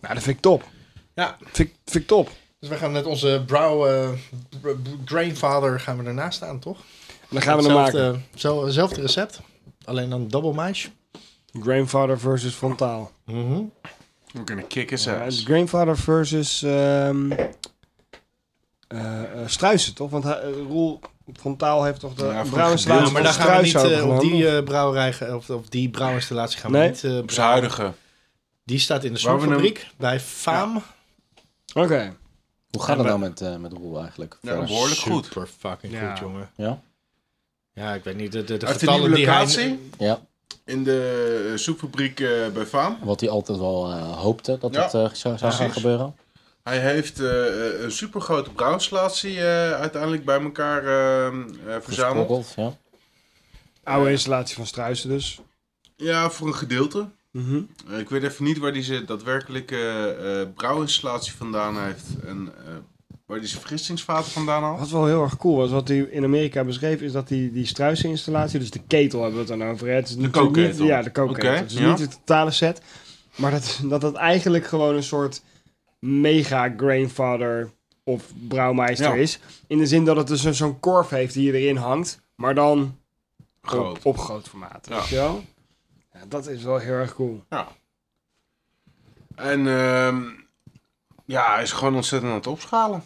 [SPEAKER 4] Nou, dat vind ik top.
[SPEAKER 2] Ja.
[SPEAKER 4] Vind, ik- vind ik top.
[SPEAKER 2] Dus we gaan met onze brow eh, br- br- drainfather gaan we ernaast staan, toch?
[SPEAKER 4] En dan gaan we hem maken.
[SPEAKER 2] Hetzelfde- zel- Hetzelfde recept, alleen dan double mash.
[SPEAKER 4] Grandfather versus Frontaal.
[SPEAKER 2] Mhm.
[SPEAKER 8] We kunnen kicken
[SPEAKER 4] Ja, het
[SPEAKER 8] zelfs.
[SPEAKER 4] Grandfather versus ehm eh, eh, Struisen, toch? Want hij- eh, Roel Frontaal heeft toch de
[SPEAKER 8] Ja,
[SPEAKER 4] ja,
[SPEAKER 8] voor
[SPEAKER 4] bruine
[SPEAKER 8] een gedeelte.
[SPEAKER 4] Struisen
[SPEAKER 2] Ja, maar daar gaan we niet eh, op
[SPEAKER 4] overgenomen?
[SPEAKER 2] die eh, brouwerij, ge- of, of die brouwinstallatie gaan
[SPEAKER 4] Nee.
[SPEAKER 2] we niet eh,
[SPEAKER 8] Op zijn
[SPEAKER 2] brouwen.
[SPEAKER 8] huidige.
[SPEAKER 2] Die staat in de
[SPEAKER 8] Waar we hem-
[SPEAKER 2] snoepfabriek bij Faam.
[SPEAKER 4] Oké.
[SPEAKER 2] eh,
[SPEAKER 1] Hoe gaat het nou met, eh, met Roel eigenlijk?
[SPEAKER 8] Ja,
[SPEAKER 1] Verder?
[SPEAKER 8] behoorlijk goed.
[SPEAKER 2] Super fucking
[SPEAKER 4] Ja.
[SPEAKER 2] goed, jongen.
[SPEAKER 1] Ja?
[SPEAKER 2] Ja, ik weet niet. De, de, de
[SPEAKER 8] Uit de nieuwe
[SPEAKER 2] getallen die hij...
[SPEAKER 8] locatie
[SPEAKER 1] Ja,
[SPEAKER 8] in de eh, soepfabriek eh, bij Faam.
[SPEAKER 1] wat hij altijd wel eh, hoopte dat
[SPEAKER 8] Ja,
[SPEAKER 1] het eh, zou, zou gaan
[SPEAKER 8] precies.
[SPEAKER 1] gebeuren.
[SPEAKER 8] Hij heeft eh, eh, een supergrote brouwinstallatie eh, uiteindelijk bij elkaar eh, eh, verzameld.
[SPEAKER 1] Gesprokkeld, ja.
[SPEAKER 4] Oude installatie van Struisen dus. Mhm.
[SPEAKER 8] Ja, voor een gedeelte. Eh, Ik weet even niet waar hij ze daadwerkelijke eh, eh, brouwinstallatie vandaan heeft en eh, waar hij zijn vergistingsvaten vandaan haalt.
[SPEAKER 4] Wat wel heel erg cool was, wat hij in Amerika beschreef, is dat die, die Struisen-installatie, dus de ketel hebben we het dan over. Hè? Het is natuurlijk niet-
[SPEAKER 8] kookketel.
[SPEAKER 4] Ja, de kookketel.
[SPEAKER 8] Oké,
[SPEAKER 4] het is
[SPEAKER 8] ja.
[SPEAKER 4] niet de totale set, maar dat, dat het eigenlijk gewoon een soort mega grandfather of brouwmeister
[SPEAKER 8] Ja.
[SPEAKER 4] is. In de zin dat het dus een- zo'n korf heeft die je erin hangt, maar dan
[SPEAKER 8] Groot.
[SPEAKER 4] Op, op groot formaat.
[SPEAKER 8] Ja.
[SPEAKER 4] Weet je wel? Ja, dat is wel heel erg cool.
[SPEAKER 8] En ehm, ja, hij is gewoon ontzettend aan het opschalen.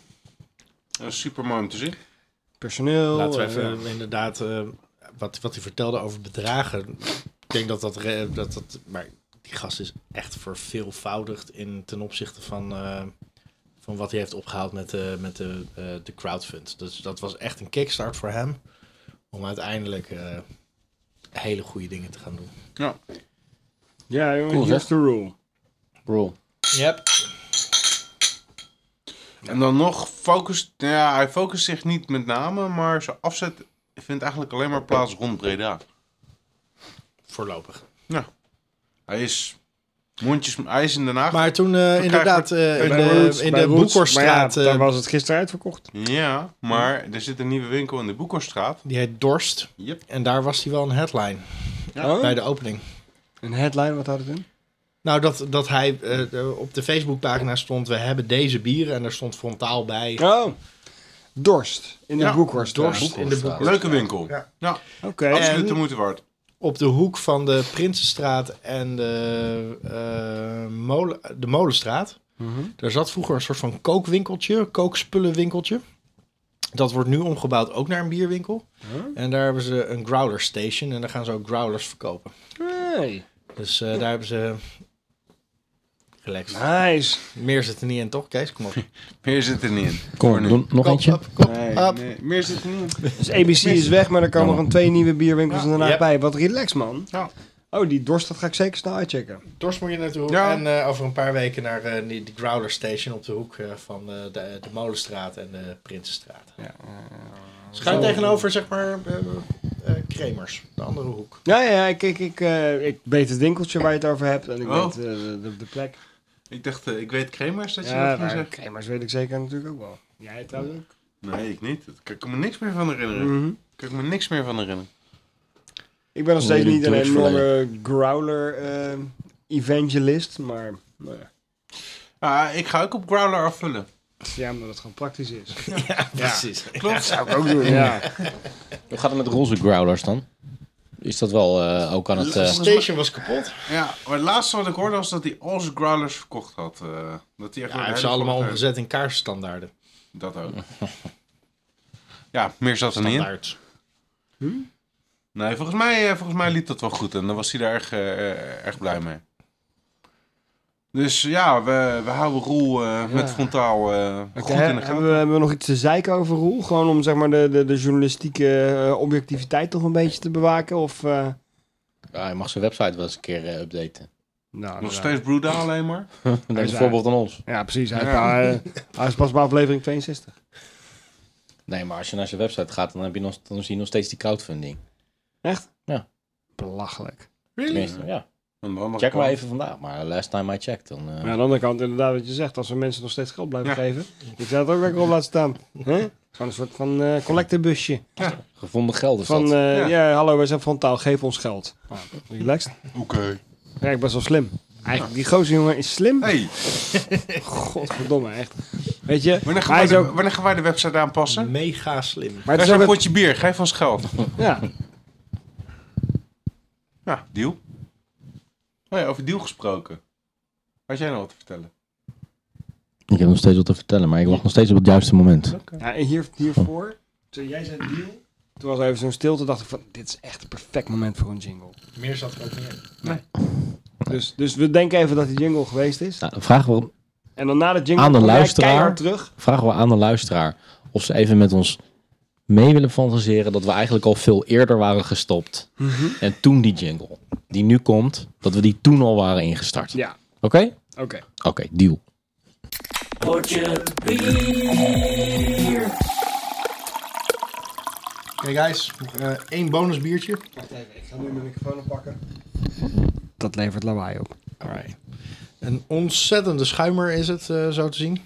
[SPEAKER 8] Dat is super mooi om te zien.
[SPEAKER 4] Personeel.
[SPEAKER 2] Laten we
[SPEAKER 4] eh,
[SPEAKER 2] even inderdaad... eh, wat, wat hij vertelde over bedragen. ik denk dat dat, re- dat dat... Maar die gast is echt verveelvoudigd in, ten opzichte van... eh, van wat hij heeft opgehaald met, eh, met de, eh, de crowdfund. Dus dat was echt een kickstart voor hem. Om uiteindelijk eh, hele goede dingen te gaan doen.
[SPEAKER 4] ja, jongen,
[SPEAKER 1] Cool,
[SPEAKER 4] here's
[SPEAKER 1] zeg.
[SPEAKER 4] the rule.
[SPEAKER 1] Roel.
[SPEAKER 2] Yep.
[SPEAKER 8] En dan nog focust, nou ja, hij focust zich niet met name, maar zijn afzet vindt eigenlijk alleen maar plaats rond Breda.
[SPEAKER 2] Voorlopig.
[SPEAKER 8] Hij is Mondjes ijs in Den Haag.
[SPEAKER 2] Maar toen eh, inderdaad eh, in
[SPEAKER 4] Bij
[SPEAKER 2] de,
[SPEAKER 4] Roots,
[SPEAKER 2] in
[SPEAKER 4] bij
[SPEAKER 2] de
[SPEAKER 4] Roots.
[SPEAKER 2] Boekhorststraat,
[SPEAKER 4] Maar ja, daar
[SPEAKER 2] eh,
[SPEAKER 4] was het gisteren uitverkocht.
[SPEAKER 8] Ja, maar er zit een nieuwe winkel in de Boekhorststraat.
[SPEAKER 2] die heet Dorst.
[SPEAKER 8] Yep.
[SPEAKER 2] En daar was hij wel een headline
[SPEAKER 4] Ja.
[SPEAKER 2] bij de opening.
[SPEAKER 4] Een headline, wat had het in?
[SPEAKER 2] Nou, dat, dat hij eh, op de Facebookpagina stond, we hebben deze bieren. En daar stond frontaal bij.
[SPEAKER 4] Oh. Dorst. In de
[SPEAKER 8] Ja,
[SPEAKER 4] Boekhorst.
[SPEAKER 2] Dorst in de Boekhorst.
[SPEAKER 8] Leuke winkel.
[SPEAKER 2] Ja.
[SPEAKER 8] Ja.
[SPEAKER 4] Oké.
[SPEAKER 8] absoluut de moeite waard.
[SPEAKER 2] Op de hoek van de Prinsenstraat en de, eh, molen, de Molenstraat.
[SPEAKER 4] Mhm.
[SPEAKER 2] Daar zat vroeger een soort van kookwinkeltje, kookspullenwinkeltje. Dat wordt nu omgebouwd ook naar een bierwinkel. En daar hebben ze een growler station en daar gaan ze ook growlers verkopen.
[SPEAKER 4] Hey.
[SPEAKER 2] Dus eh, daar hebben ze... Relaxed.
[SPEAKER 4] Nice.
[SPEAKER 2] Meer zit er niet in, toch? Kees, kom op.
[SPEAKER 8] Meer zit er niet in.
[SPEAKER 11] Kom, doe nog
[SPEAKER 2] Kom
[SPEAKER 11] eentje.
[SPEAKER 2] op, kom
[SPEAKER 4] Nee.
[SPEAKER 2] op.
[SPEAKER 8] Nee, meer zit er niet in.
[SPEAKER 4] Dus ABC is weg, maar er komen nog een twee nieuwe bierwinkels en daarna
[SPEAKER 2] Yep.
[SPEAKER 4] bij. Wat relax, man.
[SPEAKER 2] Ja.
[SPEAKER 4] Oh, die dorst, dat ga ik zeker snel uitchecken.
[SPEAKER 2] Dorst moet je naartoe.
[SPEAKER 8] Ja.
[SPEAKER 2] En eh, over een paar weken naar eh, die, die Growler Station op de hoek eh, van eh, de, de Molenstraat en de Prinsenstraat.
[SPEAKER 4] Ja.
[SPEAKER 2] Schuin tegenover, zeg maar, eh eh, Kremers. De andere hoek.
[SPEAKER 4] Ja, ja, ja, ik, ik, ik, eh, ik weet het winkeltje waar je het over hebt en ik
[SPEAKER 8] Oh.
[SPEAKER 4] weet eh, de, de, de plek.
[SPEAKER 8] Ik dacht, eh, ik weet Kremers dat je
[SPEAKER 4] Ja,
[SPEAKER 8] dat ging
[SPEAKER 4] maar
[SPEAKER 8] zeggen.
[SPEAKER 4] Kremers weet ik zeker natuurlijk ook wel. Jij trouwens ook.
[SPEAKER 8] Nee, ik niet. Daar kan ik me niks meer van herinneren.
[SPEAKER 4] Mhm.
[SPEAKER 8] Kan ik me niks meer van herinneren.
[SPEAKER 4] Ik ben nog steeds
[SPEAKER 11] Hoe je
[SPEAKER 4] niet een
[SPEAKER 11] die dorst
[SPEAKER 4] enorme growler eh, evangelist, maar nou ja.
[SPEAKER 8] Ah, ik ga ook op Growler afvullen.
[SPEAKER 4] ja, omdat het gewoon praktisch is.
[SPEAKER 2] Precies.
[SPEAKER 8] Klopt.
[SPEAKER 4] Dat zou ik ook doen, ja.
[SPEAKER 11] Hoe gaat het met roze growlers dan? Is dat wel eh, ook aan het...
[SPEAKER 2] De
[SPEAKER 11] eh,
[SPEAKER 2] station was kapot.
[SPEAKER 8] Ja, maar het laatste wat ik hoorde was dat hij al zijn growlers verkocht had. eh, dat hij echt
[SPEAKER 2] Ja,
[SPEAKER 8] een
[SPEAKER 2] hij heeft ze
[SPEAKER 8] hele
[SPEAKER 2] allemaal
[SPEAKER 8] grote-
[SPEAKER 2] omgezet in kaarsstandaarden.
[SPEAKER 8] Dat ook. Ja, meer zat er niet in.
[SPEAKER 2] Standaard.
[SPEAKER 8] Nee, volgens mij, eh, volgens mij liep dat wel goed en dan was hij daar erg, eh, erg blij mee. Dus ja, we, we houden Roel eh, met frontaal eh, goed
[SPEAKER 4] Oké,
[SPEAKER 8] in de gaten.
[SPEAKER 4] hebben, we, hebben we nog iets te zeiken over Roel? Gewoon om zeg maar, de, de, de journalistieke eh, objectiviteit toch een beetje te bewaken? Of, eh,
[SPEAKER 11] ja, ah, je mag zijn website wel eens een keer eh, updaten.
[SPEAKER 4] nou,
[SPEAKER 8] Nog
[SPEAKER 4] ja.
[SPEAKER 8] steeds Bruda alleen maar.
[SPEAKER 11] Neem
[SPEAKER 4] is
[SPEAKER 11] een voorbeeld aan ons.
[SPEAKER 4] Ja, precies. Hij,
[SPEAKER 8] Ja.
[SPEAKER 4] hij- hij is pas bij aflevering 62.
[SPEAKER 11] Nee, maar als je naar zijn website gaat, dan, heb je nog, dan zie je nog steeds die crowdfunding.
[SPEAKER 4] Belachelijk.
[SPEAKER 11] Tenminste, ja.
[SPEAKER 8] Aan de andere
[SPEAKER 11] Check maar
[SPEAKER 8] kant.
[SPEAKER 11] even vandaag. Maar last time I checked, dan... eh,
[SPEAKER 4] Maar aan de andere kant, inderdaad, wat je zegt, als we mensen nog steeds geld blijven
[SPEAKER 8] Ja.
[SPEAKER 4] geven, ik zou het ook lekker op laten staan. Hè? Gewoon een soort van eh collectebusje.
[SPEAKER 11] Gevonden geld is
[SPEAKER 4] Van,
[SPEAKER 11] dat.
[SPEAKER 4] eh,
[SPEAKER 8] Ja.
[SPEAKER 4] ja. hallo, wij zijn van taal, geef ons geld. Nou, relaxed.
[SPEAKER 8] Oké.
[SPEAKER 4] Eigenlijk best wel slim. Eigenlijk, die gozer jongen is slim.
[SPEAKER 8] Hey,
[SPEAKER 4] Godverdomme, echt. Weet je,
[SPEAKER 8] wanneer gaan,
[SPEAKER 4] hij
[SPEAKER 8] wij
[SPEAKER 4] is
[SPEAKER 8] de,
[SPEAKER 4] ook...
[SPEAKER 8] wanneer gaan wij de website aanpassen?
[SPEAKER 2] Mega slim.
[SPEAKER 4] Maar
[SPEAKER 8] Daar
[SPEAKER 4] het
[SPEAKER 8] is
[SPEAKER 4] is ook
[SPEAKER 8] een
[SPEAKER 4] het-
[SPEAKER 8] potje bier, geef ons geld.
[SPEAKER 4] Ja,
[SPEAKER 8] Ja, deal. Oh ja, over deal gesproken. Had jij nog wat te vertellen?
[SPEAKER 11] Ik heb nog steeds wat te vertellen, maar ik wacht nog steeds op het juiste moment.
[SPEAKER 4] (laughs) Ja, en hier, hiervoor, toen jij zei deal, toen was er even zo'n stilte, dacht ik van, dit is echt een perfect moment voor een jingle.
[SPEAKER 2] Meer zat er ook niet in.
[SPEAKER 4] Dus, dus we denken even dat die jingle geweest is.
[SPEAKER 11] Nou, vragen, we,
[SPEAKER 4] En dan na de jingle
[SPEAKER 11] Aan de
[SPEAKER 4] kom jij
[SPEAKER 11] luisteraar.
[SPEAKER 4] keihard terug.
[SPEAKER 11] vragen we aan de luisteraar of ze even met ons mee willen fantaseren dat we eigenlijk al veel eerder waren gestopt.
[SPEAKER 4] Mhm.
[SPEAKER 11] En toen die jingle, die nu komt, dat we die toen al waren ingestart. Oké?
[SPEAKER 4] Ja, oké.
[SPEAKER 11] Oké, deal.
[SPEAKER 2] Oké guys, nog eh, één bonus biertje.
[SPEAKER 4] Wacht even, ik ga nu mijn microfoon oppakken. Dat levert lawaai op. Alright.
[SPEAKER 2] Een ontzettende schuimer is het, eh, zo te zien.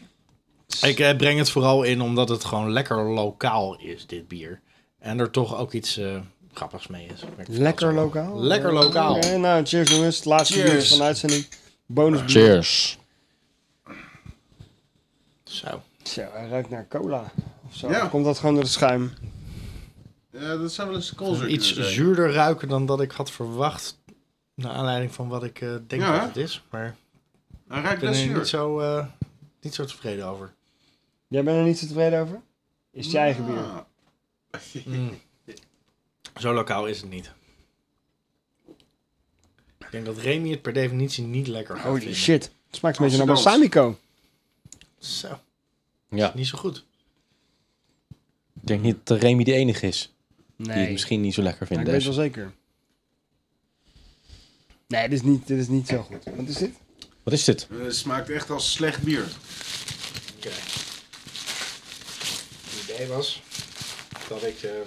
[SPEAKER 2] Ik eh, breng het vooral in omdat het gewoon lekker lokaal is, dit bier. En er toch ook iets eh, grappigs mee is.
[SPEAKER 4] Lekker lokaal.
[SPEAKER 2] Lekker lokaal.
[SPEAKER 4] Oké, nou, cheers jongens. Het laatste
[SPEAKER 8] Cheers.
[SPEAKER 4] biertje van de uitzending. Bonus bier.
[SPEAKER 11] Cheers.
[SPEAKER 2] Zo.
[SPEAKER 4] Zo, hij ruikt naar cola. Of zo.
[SPEAKER 8] Ja.
[SPEAKER 4] Komt dat gewoon door het schuim?
[SPEAKER 8] Ja, dat zijn wel eens koolzuur.
[SPEAKER 2] Iets zuurder ruiken dan dat ik had verwacht. Naar aanleiding van wat ik eh, denk
[SPEAKER 8] Ja,
[SPEAKER 2] dat
[SPEAKER 8] hè?
[SPEAKER 2] het is. Maar
[SPEAKER 8] Hij
[SPEAKER 2] ik
[SPEAKER 8] ruikt
[SPEAKER 2] ben
[SPEAKER 8] best
[SPEAKER 2] er
[SPEAKER 8] zuur.
[SPEAKER 2] niet zo, eh, niet zo tevreden over.
[SPEAKER 4] Jij bent er niet zo tevreden over? Is het je eigen bier?
[SPEAKER 8] Ah.
[SPEAKER 2] Zo lokaal is het niet. Ik denk dat Remy het per definitie niet lekker gaat
[SPEAKER 4] Holy
[SPEAKER 2] vinden.
[SPEAKER 4] shit. Het smaakt een beetje naar
[SPEAKER 8] Amsterdams.
[SPEAKER 4] balsamico.
[SPEAKER 2] Zo,
[SPEAKER 11] Ja,
[SPEAKER 2] niet zo goed.
[SPEAKER 11] ik denk niet dat Remy de enige is die het
[SPEAKER 4] Nee,
[SPEAKER 11] misschien niet zo lekker
[SPEAKER 4] maar
[SPEAKER 11] vindt.
[SPEAKER 4] ik weet
[SPEAKER 11] deze.
[SPEAKER 4] wel zeker. Nee, dit is, niet, dit is niet zo goed. Wat is dit?
[SPEAKER 11] Wat is dit?
[SPEAKER 8] Eh, Het smaakt echt als slecht bier.
[SPEAKER 2] Het idee was dat ik eh,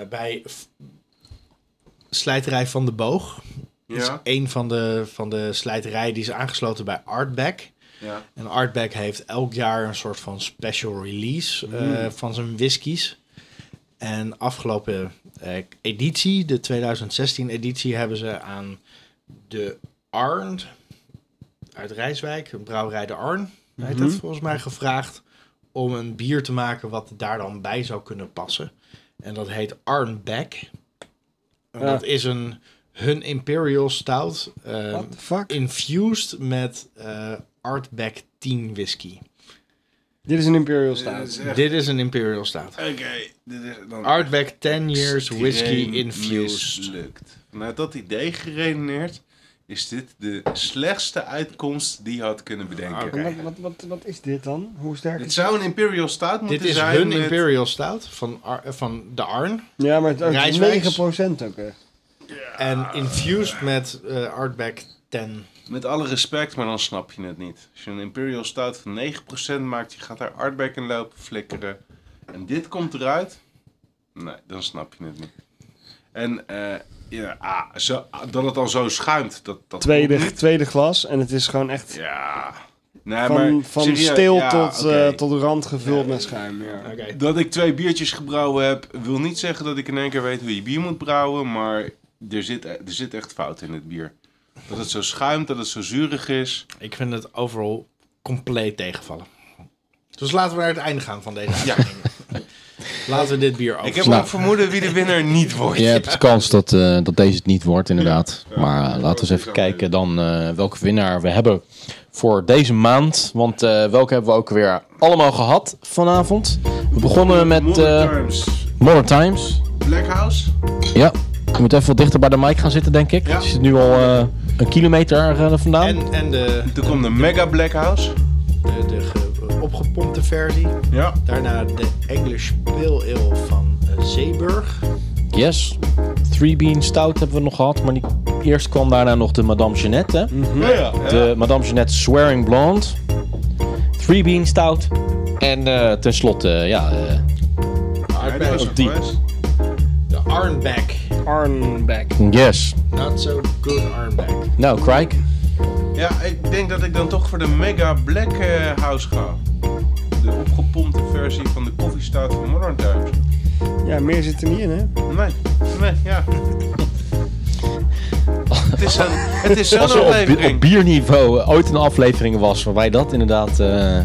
[SPEAKER 2] eh, bij v- slijterij van de boog Dat is
[SPEAKER 8] Ja.
[SPEAKER 2] een van de, van de slijterijen die is aangesloten bij Artback.
[SPEAKER 8] Ja.
[SPEAKER 2] En Artback heeft elk jaar een soort van special release eh,
[SPEAKER 8] Mm.
[SPEAKER 2] van zijn whiskies. En afgelopen eh, editie, de 2016 editie, hebben ze aan de Arn uit Rijswijk, een brouwerij de Arn, heet
[SPEAKER 4] Mhm.
[SPEAKER 2] dat volgens mij, gevraagd om een bier te maken wat daar dan bij zou kunnen passen. En dat heet Arnback. En Dat is een hun Imperial Stout. eh,
[SPEAKER 4] What the fuck?
[SPEAKER 2] infused met eh, Artback 10 whisky.
[SPEAKER 4] Dit is een Imperial
[SPEAKER 8] Dit
[SPEAKER 4] Stout.
[SPEAKER 8] is echt-
[SPEAKER 2] Dit is een Imperial Stout.
[SPEAKER 8] Oké, dit is dan...
[SPEAKER 2] Artback 10 years whisky
[SPEAKER 8] extreem
[SPEAKER 2] infused.
[SPEAKER 8] Mislukt. Vanuit dat idee geredeneerd is dit de slechtste uitkomst die je had kunnen
[SPEAKER 2] Ah,
[SPEAKER 8] bedenken.
[SPEAKER 4] En Wat, wat, wat, wat is dit dan? Hoe sterk
[SPEAKER 8] Het
[SPEAKER 4] is
[SPEAKER 8] zou een Imperial Stout moeten
[SPEAKER 2] Dit is
[SPEAKER 8] zijn
[SPEAKER 2] hun
[SPEAKER 8] met-
[SPEAKER 2] Imperial Stout van, Ar- eh, van de Arn.
[SPEAKER 4] Ja, maar het is
[SPEAKER 2] Rijswijks.
[SPEAKER 4] 9% ook. hè.
[SPEAKER 2] En infused met eh, Artback 10.
[SPEAKER 8] Met alle respect, maar dan snap je het niet. Als je een Imperial Stout van 9% maakt, je gaat daar Artback in lopen flikkeren. En dit komt eruit. Nee, dan snap je het niet. En eh, ja, ah, zo, ah, dat het al zo schuimt. Dat, dat klopt
[SPEAKER 4] Tweede,
[SPEAKER 8] niet.
[SPEAKER 4] tweede glas. En het is gewoon echt
[SPEAKER 8] Ja. Nee,
[SPEAKER 4] van,
[SPEAKER 8] maar
[SPEAKER 4] van
[SPEAKER 8] serieus,
[SPEAKER 4] stil
[SPEAKER 8] ja,
[SPEAKER 4] tot,
[SPEAKER 8] oké.
[SPEAKER 4] eh, tot rand gevuld met schuim. Ja.
[SPEAKER 8] Dat ik twee biertjes gebrouwen heb, wil niet zeggen dat ik in één keer weet hoe je bier moet brouwen. Maar er zit, er zit echt fout in het bier. Dat het zo schuimt, dat het zo zuurig is.
[SPEAKER 2] Ik vind het overal compleet tegenvallen. Dus laten we naar het einde gaan van deze
[SPEAKER 8] Ja.
[SPEAKER 2] aflevering. Laten we dit bier over.
[SPEAKER 8] Ik heb
[SPEAKER 1] Nou.
[SPEAKER 8] al vermoeden wie de winnaar niet wordt.
[SPEAKER 1] Je hebt kans dat, eh, dat deze het niet wordt, inderdaad. maar eh, laten we eens even kijken dan eh, welke winnaar we hebben voor deze maand. Want eh, welke hebben we ook weer allemaal gehad vanavond? We begonnen met
[SPEAKER 8] Modern
[SPEAKER 1] eh
[SPEAKER 8] Times.
[SPEAKER 1] Modern Times.
[SPEAKER 8] Black House.
[SPEAKER 1] Ja, ik moet even wat dichter bij de mic gaan zitten, denk ik.
[SPEAKER 8] Ja.
[SPEAKER 1] Je zit nu al eh, een kilometer eh, vandaan.
[SPEAKER 2] En, en de,
[SPEAKER 8] Toen kwam de Mega Black House.
[SPEAKER 2] de, de ge- eh, opgepompte versie.
[SPEAKER 8] Ja.
[SPEAKER 2] Daarna de English Pale Ale van eh, Zeeburg.
[SPEAKER 1] Yes. Three Bean Stout hebben we nog gehad. Maar die, eerst kwam daarna nog de Madame Jeannette. hè?
[SPEAKER 8] ja.
[SPEAKER 1] De Madame Jeannette Swearing Blonde. Three Bean Stout. En eh, tenslotte, ja, eh,
[SPEAKER 8] Ja, die was
[SPEAKER 1] op
[SPEAKER 8] er
[SPEAKER 1] die.
[SPEAKER 8] geweest.
[SPEAKER 2] De Arnback.
[SPEAKER 4] Arnback.
[SPEAKER 1] yes.
[SPEAKER 2] Not so good Arnback.
[SPEAKER 1] Nou, Crike.
[SPEAKER 8] Ja, ik denk dat ik dan toch voor de Mega Black eh, House ga. De opgepompte versie van de koffiestaat van Modern Times.
[SPEAKER 4] Ja, meer zit er niet in, hè?
[SPEAKER 8] Nee, nee, ja. het is een, het is zo'n
[SPEAKER 1] Als er op, bi- op
[SPEAKER 8] aflevering.
[SPEAKER 1] bierniveau eh, ooit een aflevering was waarbij dat inderdaad
[SPEAKER 8] (laughs)
[SPEAKER 1] eh,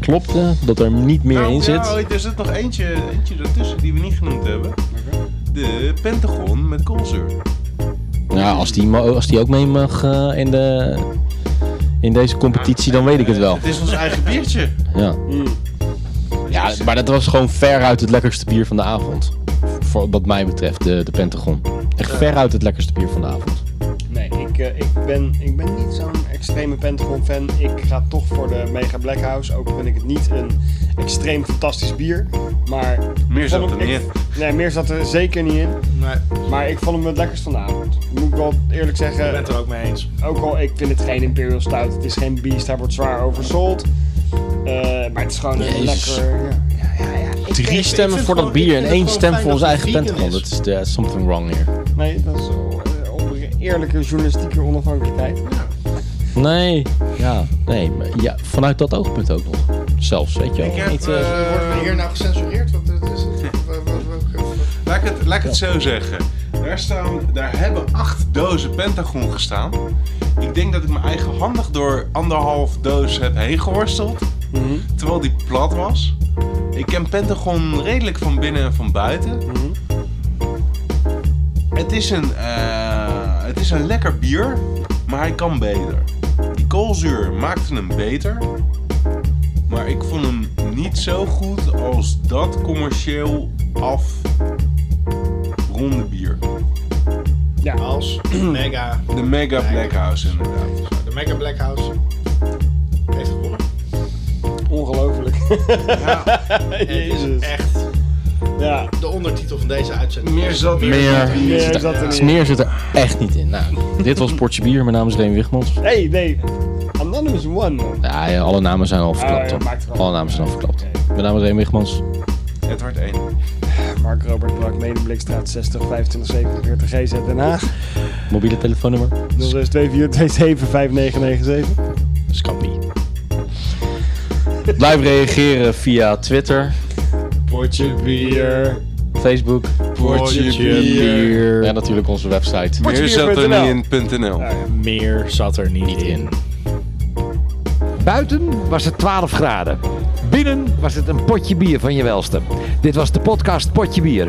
[SPEAKER 1] klopte, dat er niet meer
[SPEAKER 8] Nou,
[SPEAKER 1] in zit.
[SPEAKER 8] Ja, er zit nog eentje, eentje ertussen die we niet genoemd hebben. De Pentagon met koolzuur.
[SPEAKER 1] Nou, als die, mo- als die ook mee mag eh, in, de, in deze competitie, dan weet ik het Hmm. wel.
[SPEAKER 8] Het is ons eigen biertje.
[SPEAKER 1] Ja. ja, maar dat was gewoon veruit het lekkerste bier van de avond. Voor, wat mij betreft, de, de Pentagon. Echt veruit het lekkerste bier van de avond.
[SPEAKER 4] Nee, ik, eh, ik, ben, ik ben niet zo'n extreme Pentagon-fan. Ik ga toch voor de Mega Black House. Ook vind ik het niet een extreem fantastisch bier. Maar
[SPEAKER 8] Meer zat er
[SPEAKER 4] Ik-
[SPEAKER 8] niet in.
[SPEAKER 4] Nee, meer zat er zeker niet in.
[SPEAKER 2] Nee,
[SPEAKER 4] Maar ik vond hem het lekkerst vanavond. Moet ik wel eerlijk
[SPEAKER 2] ik ben
[SPEAKER 4] zeggen.
[SPEAKER 2] het er ook mee eens.
[SPEAKER 4] Ook al, ik vind het geen Imperial Stout. Het is geen Beast. Hij wordt zwaar oversold. Eh, maar het is gewoon een
[SPEAKER 1] Jezus.
[SPEAKER 4] lekker... Ja.
[SPEAKER 1] Drie stemmen
[SPEAKER 2] vind
[SPEAKER 1] voor dat
[SPEAKER 2] gewoon- ik
[SPEAKER 1] bier en
[SPEAKER 2] vind het
[SPEAKER 1] één
[SPEAKER 2] gewoon
[SPEAKER 1] stem
[SPEAKER 2] fijn
[SPEAKER 1] voor
[SPEAKER 2] dat
[SPEAKER 1] onze
[SPEAKER 2] het
[SPEAKER 1] eigen
[SPEAKER 2] vegan
[SPEAKER 1] Pentagon.
[SPEAKER 2] is.
[SPEAKER 1] Dat is there's something wrong here.
[SPEAKER 4] Nee, dat is eh, op een eerlijke journalistieke onafhankelijkheid.
[SPEAKER 1] Nee, ja, nee. maar ja, vanuit dat oogpunt ook nog. Zelfs, weet je wel.
[SPEAKER 8] Ik heb,
[SPEAKER 1] niet, eh,
[SPEAKER 8] eh,
[SPEAKER 2] Worden we hier nou gecensureerd? Want het is... wat- wat- wat- wat-
[SPEAKER 8] Laat ik het, laat ik het zo zeggen. Daar, staan, daar hebben acht dozen Pentagon gestaan. Ik denk dat ik me eigenhandig door anderhalf doos heb heen geworsteld. Terwijl die plat was. Ik ken Pentagon redelijk van binnen en van buiten. Het, is een, eh, het is een lekker bier, maar hij kan beter. Die koolzuur maakte hem beter. Maar ik vond hem niet zo goed als dat commercieel afronde bier.
[SPEAKER 4] Ja.
[SPEAKER 2] Als (clears throat) Mega...
[SPEAKER 8] De Mega Black House inderdaad.
[SPEAKER 2] De Mega Black House heeft gewonnen.
[SPEAKER 4] Ongelooflijk. (laughs) Jezus.
[SPEAKER 2] Echt.
[SPEAKER 4] Ja.
[SPEAKER 2] De ondertitel van deze uitzending.
[SPEAKER 8] Meer zat
[SPEAKER 1] meer,
[SPEAKER 4] Meer
[SPEAKER 1] zit er-
[SPEAKER 4] zat er niet in.
[SPEAKER 1] meer zit er echt niet in. Nou, dit was Portje Bier. Mijn naam is Reen Wichmans.
[SPEAKER 4] Hey, nee. Anonymous One. man.
[SPEAKER 1] Ja, ja, alle namen zijn al
[SPEAKER 4] Ah,
[SPEAKER 1] verklapt.
[SPEAKER 4] ja,
[SPEAKER 1] hoor.
[SPEAKER 4] maakt het wel.
[SPEAKER 1] alle namen zijn al verklapt. Mijn naam is Reen Wichmans.
[SPEAKER 8] Het wordt één.
[SPEAKER 4] Mark Robert Brak, Medeblikstraat 60 25 47 GZ Den
[SPEAKER 8] (laughs)
[SPEAKER 4] Haag.
[SPEAKER 1] Mobiele telefoonnummer.
[SPEAKER 4] 0624275997.
[SPEAKER 12] Scampie.
[SPEAKER 1] (laughs) Blijf reageren via Twitter,
[SPEAKER 4] Potje bier.
[SPEAKER 1] Facebook. En natuurlijk onze website.
[SPEAKER 8] Meer zat er niet in.nl.
[SPEAKER 1] Meer zat er niet in.
[SPEAKER 13] Buiten was het 12 graden. Binnen was het een potje bier van je welste. Dit was de podcast Potje Bier.